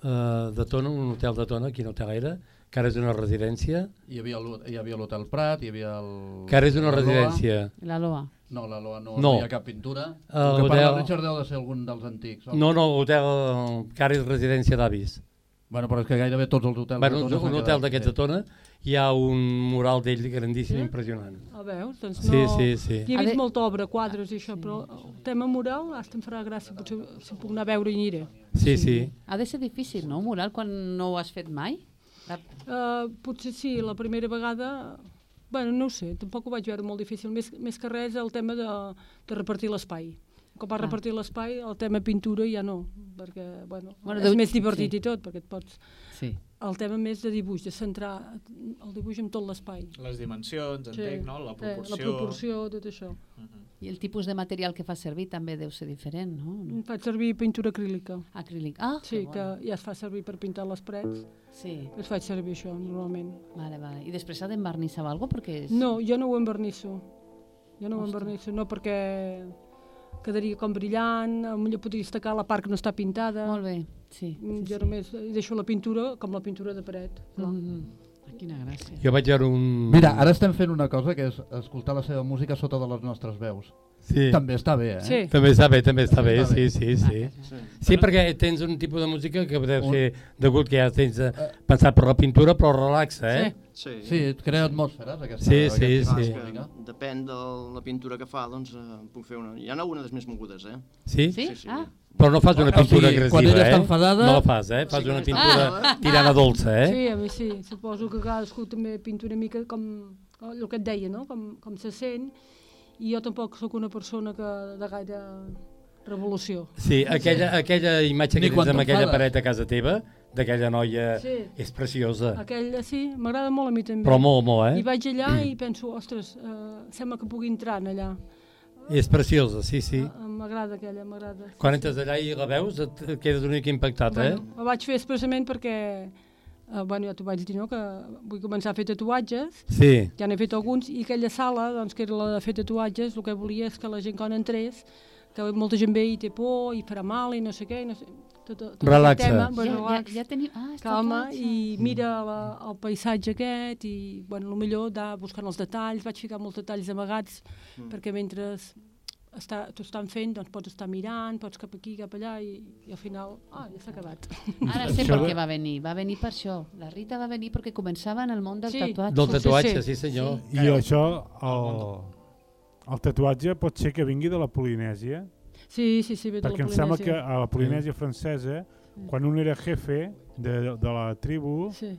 B: eh, de Tona, un hotel de Tona, aquí no té gaire, que ara és una residència.
E: Hi havia l'ho- hi havia l'Hotel Prat, hi havia el...
B: Que ara és una
E: la Loa.
B: residència.
D: La Loa.
E: No, la Loa no,
B: No.
E: no. no hi ha cap pintura.
B: El
E: El que parla
B: hotel-
E: Richard deu de ser algun dels antics. o-
B: No, no, l'hotel que ara és residència d'avis.
E: Bueno, però és que gairebé tots els hotels
B: Bueno,
E: de
B: un,
E: Tona
B: un
E: s'han
B: hotel
E: quedat,
B: d'aquests de Tona hi ha un mural d'ell grandíssim, impressionant.
J: Ah, veus? Doncs
B: Sí,
J: no...
B: sí, sí.
J: Hi
B: A
J: ha
B: ve-
J: vist molta obra, quadres i això, però el tema moral hasta em farà gràcia, potser si puc anar a veure i aniré.
B: Sí, sí.
D: Ha de ser difícil, no, un mural, quan no ho has fet mai? La-
J: Uh, potser sí, la primera vegada... Bueno, no ho sé, tampoc ho vaig veure molt difícil. Més, més que res el tema de, de repartir l'espai. Com va
D: Ah.
J: repartir l'espai, el tema pintura ja no, perquè bueno,
D: Bueno,
J: bueno, és
D: deu-
J: més divertit
D: sí.
J: i tot, perquè et pots...
D: Sí.
J: El tema més de dibuix, de centrar el dibuix en tot l'espai.
C: Les dimensions,
J: Sí,
C: entenc, no? La
J: sí,
C: proporció. Mhm.
J: La proporció, tot això.
D: I el tipus de material que fa servir també deu ser diferent, no? no?
J: Faig servir pintura acrílica.
D: Acrílic. Ah,
J: sí,
D: que
J: que
D: bona.
J: ja es fa servir per pintar les parets.
D: Sí.
J: Es faig servir això, normalment.
D: Vale, vale. I després s'ha d'envernissar o alguna perquè és...
J: No, jo no ho envernisso. Jo no ho
D: Ostres.
J: envernisso, no perquè quedaria com brillant, potser podria destacar la part que no està pintada. Mm,
D: Molt bé, sí.
J: jo només deixo la pintura com la pintura de paret. clar.
D: Mm, Quina gràcia.
B: Jo vaig veure un...
E: Mira, ara estem fent una cosa que és escoltar la seva música sota de les nostres veus.
B: Sí.
E: També està bé, eh?
B: També està bé, també està bé,
E: està
B: sí,
E: bé.
B: sí, sí. Sí, perquè tens un tipus de música que deu
E: Un-
B: ser degut que ja tens eh, pensat per la pintura, però relaxa, eh?
K: Sí.
E: Sí, et crea atmosferes, aquesta-
B: Sí,
E: aquesta
B: sí,
E: música.
B: sí.
K: Que depèn de la pintura que fa, doncs eh, en puc fer una... Hi ha algunes més mogudes, eh?
B: Sí?
K: Sí, sí. Ah.
B: Però no fas una
E: O sigui,
B: pintura agressiva,
E: quan ella
B: eh?
E: està enfadada-
B: No la fas, eh? Fas
E: Sí,
B: una
E: sí.
B: pintura
E: Ah.
B: tirada dolça, eh?
J: Sí, a mi sí. Suposo que cadascú també pinta una mica com com el que et deia, no? Com, com se sent. I jo tampoc sóc una persona que de gaire revolució.
B: Sí, aquella, aquella imatge
E: Ni
B: que
E: quan
B: tens amb aquella
E: t'enfades.
B: paret a casa teva, d'aquella noia,
J: Sí.
B: és preciosa.
J: Aquella sí, m'agrada molt a mi també.
B: Però molt, molt, eh?
J: I vaig allà i penso, ostres, eh, sembla que pugui entrar en allà.
B: És preciosa, sí, sí.
J: Eh, M'agrada aquella, m'agrada. sí,
B: Quan
J: sí.
B: entres allà i la veus, et et quedes una mica impactat, eh?
J: Bueno, ho vaig fer expressament perquè, eh, bueno, ja t'ho vaig dir, no?, que vull començar a fer tatuatges.
B: Sí.
J: Ja n'he fet alguns, i aquella sala, doncs, que era la de fer tatuatges, el que volia és que la gent quan entrés, que molta gent ve i té por, i farà mal, i no sé què, i no sé... Tot, tot aquest
B: Relaxa.
J: Tema,
D: Ja-
J: bueno,
D: ja-
J: relax,
D: ja teniu- ah, és
J: calma,
D: tatuatge.
J: i mira la, el paisatge aquest, i, bueno, el millor anar buscant els detalls, vaig ficar molts detalls amagats,
L: Mm.
J: perquè mentre està, t'ho estan fent, doncs pots estar mirant, pots cap aquí, cap allà, i, i al final, ah, ja s'ha acabat.
D: Ara sé
B: Això
D: per
B: de-
D: què va venir, va venir per això. La Rita va venir perquè començava en el món del
J: Sí.
D: tatuatge.
B: Del tatuatge, sí, senyor.
F: I això, el, el tatuatge pot ser que vingui de la Polinèsia,
J: Sí, sí, sí, ve de la
F: perquè em sembla que
J: Polinèsia.
F: a la Polinèsia francesa, quan un era jefe de, de la tribu,
J: Sí.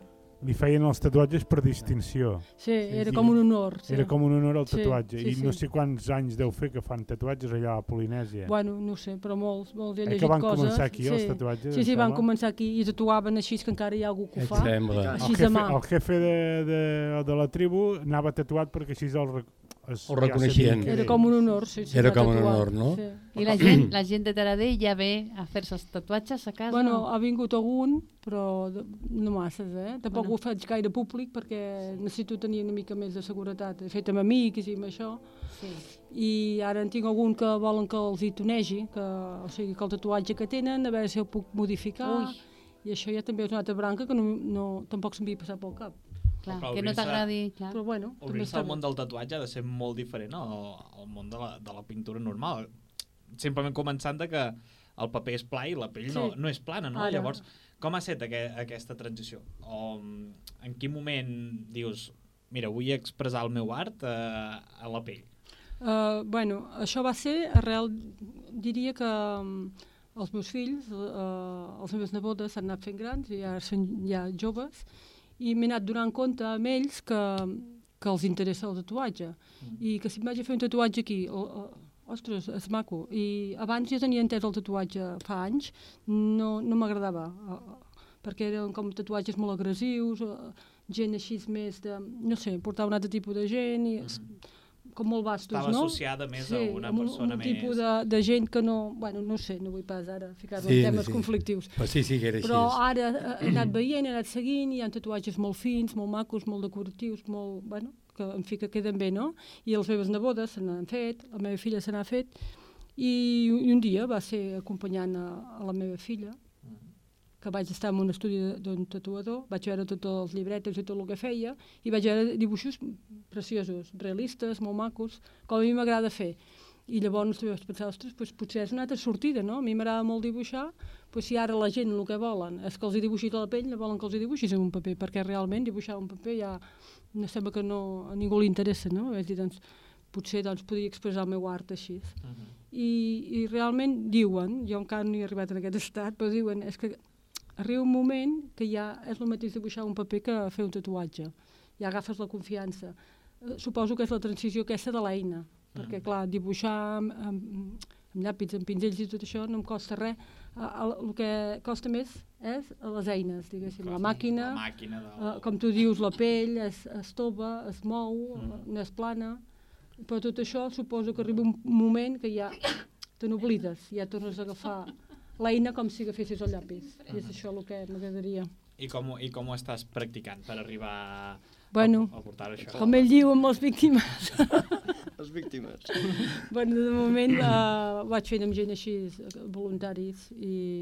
F: li feien els tatuatges per distinció.
J: Sí, era com un honor, sí.
F: Era com un honor el
J: Sí,
F: tatuatge.
J: sí,
F: I no
J: sí.
F: sé quants anys deu fer que fan tatuatges allà a la Polinèsia.
J: Bueno, no ho sé, però molts, molts he
F: Eh, que
J: llegit
F: van
J: coses.
F: començar aquí, els tatuatges,
J: Sí,
F: em
J: sí, van
F: sembla.
J: començar aquí i tatuaven així, que encara hi ha algú que ho fa.
F: El
J: Així de
F: jefe,
J: mà.
F: el jefe de, de, de la tribu anava tatuat perquè així el, rec- es,
B: El reconeixien.
J: Era com un honor, sí, sí.
B: Era
J: va
B: com un
J: tatuar.
B: honor, no?
J: Sí.
D: I la gent, la gent de Taradell ja ve a fer-se els tatuatges a casa.
J: Bueno, ha vingut algun, però de- no masses, eh? Tampoc
D: Bueno.
J: ho faig gaire públic perquè necessito tenir una mica més de seguretat. He fet amb amics i amb això.
D: Sí.
J: I ara en tinc algun que volen que els hi tunegi, que, o sigui, que el tatuatge que tenen, a veure si el puc modificar.
D: Ui.
J: I això ja també és una altra branca que no, no, tampoc se'm havia passat pel cap.
D: Clar,
C: Però que no obrir-se- t'agradi,
D: clar.
J: Però bueno, també
C: Obrir-se
J: està
C: al món del tatuatge ha de ser molt diferent al, al món de la, de la pintura normal. Simplement començant de que el paper és pla i la pell no,
J: Sí. Ah,
C: no és plana, no?
J: Ara.
C: Llavors, com ha estat aqu aquesta transició? O mm, en quin moment dius, mira, vull expressar el meu art eh, a la pell?
J: Uh, bueno, això va ser arrel, diria que mm, els meus fills, uh, els meus nebodes s'han anat fent grans i ara són ja joves i m'he anat donant compte amb ells que, que els interessa el tatuatge i que si em vaig a fer un tatuatge aquí, o, o, ostres, és maco. I abans jo tenia entès el tatuatge fa anys, no, no m'agradava. eh, perquè eren com tatuatges molt agressius, eh, gent així més de, no sé, portava un altre tipus de gent i es- com molt bastos,
C: Mm-hmm. Estava
J: no?
C: associada més a una
J: amb un,
C: persona
J: un
C: més.
J: tipus de, de gent que no... Bueno, no ho sé, no vull pas ara ficar-me
B: Sí,
J: en temes
B: sí.
J: conflictius.
B: Però sí, sí que era així.
J: Però ara eh, he anat veient, he anat seguint, hi ha tatuatges molt fins, molt macos, molt decoratius, molt... Bueno, que en fi, que queden bé, no? I els meves nebodes se n'han fet, la meva filla se n'ha fet, i un i un dia va ser acompanyant a, a la meva filla, que vaig estar en un estudi de- d'un tatuador, vaig veure tots els llibretes i tot el que feia, i vaig veure dibuixos preciosos, realistes, molt macos, com a mi m'agrada fer. I llavors també vaig pensar, ostres, doncs potser és una altra sortida, no? A mi m'agrada molt dibuixar, doncs si ara la gent el que volen és que els hi dibuixis a la pell, no volen que els hi dibuixis en un paper, perquè realment dibuixar un paper ja no sembla que no, a ningú li interessa, no? Vaig dir, doncs, potser doncs, podria expressar el meu art així. Uh -huh. I, I realment diuen, jo encara no hi he arribat en aquest estat, però diuen, és que arriba un moment que ja és el mateix dibuixar un paper que fer un tatuatge. Ja agafes la confiança. Eh, Suposo que és la transició aquesta de l'eina, perquè,
C: Mm.
J: clar, dibuixar amb, amb, amb llàpids, amb pinzells i tot això no em costa res. El, el, el que costa més és les eines, diguéssim, la màquina,
C: la màquina
J: eh, com tu dius, la pell es, es tova, es mou,
C: Mm.
J: eh, no és plana, però tot això suposo que arriba un moment que ja te n'oblides, ja tornes a agafar l'eina com si agafessis el llapis. I és això el que m'agradaria.
C: I com, ho- I com ho estàs practicant per arribar a,
J: Bueno,
C: a portar això?
J: com ell diu, amb les víctimes.
K: Les víctimes.
J: bueno, de moment eh, ho vaig fent amb gent així, eh, voluntaris, i,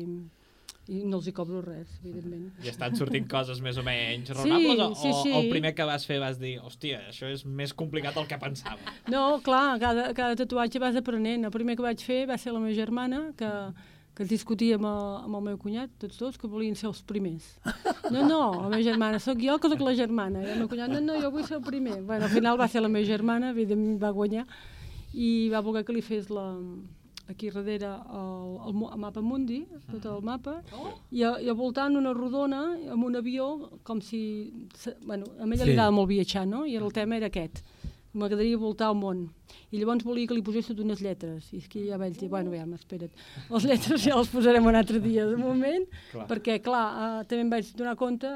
J: i no els hi cobro res, evidentment.
C: I estan sortint coses més o menys raonables? o,
J: sí,
C: o-
J: sí.
C: o el primer que vas fer vas dir, hòstia, això és més complicat del que pensava?
J: No, clar, cada, cada tatuatge vas aprenent. El primer que vaig fer va ser la meva germana, que, que es discutia amb el, amb el meu cunyat, tots dos, que volien ser els primers. No, no, la meva germana, sóc jo que sóc la germana. I el meu cunyat, no, no, jo vull ser el primer. Bueno, al final va ser la meva germana, evidentment va guanyar, i va voler que li fes la, aquí darrere el, el, mo- el mapa mundi, tot el mapa, i, a, i al voltant una rodona amb un avió, com si... se- Bueno, a ella
L: Sí.
J: li agrada molt viatjar, no? I el tema era aquest. M'agradaria voltar al món. I llavors volia que li posés totes unes lletres. I aquí ja vaig dir, bueno, ja, espera't. Les lletres ja les posarem un altre dia, de moment,
L: Clar.
J: perquè, clar, eh, també em vaig donar compte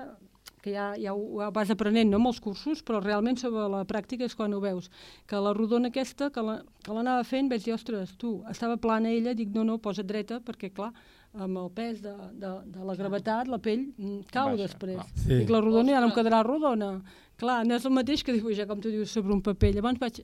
J: que ja, ja ho ho vas aprenent, no amb els cursos, però realment sobre la pràctica és quan ho veus. Que la rodona aquesta, que la- que l'anava fent, vaig dir, ostres, tu, estava plana ella, dic, no, no, posa dreta, perquè, clar, amb el pes de, de, de la gravetat, la pell mm, cau
L: Baixa,
J: després.
L: clar.
J: Sí.
L: Sí.
J: Dic, la rodona ja no em quedarà rodona. Clar, no és el mateix que dibuixar, com tu dius, sobre un paper. Llavors vaig...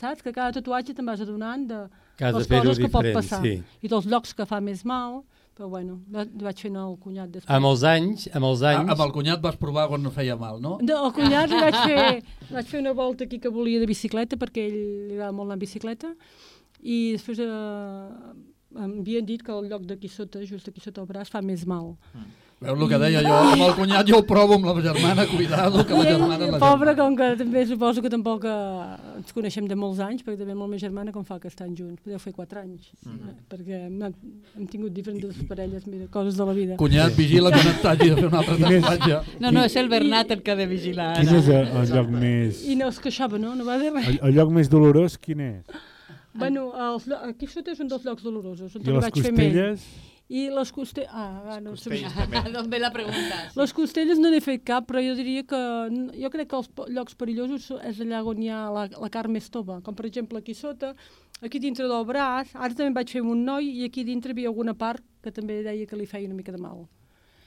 J: Saps que cada tatuatge te'n vas adonant de
B: Que has de
J: les
B: fer-ho
J: coses que pot
B: diferent,
J: passar.
B: sí.
J: I dels llocs que fa més mal, però bueno, va- vaig fent el cunyat després.
B: Amb els anys, amb els
C: Ah,
B: anys...
E: A- Ah, amb el cunyat vas provar quan no feia mal, no?
J: No, el cunyat li vaig fer, li vaig fer una volta aquí que volia de bicicleta, perquè a ell li agrada molt anar en bicicleta, i després eh, em havien dit que el lloc d'aquí sota, just aquí sota el braç, fa més mal.
D: Mm.
E: Veu el que deia jo, amb el cunyat jo ho provo amb la germana, cuidado, que la
J: I ell,
E: germana és la
J: Pobre, com que també suposo que tampoc eh, ens coneixem de molts anys, perquè també amb la meva germana com fa que estan junts, podeu fer 4 anys,
D: Mm.
J: eh, perquè hem, hem tingut diferents parelles, mira, coses de la vida.
E: Cunyat, vigila que no et t'hagi de fer un altre Quin és- tatuatge.
D: No, no, és el Bernat el que ha de vigilar.
F: Quin
D: ara.
F: és el, el lloc més...
J: I no es queixava, no? No va dir res.
F: El, el lloc més dolorós quin és?
J: Bueno, els, llo- aquí sota és un dels llocs dolorosos. On
F: I
J: te'n
F: les
J: vaig fer més.
F: costelles?
J: I les costelles... Ah, doncs va, no sé.
D: costelles també. D'on ve la pregunta, sí.
J: Les costelles no n'he fet cap, però jo diria que... n- Jo crec que els po- llocs perillosos so- és allà on hi ha la, la carn més tova, com per exemple aquí sota, aquí dintre del braç, ara també vaig fer amb un noi i aquí dintre hi havia alguna part que també deia que li feia una mica de mal.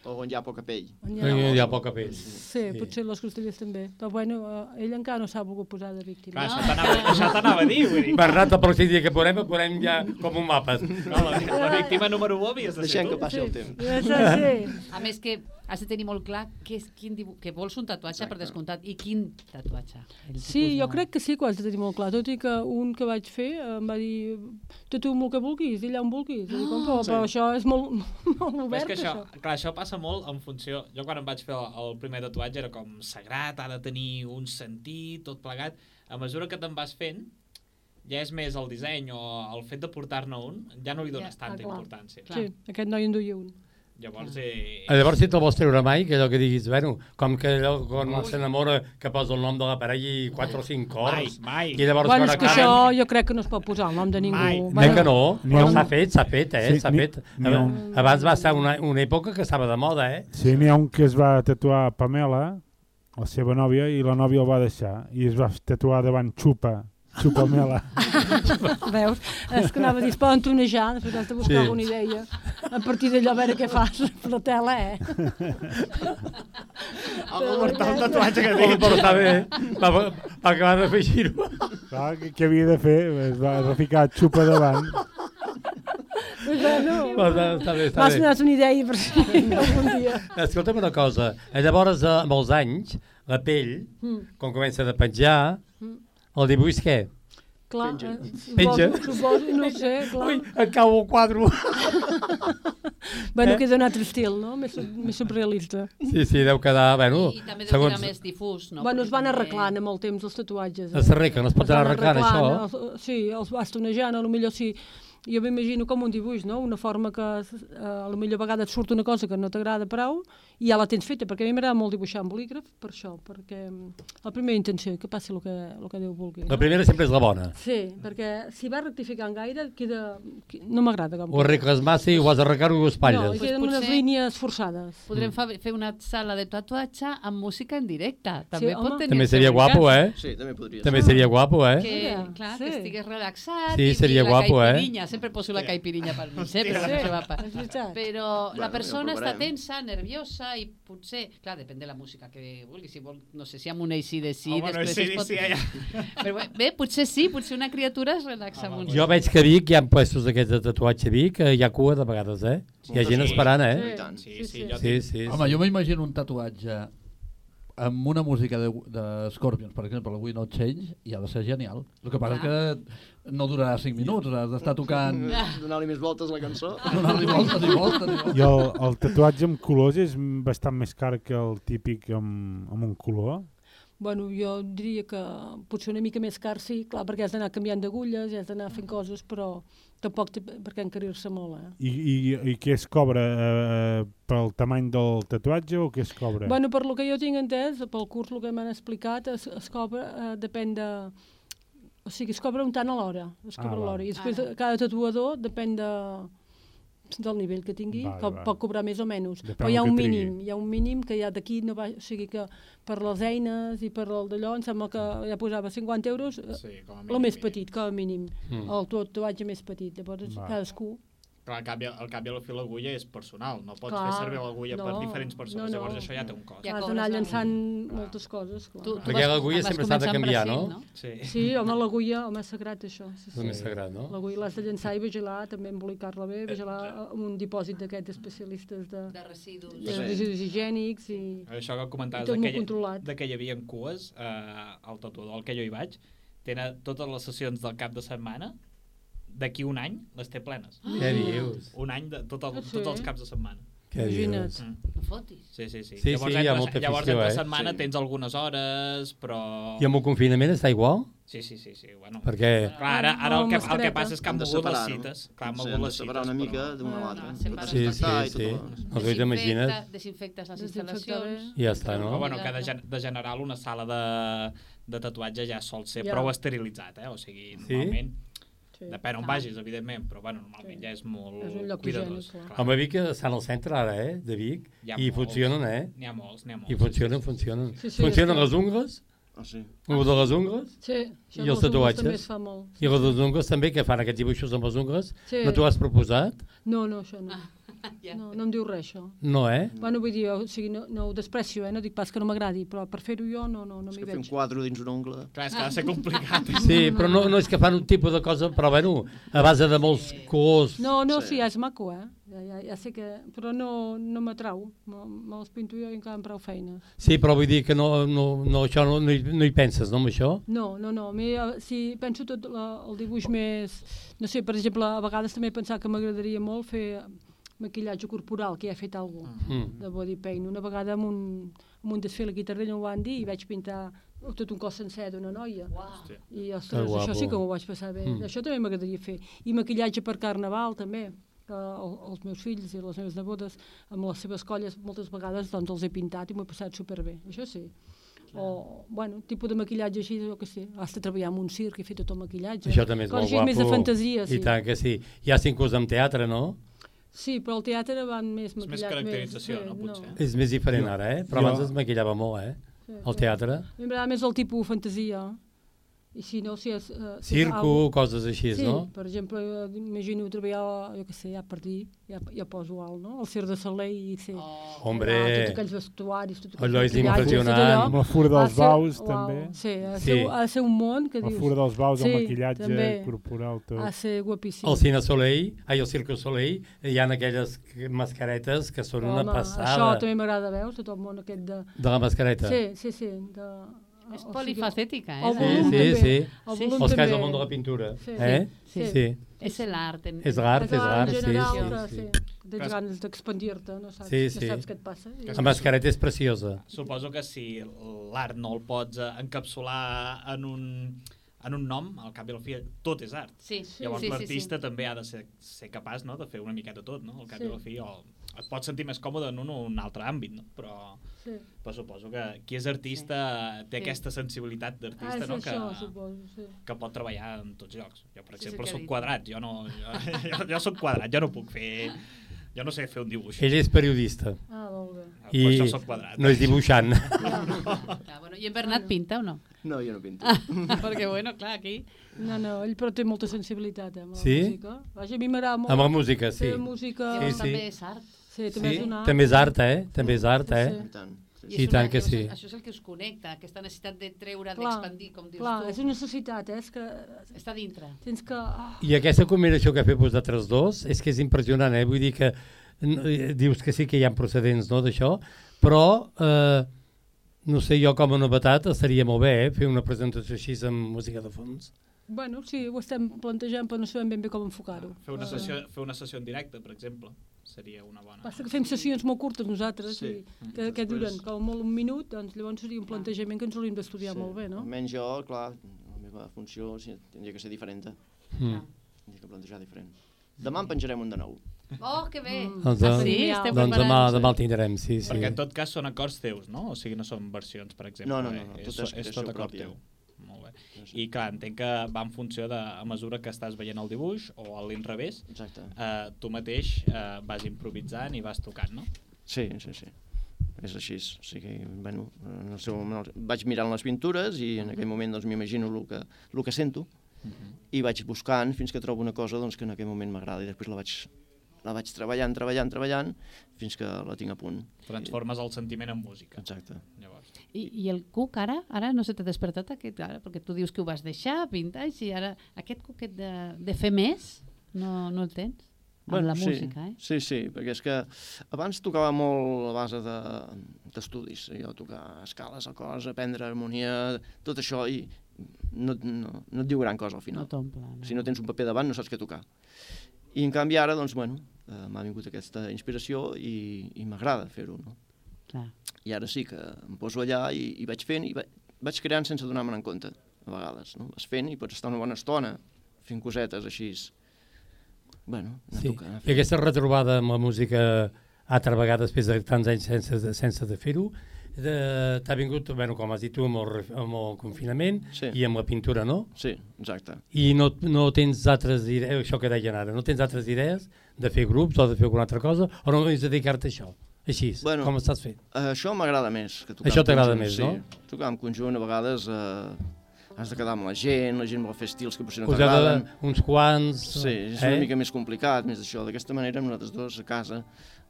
K: O on hi ha poca pell.
J: On
B: Hi ha poca pell.
J: Sí, sí, potser les costelles també. Però bueno, eh, ell encara no s'ha volgut posar de víctima.
B: Clar,
C: això t'anava- això t'anava a dir, vull dir.
B: Bernat, el pròxim dia que veurem, el veurem ja com un mapa.
C: No, la, la víctima número 1 havies de ser
K: Deixem
C: tu.
K: que passi el temps.
D: A més que has de tenir molt clar que, és, quin dibu... que vols un tatuatge per descomptat i quin tatuatge. El
J: Sí, jo crec que sí que ho has de tenir molt clar, tot i que un que vaig fer eh, em va dir tatua'm el que vulguis, i allà on vulguis. I dic, com que,
C: Ah, Sí.
J: però això és molt, molt
C: Però és
J: obert,
C: que això,
J: això.
C: clar, això passa molt en funció... Jo quan em vaig fer el, el primer tatuatge era com sagrat, ha de tenir un sentit, tot plegat. A mesura que te'n vas fent, ja és més el disseny o el fet de portar-ne un, ja no li dones
J: Ja,
C: tanta
J: clar.
C: importància.
J: Sí, aquest noi en duia un.
C: Llavors, eh,
B: Ah, Llavors, si te'l vols treure mai, que allò que diguis, bueno, com que allò, quan Ui. s'enamora, que posa el nom de la parella i 4 o 5 cors.
C: Mai, mai.
B: I llavors,
J: bueno,
B: quan
J: és que això
B: acaben-
J: jo crec que no es pot posar el nom de ningú.
B: Mai.
J: Bueno,
B: Eh que no?
F: N'hi ha
B: Però
F: un-
B: s'ha fet, s'ha fet, eh?
F: Sí,
B: S'ha
F: n'hi-
B: fet.
F: n'hi ha un-
B: Abans va ser una, una època que estava de moda, eh?
F: Sí, n'hi ha un que es va tatuar Pamela, la seva nòvia, i la nòvia el va deixar. I es va tatuar davant Xupa, Xupa Mela.
J: Veus? És que anava a dir, es poden tronejar, després has de buscar
F: Sí.
J: sí. alguna idea. A partir d'allò, a veure què fas per la tela, eh?
K: Algú portar el tatuatge
B: que tinc. Però està bé, eh? va, va, va acabar de fer giro.
F: Clar, què, què havia de fer? Es va, es va ficar Xupa davant.
J: Pues bueno,
B: Però està- està bé, està
J: m'has
B: bé.
J: donat una idea per si algun dia.
B: Escolta'm una cosa, eh, llavors eh, amb els anys, la pell,
J: Mm.
B: quan comença a penjar, el dibuix què?
J: Clar, eh,
B: Penja.
J: suposo, suposo, no ho sé, clar. Ui,
B: et cau el quadro.
J: bueno,
B: Eh?
J: eh? queda un altre estil, no? Més, sub- més surrealista.
B: Sí, sí, deu quedar, bueno,
D: I també deu
B: segons...
D: quedar més difús, no?
J: Bueno, es van arreglant amb el temps els tatuatges.
B: Es arreglen, es pot
J: van
B: anar arreglant, això?
J: els- eh, sí, els vas tonejant, a lo millor sí. Jo m'imagino com un dibuix, no? Una forma que eh, a lo millor a vegades et surt una cosa que no t'agrada prou i ja la tens feta, perquè a mi m'agrada molt dibuixar amb bolígraf per això, perquè mm, la primera intenció, que passi el que, el que Déu vulgui.
B: La primera sempre és la bona.
J: Sí, perquè si vas rectificant gaire, queda... qui- No m'agrada com
B: Ho arregles massa i ho has d'arreglar i ho
J: No,
B: espatlles.
J: i queden
D: Doncs
J: unes
D: potser-
J: línies forçades.
D: Podrem fa, fer una sala de tatuatge amb música en directe. També
J: home.
D: pot tenir
B: També
D: el seu
B: seria guapo,
D: encaix.
B: eh? Sí, també podria També ser. seria guapo, eh?
D: Que,
J: Mira,
D: clar,
J: sí.
D: que estigués relaxat.
B: Sí,
D: i- i
B: seria
D: la
B: guapo, eh?
D: caipirinha. Sempre poso la caipirinha pel mig, eh? Però,
J: Hòstia.
D: sempre va
J: Sí,
D: pa-
J: és veritat.
D: però
J: Bueno,
D: la
J: ja ho
D: persona està
J: provarem.
D: tensa, nerviosa, cosa i potser, clar, depèn de la música que vulgui, si vol, no sé si amb un ACDC...
C: Home, no,
D: després es pot...
C: ACDC allà.
D: Però bé, bé, potser sí, potser una criatura es
C: Ah,
D: relaxa amb un...
B: Jo veig que a Vic hi ha puestos aquests de tatuatge a Vic, eh, hi ha cua de vegades, eh? Hi ha gent esperant, eh?
C: Sí, sí, jo
B: Sí,
C: tinc-
B: sí.
E: Home, jo m'imagino un tatuatge amb una música de, de Scorpions, per exemple, We No Change, i ha de ser genial. El que passa és que no durarà 5 minuts, has d'estar tocant...
C: Ah.
K: Donar-li més voltes a la cançó.
E: Donar-li voltes i voltes.
F: I el, el tatuatge amb colors és bastant més car que el típic amb, amb un color.
J: Bueno, jo diria que potser una mica més car, sí, clar, perquè has d'anar canviant d'agulles, i has d'anar fent coses, però tampoc té per què encarir-se molt, eh?
F: I, i, i què es cobra? Eh, pel tamany del tatuatge o què es cobra?
J: Bueno, per lo que jo tinc entès, pel curs el que m'han explicat, es, es cobra, eh, depèn de... O sigui, es cobra un tant a l'hora. Es
F: Ah,
J: cobra
F: val.
J: ah, l'hora. I després ah. cada tatuador depèn de del nivell que tingui,
F: Val,
J: que
F: val.
J: pot cobrar més o menys.
F: Depèn
J: Però hi ha
F: del que
J: un
F: trigui.
J: mínim, hi ha un mínim que ja d'aquí no va... O sigui que per les eines i per el d'allò, em sembla que
F: Mm.
J: ja posava 50 euros, sí,
C: com a
J: el més petit, com a mínim.
C: Mm.
J: Mm. El tatuatge més petit. Llavors,
C: Val.
J: cadascú...
C: Però al cap, i, al cap i a la fi l'agulla és personal, no pots
J: Clar,
C: fer servir l'agulla per
J: no,
C: diferents persones,
J: no, no.
C: llavors això ja té un cost.
J: Has d'anar llançant moltes coses, clar.
C: tu Perquè vas- l'agulla vas sempre s'ha de començar amb canviar,
B: Brasil, no? no?
J: Sí.
B: Sí.
J: sí, home, l'agulla, home, és sagrat, això. Sí,
B: És el més sagrat, no?
J: L'agulla l'has de llançar i vigilar, també embolicar-la
C: Eh,
J: bé, vigilar amb un dipòsit d'aquests especialistes de...
D: De residus.
J: De residus higiènics i...
C: Això que comentaves
J: Tot molt
C: d'aquella-
J: controlat.
C: de que hi havia cues, eh, al tatuador al que jo hi vaig, tenen totes les sessions del cap de setmana, d'aquí un any les té plenes.
B: Ah! Què dius?
C: Un any de tot el,
D: Sí.
C: tots els caps de setmana.
B: Què
C: Mm.
B: Imagina't.
D: dius? No fotis.
C: Sí, sí, sí.
B: Sí, sí, hi ha molta
C: llavors
B: afició,
C: entre
B: eh?
C: setmana
B: Sí.
C: tens algunes hores, però...
B: I amb un confinament està igual?
C: Sí, sí, sí, sí. Bueno,
B: Perquè-
C: Clar, ara, ara el, que, el que
K: Mascareta.
C: passa és que han
K: Hem de
C: mogut les
K: separar-ho.
C: cites. Clar, han
K: Sí,
C: mogut
K: hem de
C: les cites.
K: separar una mica d'una a l'altra.
B: Sí, sí,
C: Ah,
B: sí. No t'ho imagines.
D: Desinfectes les
J: Desinfectar
D: instal·lacions.
B: I ja està, no?
C: Però, Ah, bueno, que de, gen- de general una sala de, de tatuatge ja sol ser
B: Ja.
C: prou esterilitzat, eh? O sigui,
B: Sí?
C: normalment...
J: Sí.
C: Depèn on vagis, evidentment, però bueno, normalment ja és molt
J: És un lloc
C: cuidadós.
J: higiènic, clar.
C: clar.
B: Home, Vic estan al centre ara, eh, de Vic,
C: Hi ha
B: i
C: molts.
B: funcionen, eh?
C: N'hi ha molts, n'hi ha molts,
B: I funcionen, funcionen.
J: Sí, sí,
B: funcionen
J: sí.
B: les ungles,
K: Ah, sí.
B: el de les ungles,
J: Sí, això
B: i
J: amb
B: els
J: les ungles
B: tatuatges.
J: també es fa molt.
B: I les ungles també, que fan aquests dibuixos amb les ungles.
J: Sí.
B: No t'ho has proposat?
J: No, no, això no. No, no em diu res, això.
B: No, eh?
J: Bueno, vull dir, o sigui, no, no ho desprecio, eh? no dic pas que no m'agradi, però per fer-ho jo no, no, no m'hi
K: Que fer un
J: veig.
K: quadro dins una ungla.
C: Clar, és que ha de ser complicat.
B: Sí, però no, no és que fan un tipus de cosa, però bueno, a base de molts colors.
J: No, no, sí, és maco, eh? Ja, ja, ja sé que... Però no, no m'atrau. Me, me les pinto jo i encara em prou feines.
B: Sí, però vull dir que no, no, no, això no, no, hi, no hi penses, no, amb això?
J: No, no, no. A mi, eh, si penso tot la, el dibuix més... No sé, per exemple, a vegades també he pensat que m'agradaria molt fer maquillatge corporal, que ja he fet alguna
B: Mhm.
J: de body paint. Una vegada amb un, amb un desfile aquí a Tardella ho van dir i vaig pintar tot un cos sencer d'una noia. Wow. I,
B: Que
J: ostres,
B: guapo.
J: això sí que m'ho vaig passar bé.
B: Mm.
J: Mm. Això també m'agradaria fer. I maquillatge per Carnaval, també. Que el, els meus fills i les meves nebodes, amb les seves colles, moltes vegades doncs, els he pintat i m'ho he passat superbé. Això sí. O, bueno, tipus de maquillatge així, jo que sé. Has de treballar en un circ i fer tot el maquillatge.
B: Això també és
J: Coses
B: molt
J: així
B: guapo.
J: més de fantasia, sí.
B: I tant que sí. Hi ha inclús amb teatre, no?
J: Sí, però el teatre van més maquillat.
C: caracterització,
J: sí,
C: no, potser?
B: És més diferent ara, eh? Però
F: Jo-
B: abans es maquillava molt, eh? El teatre.
J: A mi m'agrada més el tipus fantasia. I si no, si és... Eh, si és
B: Circo,
J: algo-
B: coses així,
J: sí,
B: no?
J: per exemple, eh, imagino treballar, jo què sé, ja per dir, ja, ja poso alt, no? El circ de Soleil i ser... Oh,
B: Hombre.
J: Tots aquells vestuaris, tot aquell
B: Allò és
J: maquillatge, tot
B: impressionant.
J: allò.
F: Amb la fura dels
J: Ha de ser-
F: baus,
J: uau,
F: també.
J: Sí, ha de
B: Sí.
J: ser, ha de ser un món que
F: La
J: dius...
F: fura dels baus, el maquillatge
J: també.
F: corporal, tot.
J: Ha de ser guapíssim.
B: Al Cine Soleil, ai, al Circo Soleil, hi ha aquelles mascaretes que són una
J: Això
B: passada.
J: també m'agrada, veus, tot el món aquest de...
B: De la mascareta.
J: Sí, sí, sí. De... És
D: polifacètica, eh?
J: El
D: Sí,
J: volum
B: sí,
J: també.
B: sí.
J: El
B: Sí,
J: volum
B: sí. Els que és
J: també.
B: el món de la pintura,
J: Sí,
B: eh?
J: sí,
B: Sí, sí.
D: És el art en-
B: És l'art, és l'art,
J: en
B: sí,
J: general,
B: sí,
J: que,
B: sí.
J: sí. Tens ganes d'expandir-te, no saps,
B: Sí, sí.
J: no saps què et passa. I-
B: La mascareta és preciosa.
C: Suposo que si l'art no el pots eh, encapsular en un, en un nom, al cap i a la fi tot és art.
D: Sí, sí,
C: Llavors
D: sí, sí,
C: l'artista
D: sí.
C: també ha de ser, ser capaç no, de fer una miqueta tot, no? al cap sí.
D: Sí.
C: i a la fi. O et pots sentir més còmode en un o un altre àmbit, no? però,
J: Sí.
C: però suposo que qui és artista sí. té
J: Sí.
C: aquesta sensibilitat
J: Ah,
C: d'artista
J: és
C: no?
J: això, suposo, sí.
C: que pot treballar en tots llocs. Jo, per
J: Sí, sí,
C: exemple,
J: que
C: sí,
J: ha
C: sóc
J: dit.
C: quadrat, jo no, jo, jo, jo sóc quadrat, jo no puc fer... Jo no sé fer un dibuix.
B: Ell és periodista.
J: Ah, molt bé.
B: I
C: Per això sóc quadrat.
B: no és dibuixant.
D: Ah, bueno, I en Bernat pinta o no?
K: No, jo no pinto.
D: Ah, perquè, bueno, clar, aquí...
J: No, no, ell però té molta sensibilitat, eh, amb la
B: Sí?
J: música. Vaja, a mi m'agrada molt.
B: Amb la música, sí.
J: Fer música...
B: Sí, Llavors sí. també
D: és art.
J: Sí,
B: Sí,
J: també és una...
B: també és art, eh? També és art, eh?
J: Sí, sí.
B: I, tant que sí.
D: Això és el que us connecta, aquesta necessitat de treure,
J: Clar,
D: d'expandir, com dius
J: clar,
D: tu.
J: és una societat, eh? És que...
D: Està dintre.
J: Tens que... Ah,
B: I aquesta combinació que feu vosaltres dos és que és impressionant, eh? Vull dir que n- eh, dius que sí que hi ha procedents no, d'això, però eh, no sé, jo com a novetat estaria molt bé eh, fer una presentació així amb música de fons.
J: bueno, sí, ho estem plantejant, però no sabem ben bé com enfocar-ho.
C: Ah, Fer una,
J: Eh,
C: sessió, fer una sessió en directe, per exemple, seria una bona...
J: Passa que fem sessions molt curtes nosaltres,
K: Sí.
J: sí.
K: Mm.
J: i que, que
K: Després-
J: duren com molt un minut, doncs llavors seria un plantejament que ens hauríem d'estudiar sí. molt bé, no?
K: Almenys jo, clar, la meva funció sí, tindria que ser diferent.
B: Mm.
C: Ah.
K: Tindria que plantejar diferent. Demà en penjarem un de nou.
D: Oh, que bé!
B: Doncs,
D: Ah,
B: eh,
D: sí? Esteu
B: doncs demà,
D: preparats?
B: demà el tindrem, sí, sí.
C: Perquè en tot cas són acords teus, no? O sigui, no són versions, per exemple.
K: No, no, no, no,
C: eh?
K: tot és- és seu
C: tot acord
K: propi.
C: teu. Molt bé. I clar, entenc que va en funció de, a mesura que estàs veient el dibuix o a l'inrevés, eh, tu mateix eh, vas improvisant i vas tocant, no?
K: Sí, sí, sí. És així. O sigui, bueno, en el seu moment els- vaig mirant les pintures i en aquell moment doncs, m'imagino el, que, el que sento i vaig buscant fins que trobo una cosa doncs, que en aquell moment m'agrada i després la vaig, la vaig treballant, treballant, treballant fins que la tinc a punt.
C: Transformes el sentiment en música.
K: Exacte.
C: Llavors.
D: I, I el cuc ara? Ara no se t'ha despertat aquest, ara? Perquè tu dius que ho vas deixar, 20 anys, i ara aquest cuquet de, de fer més, no, no el tens? Amb la música, eh?
K: sí, eh? Sí, sí, perquè és que abans tocava molt a base de- d'estudis, de, allò, tocar escales, acords, aprendre harmonia, tot això, i no, no, no et diu gran cosa al final.
D: No t'omple, no.
K: Si no tens un paper davant no saps què tocar. I en canvi ara, doncs, bueno, eh, m'ha vingut aquesta inspiració i, i m'agrada fer-ho, no?
D: Clar.
K: I ara sí que em poso allà i, i vaig fent i va, vaig creant sense donar-me'n en compte, a vegades, no? Vas fent i pots estar una bona estona fent cosetes així. Bueno, anar
B: Sí.
K: tocant, anar
B: I aquesta retrobada amb la música altra vegada després de tants anys sense, de- sense de fer-ho, de- t'ha vingut, bueno, com has dit tu, amb el, ref- amb el confinament sí. i amb la pintura, no?
K: Sí, exacte.
B: I no, no tens altres idees, això que deien ara, no tens altres idees de fer grups o de fer alguna altra cosa, o no només dedicar-te a això, així, bueno, com estàs fent?
K: Eh, Això m'agrada més. Que tocar
B: Això
K: en
B: t'agrada
K: conjunt,
B: més,
K: sí. no? Tocar en conjunt a vegades eh, has de quedar amb la gent, la gent vol fer estils que potser no
B: Us ha de-
K: t'agraden.
B: uns quants,
K: Sí, és
B: eh?
K: una mica més complicat, més d'això. D'aquesta manera, nosaltres dos a casa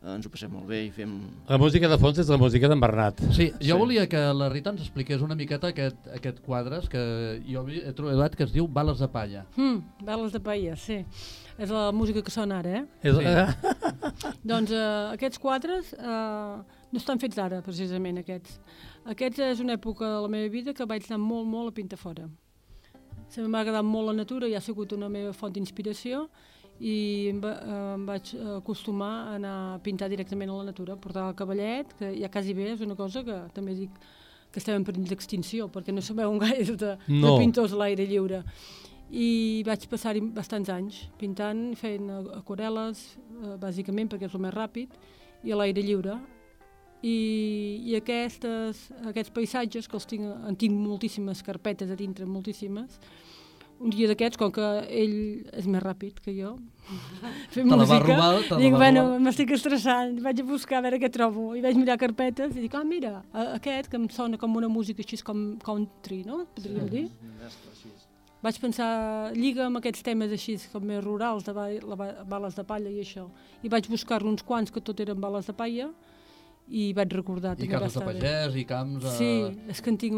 K: eh, ens ho passem molt bé i fem...
B: La música de fons és la música d'en Bernat.
E: Sí, jo volia que la Rita ens expliqués una miqueta aquest, aquest quadres que jo he trobat que es diu Bales de palla.
J: Mm, Bales de Paia, sí. És la música que sona ara, eh?
E: És-
J: doncs eh, aquests quadres eh, no estan fets ara, precisament, aquests. Aquests és una època de la meva vida que vaig anar molt, molt a pintar fora. Se m'ha agradat molt la natura i ha sigut una meva font d'inspiració i em, va, eh, em vaig acostumar a anar a pintar directament a la natura. Portava el cavallet, que ja quasi bé és una cosa que també dic que estem en perill d'extinció, perquè no sabeu gaire de,
B: No.
J: de pintors a l'aire lliure. I vaig passar-hi bastants anys pintant, fent eh, aquarel·les, eh, bàsicament perquè és el més ràpid, i a l'aire lliure. I, i aquestes, aquests paisatges, que els tinc, en tinc moltíssimes carpetes a dintre, moltíssimes, un dia d'aquests, com que ell és més ràpid que jo,
E: Te la va robar, te la
J: dic,
E: va
J: bueno,
E: robar."
J: m'estic estressant, vaig a buscar a veure què trobo, i vaig mirar carpetes i dic, ah, mira, a- aquest que em sona com una música així com country, no? Podríem dir vaig pensar, lliga amb aquests temes així com més rurals, de ba la ba bales de palla i això. I vaig buscar-ne uns quants que tot eren bales de palla i vaig recordar.
E: I
J: també
E: cases de
J: bastant.
E: pagès i camps... eh,
J: Sí, és que en tinc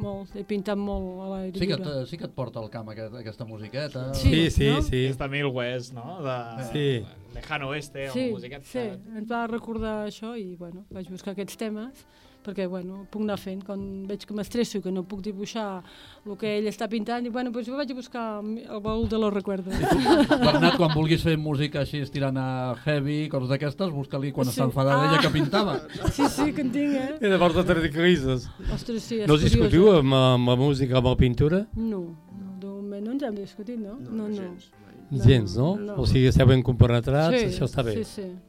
J: molts, he pintat molt a l'aire
E: Sí que,
J: lliure.
E: et, sí que et porta al camp aquest, aquesta musiqueta.
J: Sí, Sí, sí, no?
B: sí.
C: És també el West, no? De...
B: Sí.
C: Lejano Oeste,
J: sí,
C: o música...
J: sí, em va recordar això i bueno, vaig buscar aquests temes perquè bueno, puc anar fent, quan veig que m'estresso i que no puc dibuixar el que ell està pintant, dic, bueno, doncs jo vaig a buscar el baúl de los recuerdos.
E: Bernat, quan vulguis fer música així estirant a heavy, coses d'aquestes, busca-li quan
J: Sí.
E: està enfadada ella
J: Ah.
E: que pintava.
J: Sí, sí, que en tinc, eh?
B: I llavors et ridiculitzes.
J: Ostres, sí, és
B: No us
J: curiós,
B: discutiu
J: eh?
B: amb, amb la música o amb la pintura?
J: No, no, de moment no ens hem discutit, no? No, no. Gens,
B: Gens, no? no? O sigui, esteu ben compenetrats,
J: Sí,
B: això està bé.
J: sí,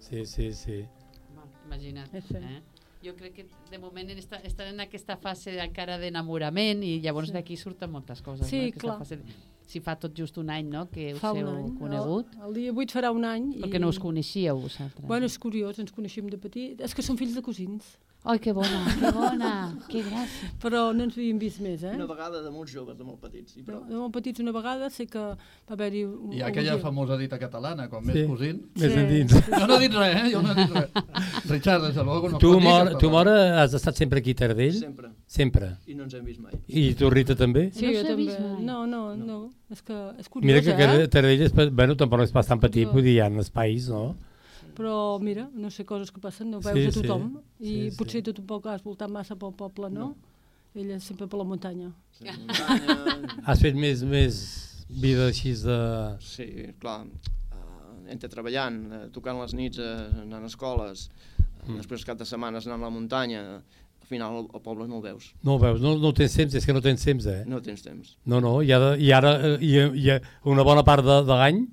B: sí. sí, sí,
D: Imagina't, eh? Jo crec que de moment en esta, estan en aquesta fase encara d'enamorament i llavors
J: Sí.
D: d'aquí surten moltes coses.
J: Sí,
D: no? Aquesta
J: clar.
D: Fase de, si fa tot just un any, no?, que us
J: Fa un
D: heu
J: any,
D: conegut.
J: El, el dia 8 farà un any.
D: Perquè no us coneixíeu, vosaltres.
J: Bueno, és curiós, ens coneixem de petit. És que som fills de cosins.
D: Ai, que bona, que bona, que gràcia.
J: Però no ens havíem vist més, eh?
K: Una vegada de molts joves, de molt petits. I prou.
J: De molt petits una vegada sé que va haver-hi... un-
E: Hi ha
J: un
E: aquella
J: gir.
E: famosa dita catalana, com
B: Sí.
E: més cosins...
B: Més Sí. endins.
E: Jo no he dit res, eh? Jo no he dit res. Richard, des de luego, no es
B: Tu,
E: pot dir
B: mor,
E: català.
B: tu Mora, has estat sempre aquí a Tardell?
K: Sempre.
B: Sempre.
K: I no ens hem vist mai.
B: I tu, Rita, també?
J: Sí,
D: No
J: jo
D: s'ha
J: també.
D: vist mai.
J: No, no, no, no. És que és curiós,
B: Mira que
J: eh?
B: Car- Tardell és, pas- bueno, tampoc és pas tan petit, vull dir, hi ha espais, no?
J: Però mira, no sé coses que passen, no
B: Sí,
J: veus
B: sí.
J: a tothom. I
B: Sí, sí.
J: potser tu tampoc has voltat massa pel poble, no? no. Ella és sempre per la muntanya.
K: Sí, muntanya,
B: Has fet més, més vida així de...
K: Sí, clar, eh, entre treballant, eh, tocant les nits, eh, anant a escoles, mm. després cap de setmanes anant a la muntanya, al final el, el poble no el veus.
B: No ho veus, no, no ho tens temps, és que no tens temps, eh?
K: No tens temps.
B: No, no, i ara, i ara eh, hi, ha- hi ha una bona part de, de l'any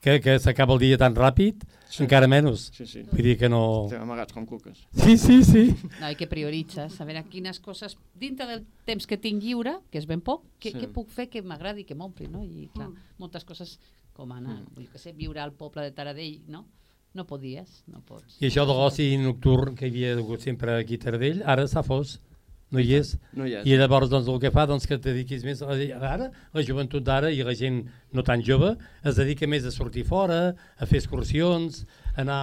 B: que, que s'acaba el dia tan ràpid, sí. encara menys.
K: Sí, sí.
B: Vull dir que no...
K: Estem amagats com cuques.
B: Oh. Sí, sí, sí.
D: No, i que prioritzes, a veure quines coses, dintre del temps que tinc lliure, que és ben poc, què
K: Sí.
D: sí. puc fer que m'agradi, que m'ompli, no? I clar, moltes coses com anar, mm. jo que sé, viure al poble de Taradell, no? No podies, no pots.
B: I això de l'oci nocturn que hi havia hagut sempre aquí a Tardell, ara s'ha fos, no hi és.
K: No hi és.
B: I llavors doncs, el que fa doncs, que et dediquis més... a- Ara, la joventut d'ara i la gent no tan jove es dedica més a sortir fora, a fer excursions, a anar...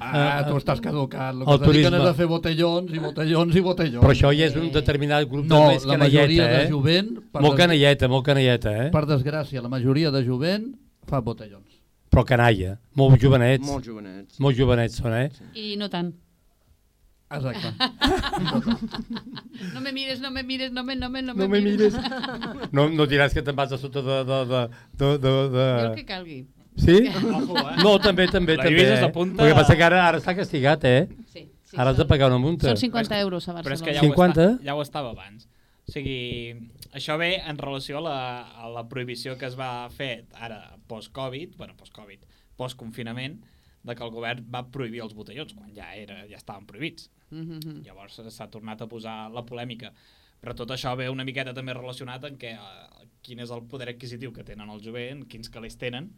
E: Ah, tu estàs caducat. El que
B: al
E: es dediquen
B: turisme.
E: és a fer botellons i botellons i botellons.
B: Però això ja és un determinat grup
E: No,
B: de més
E: la
B: canalleta,
E: majoria de
B: eh?
E: jovent, per
B: Molt
E: des-
B: canalleta, molt canalleta, eh?
E: Per desgràcia, la majoria de jovent fa botellons.
B: Però canalla, molt jovenets.
E: Molt
K: jovenets.
B: Molt jovenets són, eh?
D: I no tant.
E: Exacte.
D: no me mires, no me mires, no me, no me, no me,
B: No me mires. No,
D: No.
B: no diràs que te'n vas a sota de... de, de, de, de, de...
D: Jo el que calgui.
B: Sí?
D: Ojo, eh?
B: No, també, també,
C: La
B: també.
C: Lluïsa
B: eh?
C: s'apunta-
B: El que passa que ara, ara està castigat, eh?
D: Sí, sí,
B: ara has de
D: són-
B: pagar una multa.
D: Són 50 euros a Barcelona.
C: Però és que ja,
B: 50?
C: Ho, està, ja ho estava abans. O sigui, això ve en relació a la, a la prohibició que es va fer ara post-Covid, bueno, post-Covid, post-confinament, de que el govern va prohibir els botellots, quan ja, era, ja estaven prohibits.
D: Mhm.
C: Llavors eh, s'ha tornat a posar la polèmica. Però tot això ve una miqueta també relacionat en què, eh, quin és el poder adquisitiu que tenen el jovent, quins calés tenen,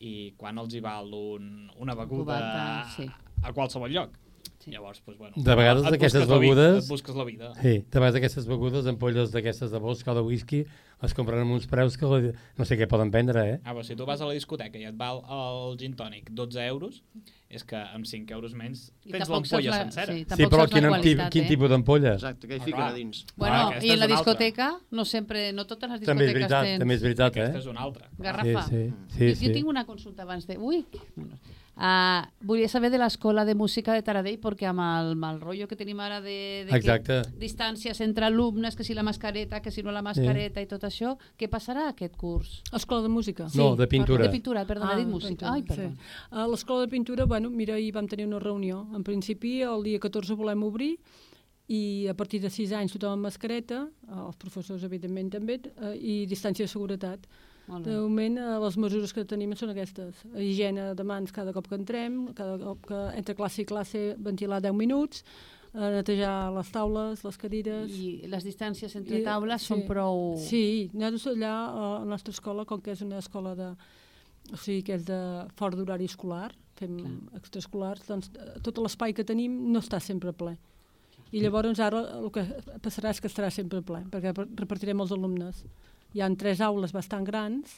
C: i quan els hi val un, una beguda
D: Cubata,
C: a,
D: sí.
C: a qualsevol lloc. Sí. Llavors, doncs, bueno,
B: De vegades
C: et
B: aquestes
C: busques la vida-
B: begudes...
C: Et busques la vida.
B: Sí, de vegades aquestes begudes, ampolles d'aquestes de bosc o de whisky, les compren amb uns preus que la- no sé què poden vendre, eh?
C: Ah, però si tu vas a la discoteca i et val el gin tònic 12 euros, és que amb 5 euros menys
D: I
C: tens
D: tampoc saps
C: l'ampolla
D: la-
C: sencera.
D: sí,
B: Sí, però quin, quin,
D: qualitat,
B: quin
D: eh?
B: tipus d'ampolla?
K: Exacte, què hi
C: Ah,
K: fiquen
C: clar.
K: a dins?
D: Bueno,
C: aquesta
D: i
C: és
D: la
C: una altra.
D: discoteca, no sempre, no totes les discoteques
B: També és veritat,
D: tens...
B: també és veritat, eh?
C: Aquesta és una altra.
D: Garrafa.
B: Sí, sí, sí,
D: jo,
B: sí.
D: jo tinc una consulta abans de... Ui, Uh, volia saber de l'escola de música de Taradell perquè amb el mal rotllo que tenim ara de, de
B: Exacte.
D: Que, distàncies entre alumnes, que si la mascareta, que si no la mascareta i tot això, què passarà aquest curs?
J: Escola de música? Ah,
B: No, de pintura.
D: De pintura, perdona, he dit música. Ai, perdó.
J: Sí. A l'escola de pintura, bueno, mira, ahir vam tenir una reunió. En principi, el dia 14 volem obrir i a partir de 6 anys tothom amb mascareta, eh, els professors, evidentment, també, eh, i distància de seguretat.
D: Molt bé.
J: De moment, eh, les mesures que tenim són aquestes. Higiene de mans cada cop que entrem, cada cop que entre classe i classe ventilar 10 minuts, eh, netejar les taules, les cadires...
D: I les distàncies entre taules són prou-
J: Sí, nosaltres allà eh, a la nostra escola, com que és una escola de... O sigui, que és de fora d'horari escolar, fem extraescolars, doncs eh, tot l'espai que tenim no està sempre ple. I llavors ara el que passarà és que estarà sempre ple, perquè per- repartirem els alumnes. Hi han tres aules bastant grans,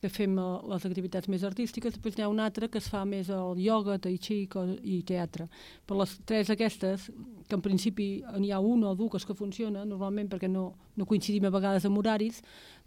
J: que fem eh, les activitats més artístiques, després n'hi ha una altra que es fa més el ioga, tai chi i co- i teatre. Però les tres aquestes, que en principi n'hi ha una o dues que funcionen, normalment perquè no, no coincidim a vegades amb horaris,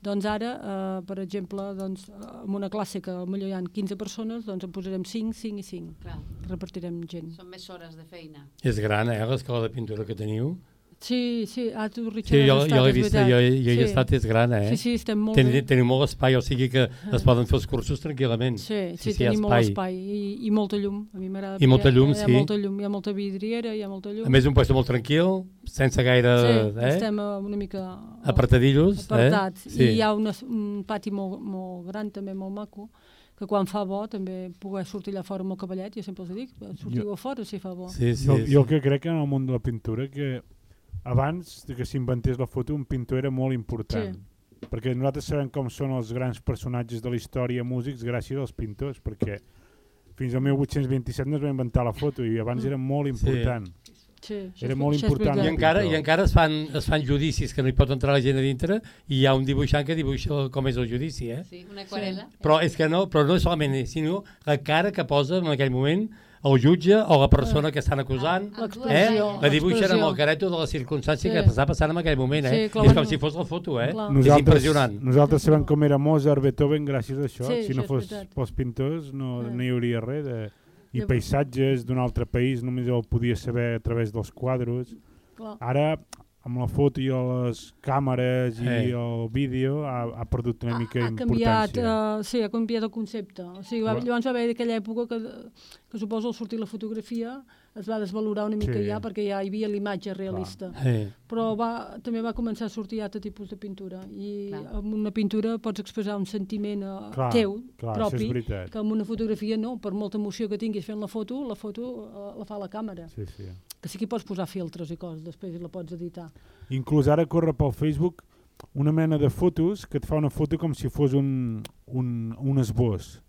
J: doncs ara, eh, per exemple, doncs, eh, en una classe que potser hi ha 15 persones, doncs en posarem 5, 5 i 5.
D: Clar.
J: Repartirem gent.
D: Són més hores de feina.
B: És gran, eh, l'escola de pintura que teniu?
J: Sí, sí, ah, tu, Richard,
B: Sí, jo,
J: has estat,
B: jo l'he
J: és
B: vist,
J: veritat.
B: jo, jo hi he
J: Sí.
B: estat, és gran, eh?
J: Sí, sí, estem molt
B: Ten,
J: bé.
B: Teniu molt espai, o sigui que es poden fer els cursos tranquil·lament.
J: Sí, sí, sí,
B: hi ha
J: tenim molt espai i, i molta llum. A mi m'agrada.
B: I molta
J: perquè
B: llum,
J: hi ha
B: sí.
J: molta llum, hi ha molta vidriera, hi ha molta llum.
B: A més, un lloc molt tranquil, sense gaire...
J: Sí,
B: eh?
J: estem eh, una mica...
B: Apartadillos, eh?
J: Apartats.
B: Sí.
J: I hi ha una, un pati molt, molt gran, també molt maco, que quan fa bo també poder sortir allà fora amb el cavallet, jo sempre els dic, sortiu
F: Jo-
J: a fora si fa bo.
F: jo, jo el que crec en el món de la pintura que abans de que s'inventés la foto un pintor era molt important perquè nosaltres sabem com són els grans personatges de la història músics gràcies als pintors perquè fins al 1827 no es va inventar la foto i abans era molt important
J: Sí,
F: Era molt important.
B: I encara, I encara es, fan, es fan judicis que no hi pot entrar la gent a dintre i hi ha un dibuixant que dibuixa com és el judici, eh?
D: Sí, una aquarela.
B: Però és que no, però no és solament ell, sinó la cara que posa en aquell moment el jutge o la persona que estan acusant, eh?
F: Ah. l'expressió,
B: la dibuixen amb
F: l'expressió.
B: el careto de la circumstància
F: Sí.
B: que està passant en aquell moment, eh?
F: Sí, clar,
B: I és com
F: bueno.
B: si fos la foto, eh?
J: Ah.
F: Clar.
B: És impressionant.
F: Nosaltres sabem com era Mozart, Beethoven, gràcies a això.
B: Sí,
F: si
B: això
F: no
B: és
F: fos
B: veritat.
F: pels pintors no,
J: Ah.
F: no hi hauria res. De... I
J: Llavors-
F: paisatges d'un altre país només el podia saber a través dels quadros.
J: Clar.
F: Ara, amb la foto i les càmeres
B: Eh.
F: i el vídeo, ha, ha perdut una mica
J: Ah, ha canviat,
F: importància.
J: uh, sí, ha canviat el concepte. O sigui, va,
F: Però-
J: llavors va haver aquella època que, que suposo al sortir la fotografia es va desvalorar una mica
F: Sí.
J: sí. ja perquè ja hi havia l'imatge realista.
F: Sí.
J: Però va, també va començar a sortir altre tipus de pintura i clar. amb una pintura pots expressar un sentiment eh,
F: Clar,
J: teu,
F: clar, això és
J: propi,
F: veritat.
J: que amb una fotografia no, per molta emoció que tinguis fent la foto, la foto eh, la fa la càmera.
F: Sí, sí.
J: Que sí que hi pots posar filtres i coses, després i la pots editar.
F: Inclús ara corre pel Facebook una mena de fotos que et fa una foto com si fos un, un, un esbós.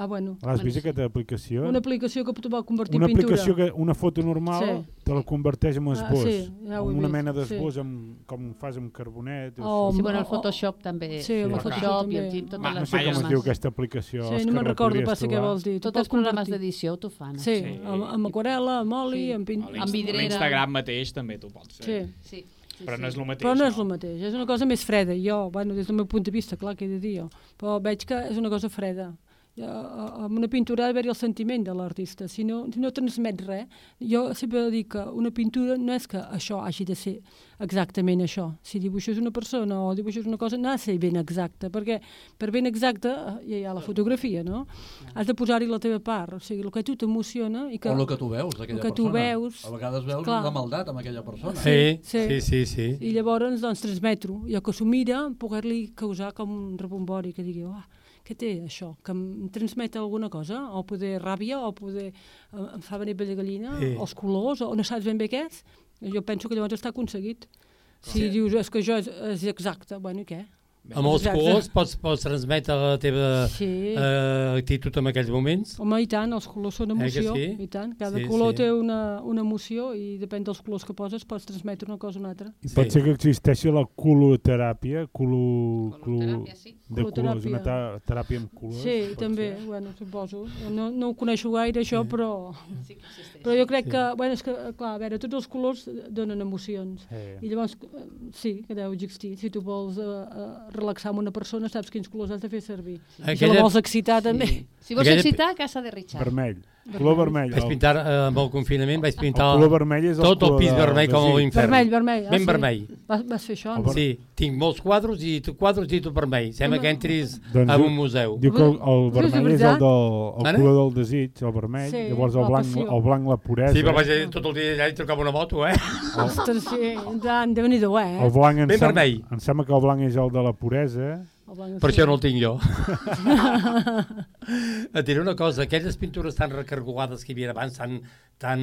J: Ah, bueno.
F: L'has
J: bueno,
F: vist aquesta aplicació?
J: Una aplicació que tu va convertir
F: una
J: en pintura.
F: aplicació que una foto normal
J: Sí.
F: sí. te la converteix en
J: Ah,
F: esbós.
J: sí, ja ho he
F: en una
J: vist,
F: mena
J: sí.
F: d'esbós amb, com fas amb carbonet.
J: O
D: Sí,
J: amb-
D: bueno, el
J: o-
D: Photoshop també.
J: Sí, el
D: el
J: Photoshop
D: Photoshop i el
J: també.
D: GIMP,
F: Va,
D: totes
F: no
D: les
F: sé com es
D: formes.
F: diu aquesta aplicació.
J: Sí,
F: Òscar,
J: no me'n
F: la
J: recordo,
F: podries
J: passa què
F: trobar.
J: vols dir. Tu
D: Tots
J: pots
D: els programes
J: convertir.
D: d'edició t'ho fan. eh?
J: Sí, amb, amb aquarel·la, amb oli, sí. amb, pin...
D: Amb vidrera.
C: L'Instagram mateix també t'ho pots fer.
J: Sí.
D: Sí.
C: Però no és el mateix.
J: Però no és el mateix, és una cosa més freda. Jo, bueno, des del meu punt de vista, clar que he de dir jo, però veig que és una cosa freda. Ja, a- Amb una pintura ha d'haver-hi el sentiment de l'artista, si no, si no transmet res. Jo sempre dic que una pintura no és que això hagi de ser exactament això. Si dibuixes una persona o dibuixes una cosa, no ha de ser ben exacta, perquè per ben exacta eh, ja hi ha la fotografia, no? Has de posar-hi la teva part, o sigui, el que a tu t'emociona i que...
E: O el que tu veus d'aquella
J: el que
E: persona.
J: tu veus,
E: Ah, A vegades veus
J: clar.
E: una maldat amb aquella persona.
B: Sí, sí, sí, sí.
J: I llavors, doncs, transmetre-ho. I el que s'ho mira, poder-li causar com un rebombori, que digui, ah, què té això? Que em transmet alguna cosa? O poder ràbia, o poder... eh, em fa venir pell de gallina,
B: Sí.
J: sí. els colors, o no saps ben bé què és? Jo penso que llavors està aconseguit. Si sí. dius, és que això és, és exacte, bueno, i què?
B: Amb els
J: Exacte.
B: colors pots, pots transmetre la teva
J: Sí.
B: eh, actitud en aquells moments.
J: Home, i tant, els colors són
B: Eh que
J: emoció,
B: sí?
J: i tant. Cada
B: Sí,
J: color
B: sí.
J: té una, una emoció i depèn dels colors que poses pots transmetre una cosa o una altra.
F: I pot ser que existeixi la coloteràpia, colo, colo, de colors,
J: Coloteràpia.
F: una ta- teràpia amb colors.
J: Sí, també, ser. bueno, suposo. No, no ho coneixo gaire, això, però... Sí però jo crec
F: Mm. Sí.
J: que, bueno, és que, eh, clar, a veure, tots els colors donen emocions.
F: Sí.
J: I llavors, eh, sí, que deu existir. Si tu vols eh, eh, relaxar amb una persona, saps quins colors has de fer servir. I Si la
B: Aquella-
J: vols excitar, també.
D: Si vols
B: Aquella-
D: excitar, casa de Richard.
F: Vermell. Color vermell.
B: Vaig pintar eh, amb el confinament, vaig pintar
F: color vermell és el
B: tot el
F: color
B: pis
F: de-
B: vermell
F: de
B: com
F: sí.
B: l'infern.
J: Vermell, vermell, ah,
B: Ben
J: sí. Doncs-
B: vermell.
J: Vas, vas fer això, no?
B: Sí, tinc molts quadros i tu quadros i tu vermell. Sembla que entris
F: Doncs
B: a
F: diu-
B: un museu.
F: Diu que el, el
J: Doncs-
F: vermell és el, del, el
B: Ara?
F: color del desig, el vermell,
J: Sí,
F: llavors
J: la
F: el blanc,
J: passió.
F: el blanc la puresa.
B: Sí, però vaig dir tot el dia allà i trucava una moto, eh?
J: Ostres, sí, tant, déu nhi eh?
F: El blanc em,
B: Ben
F: sem
B: vermell.
F: em sembla que el blanc és el de la puresa.
J: El blanc
B: Per això no el tinc jo. Et diré una cosa, aquelles pintures tan recargolades que hi havia abans, tan, tan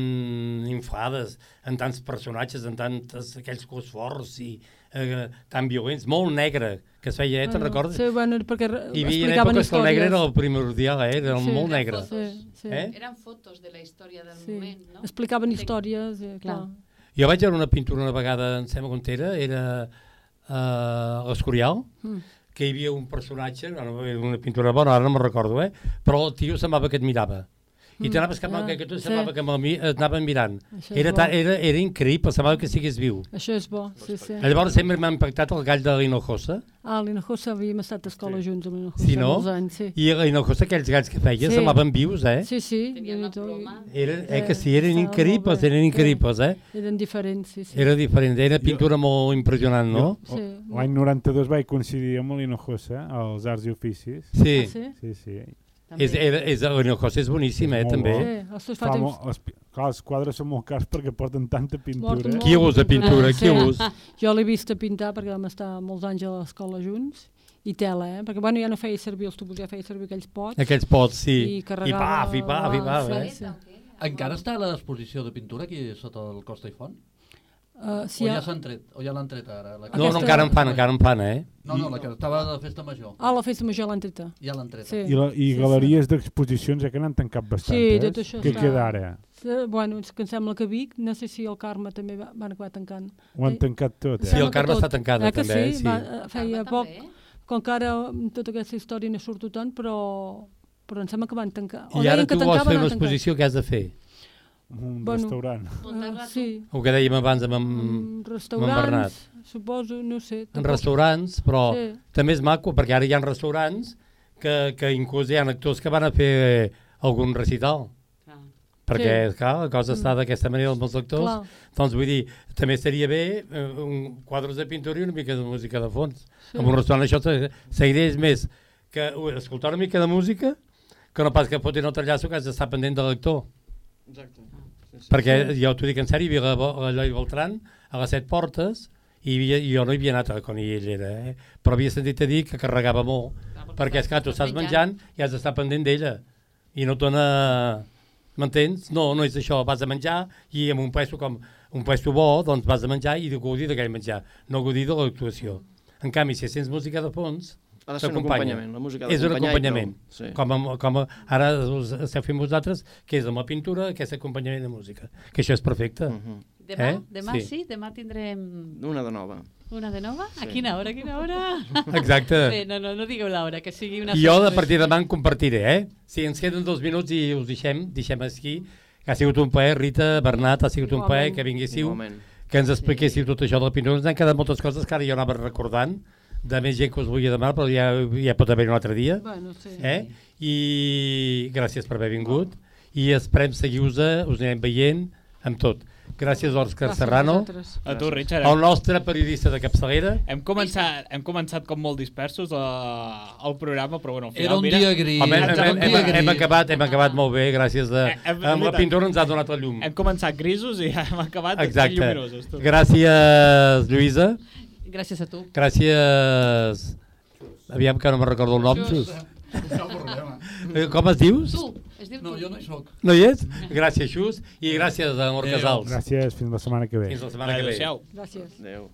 B: inflades, en tants personatges, en tantes, aquells cos forts i eh, tan violents, molt negre, que es feia, eh, te'n
J: Bueno,
B: recordes?
J: Ah, Sí, bueno, perquè re-
B: Hi havia
J: explicaven
B: èpoques que el negre
J: històries.
B: era el primordial, eh? era
J: Sí.
B: molt negre.
J: Sí, sí.
B: Eh?
D: Eren fotos de la història del
J: Sí.
D: moment, no?
J: Explicaven històries, eh, clar.
B: Jo vaig veure una pintura una vegada, em sembla que era, era uh, l'Escorial,
J: Mm.
B: que hi havia un personatge, bueno, era una pintura bona, ara no me'n recordo, eh? però el tio semblava que et mirava. I
F: Mm,
B: t'anaves cap a
F: ah,
B: que, que tu
F: sí.
B: semblava que me'l mi- et anaven mirant.
J: Això és
B: Era,
J: bo.
B: ta, era, era increïble, semblava que sigués viu.
J: Això és bo, sí, sí.
B: Llavors sempre m'ha impactat el gall de l'Hinojosa,
J: Ah, l'Hinojosa havíem estat a escola sí. junts amb l'Hinojosa.
B: si no?
J: molts Anys, sí.
B: I l'Hinojosa, aquells galls que feia,
J: Sí.
B: semblaven vius, eh?
J: Sí, sí. Tenia una ploma.
B: Era, eh, que sí, eren increïbles, eren increïbles, eh?
J: Eren diferents, sí, sí.
B: Era diferent, era pintura molt impressionant, no?
J: Sí.
F: L'any 92 vaig coincidir amb l'Hinojosa, als Arts i Oficis.
B: Sí.
J: Ah, sí?
F: Sí, sí.
B: És, era, és, el José és boníssim, eh,
F: Molt
B: també.
F: bo.
J: Sí, ostres, fa
F: Fa
J: temps-
F: mo- els, pi- clar, els quadres són molt cars perquè porten tanta pintura.
J: Porten
B: Qui
J: molta
B: usa pintura? Qui usa?
J: Jo l'he vista pintar perquè vam estar molts anys a l'escola junts i tela, eh? Perquè, bueno, ja no feia servir els tubos, ja feia servir aquells pots.
B: Aquells pots, sí.
J: I carregava...
B: I paf, i paf, i paf, eh?
E: Encara està a l'exposició de pintura aquí sota el Costa i Font?
J: Uh, sí,
E: o ja
J: ja-
E: s'han tret, o ja l'han tret ara? La
B: No, no, encara en fan, encara en fan, eh?
E: No, no, la que estava de festa major.
J: Ah, la festa major l'han treta.
E: Ja l'han treta.
J: Sí.
F: I, la, i
J: Sí, sí.
F: galeries d'exposicions eh, que n'han tancat bastantes.
J: Sí, tot això
F: Què
J: està-
F: queda ara?
J: Sí, Bueno, és que em sembla que Vic, no sé si el Carme també va, van acabar tancant.
F: Ho han tancat tot, eh?
B: Sí, el Carme està tancat,
J: eh, que
B: també, eh?
J: Sí,
B: Sí.
J: va, eh, feia poc, com que ara mm, tota aquesta història no surto tant, però, però em sembla que van tancar. O
B: I ara
J: deien que
B: tu vols
J: tancaven,
B: fer
J: han
B: una
J: tancat.
B: exposició que has de fer?
F: Un
J: Bueno.
F: restaurant.
J: Eh, sí,
B: El que dèiem abans amb, amb, amb en Bernat.
J: restaurants, suposo, no sé.
B: En
J: tampoc-
B: restaurants, però sí.
J: Sí.
B: també és maco, perquè ara hi ha restaurants que, que inclús hi ha actors que van a fer algun recital. Perquè,
J: Sí. Mm.
B: sí. clar, la cosa està d'aquesta manera amb els actors.
J: Clar.
B: Doncs vull dir, també seria bé eh, un quadres de pintura i una mica de música de fons.
J: Sí.
B: Sí. En un restaurant això se- seguirés més que ui, escoltar una mica de música que no pas que fotin altre llaço que has d'estar pendent de l'actor.
K: Exacte. Sí, sí.
B: Perquè jo t'ho dic en sèrio, hi havia la Bo- l'Eloi Beltran a les set portes i hi havia, i jo no hi havia anat eh, quan hi era, eh? però havia sentit a dir que carregava molt, perquè és clar, Ah, tu estàs menjant i has d'estar pendent d'ella i no et dona... M'entens? No, no és això, vas a menjar i amb un pesto com un pesto bo, doncs vas a menjar i gaudir d'aquell menjar, no gaudir de l'actuació. En canvi, si sents música de fons,
K: Ha de ser un
B: t'acompanya.
K: acompanyament, la música ha
B: És un
K: d'acompanyar i
B: acompanyament.
K: prou, sí.
B: Com, amb- com a- ara us esteu fent vosaltres, que és amb la pintura, aquest acompanyament de música. Que això és perfecte. Uh
K: Mhm.
B: -huh.
D: Demà, eh? demà sí. sí, demà tindrem
K: Una de nova.
D: una de nova.
K: Sí.
D: A quina hora, a quina hora?
B: Exacte.
D: Bé, no, no, no digueu l'hora, que sigui una...
B: I jo
D: sorpresa.
B: a partir de demà en compartiré, eh? Si ens queden dos minuts i us deixem, deixem aquí. Que ha sigut un plaer, Rita, Bernat, ha sigut un plaer
K: Igualment.
B: que vinguéssiu,
K: Igualment.
B: que ens expliquéssiu tot això del pintor. Ens han quedat moltes coses que ara jo anava recordant, de més gent que us volia demanar, però ja, ja pot haver un altre dia.
J: Bueno, sí.
B: Eh? I gràcies per haver vingut. I esperem seguir-vos, us anirem veient amb tot. Gràcies, Òscar
C: Gràcies a
B: Serrano.
C: vosaltres. A tu, Richard.
B: El nostre periodista de capçalera.
C: Hem començat, hem començat com molt dispersos eh, el programa, però bueno, al final...
B: Era un dia gris, Home, hem- era un hem- dia hem- gris. hem acabat- hem acabat molt bé, gràcies a- amb la pintura ens ha donat la llum.
C: Hem començat grisos i hem acabat
B: Exacte.
C: lluminosos. tu.
B: Gràcies, Lluïsa.
D: Gràcies a tu.
B: Gràcies... Aviam que no me'n recordo el nom.
E: Xus.
B: Xus.
E: Buscar el problema.
B: Eh, Com es dius?
D: Tu, es diu
E: No, jo no hi soc.
B: No hi és? Gràcies, Xus, i gràcies a Amor Casals.
F: Gràcies, fins la setmana que ve.
B: Fins la setmana que ve.
C: Adéu-siau.
J: Gràcies.
K: Adéu.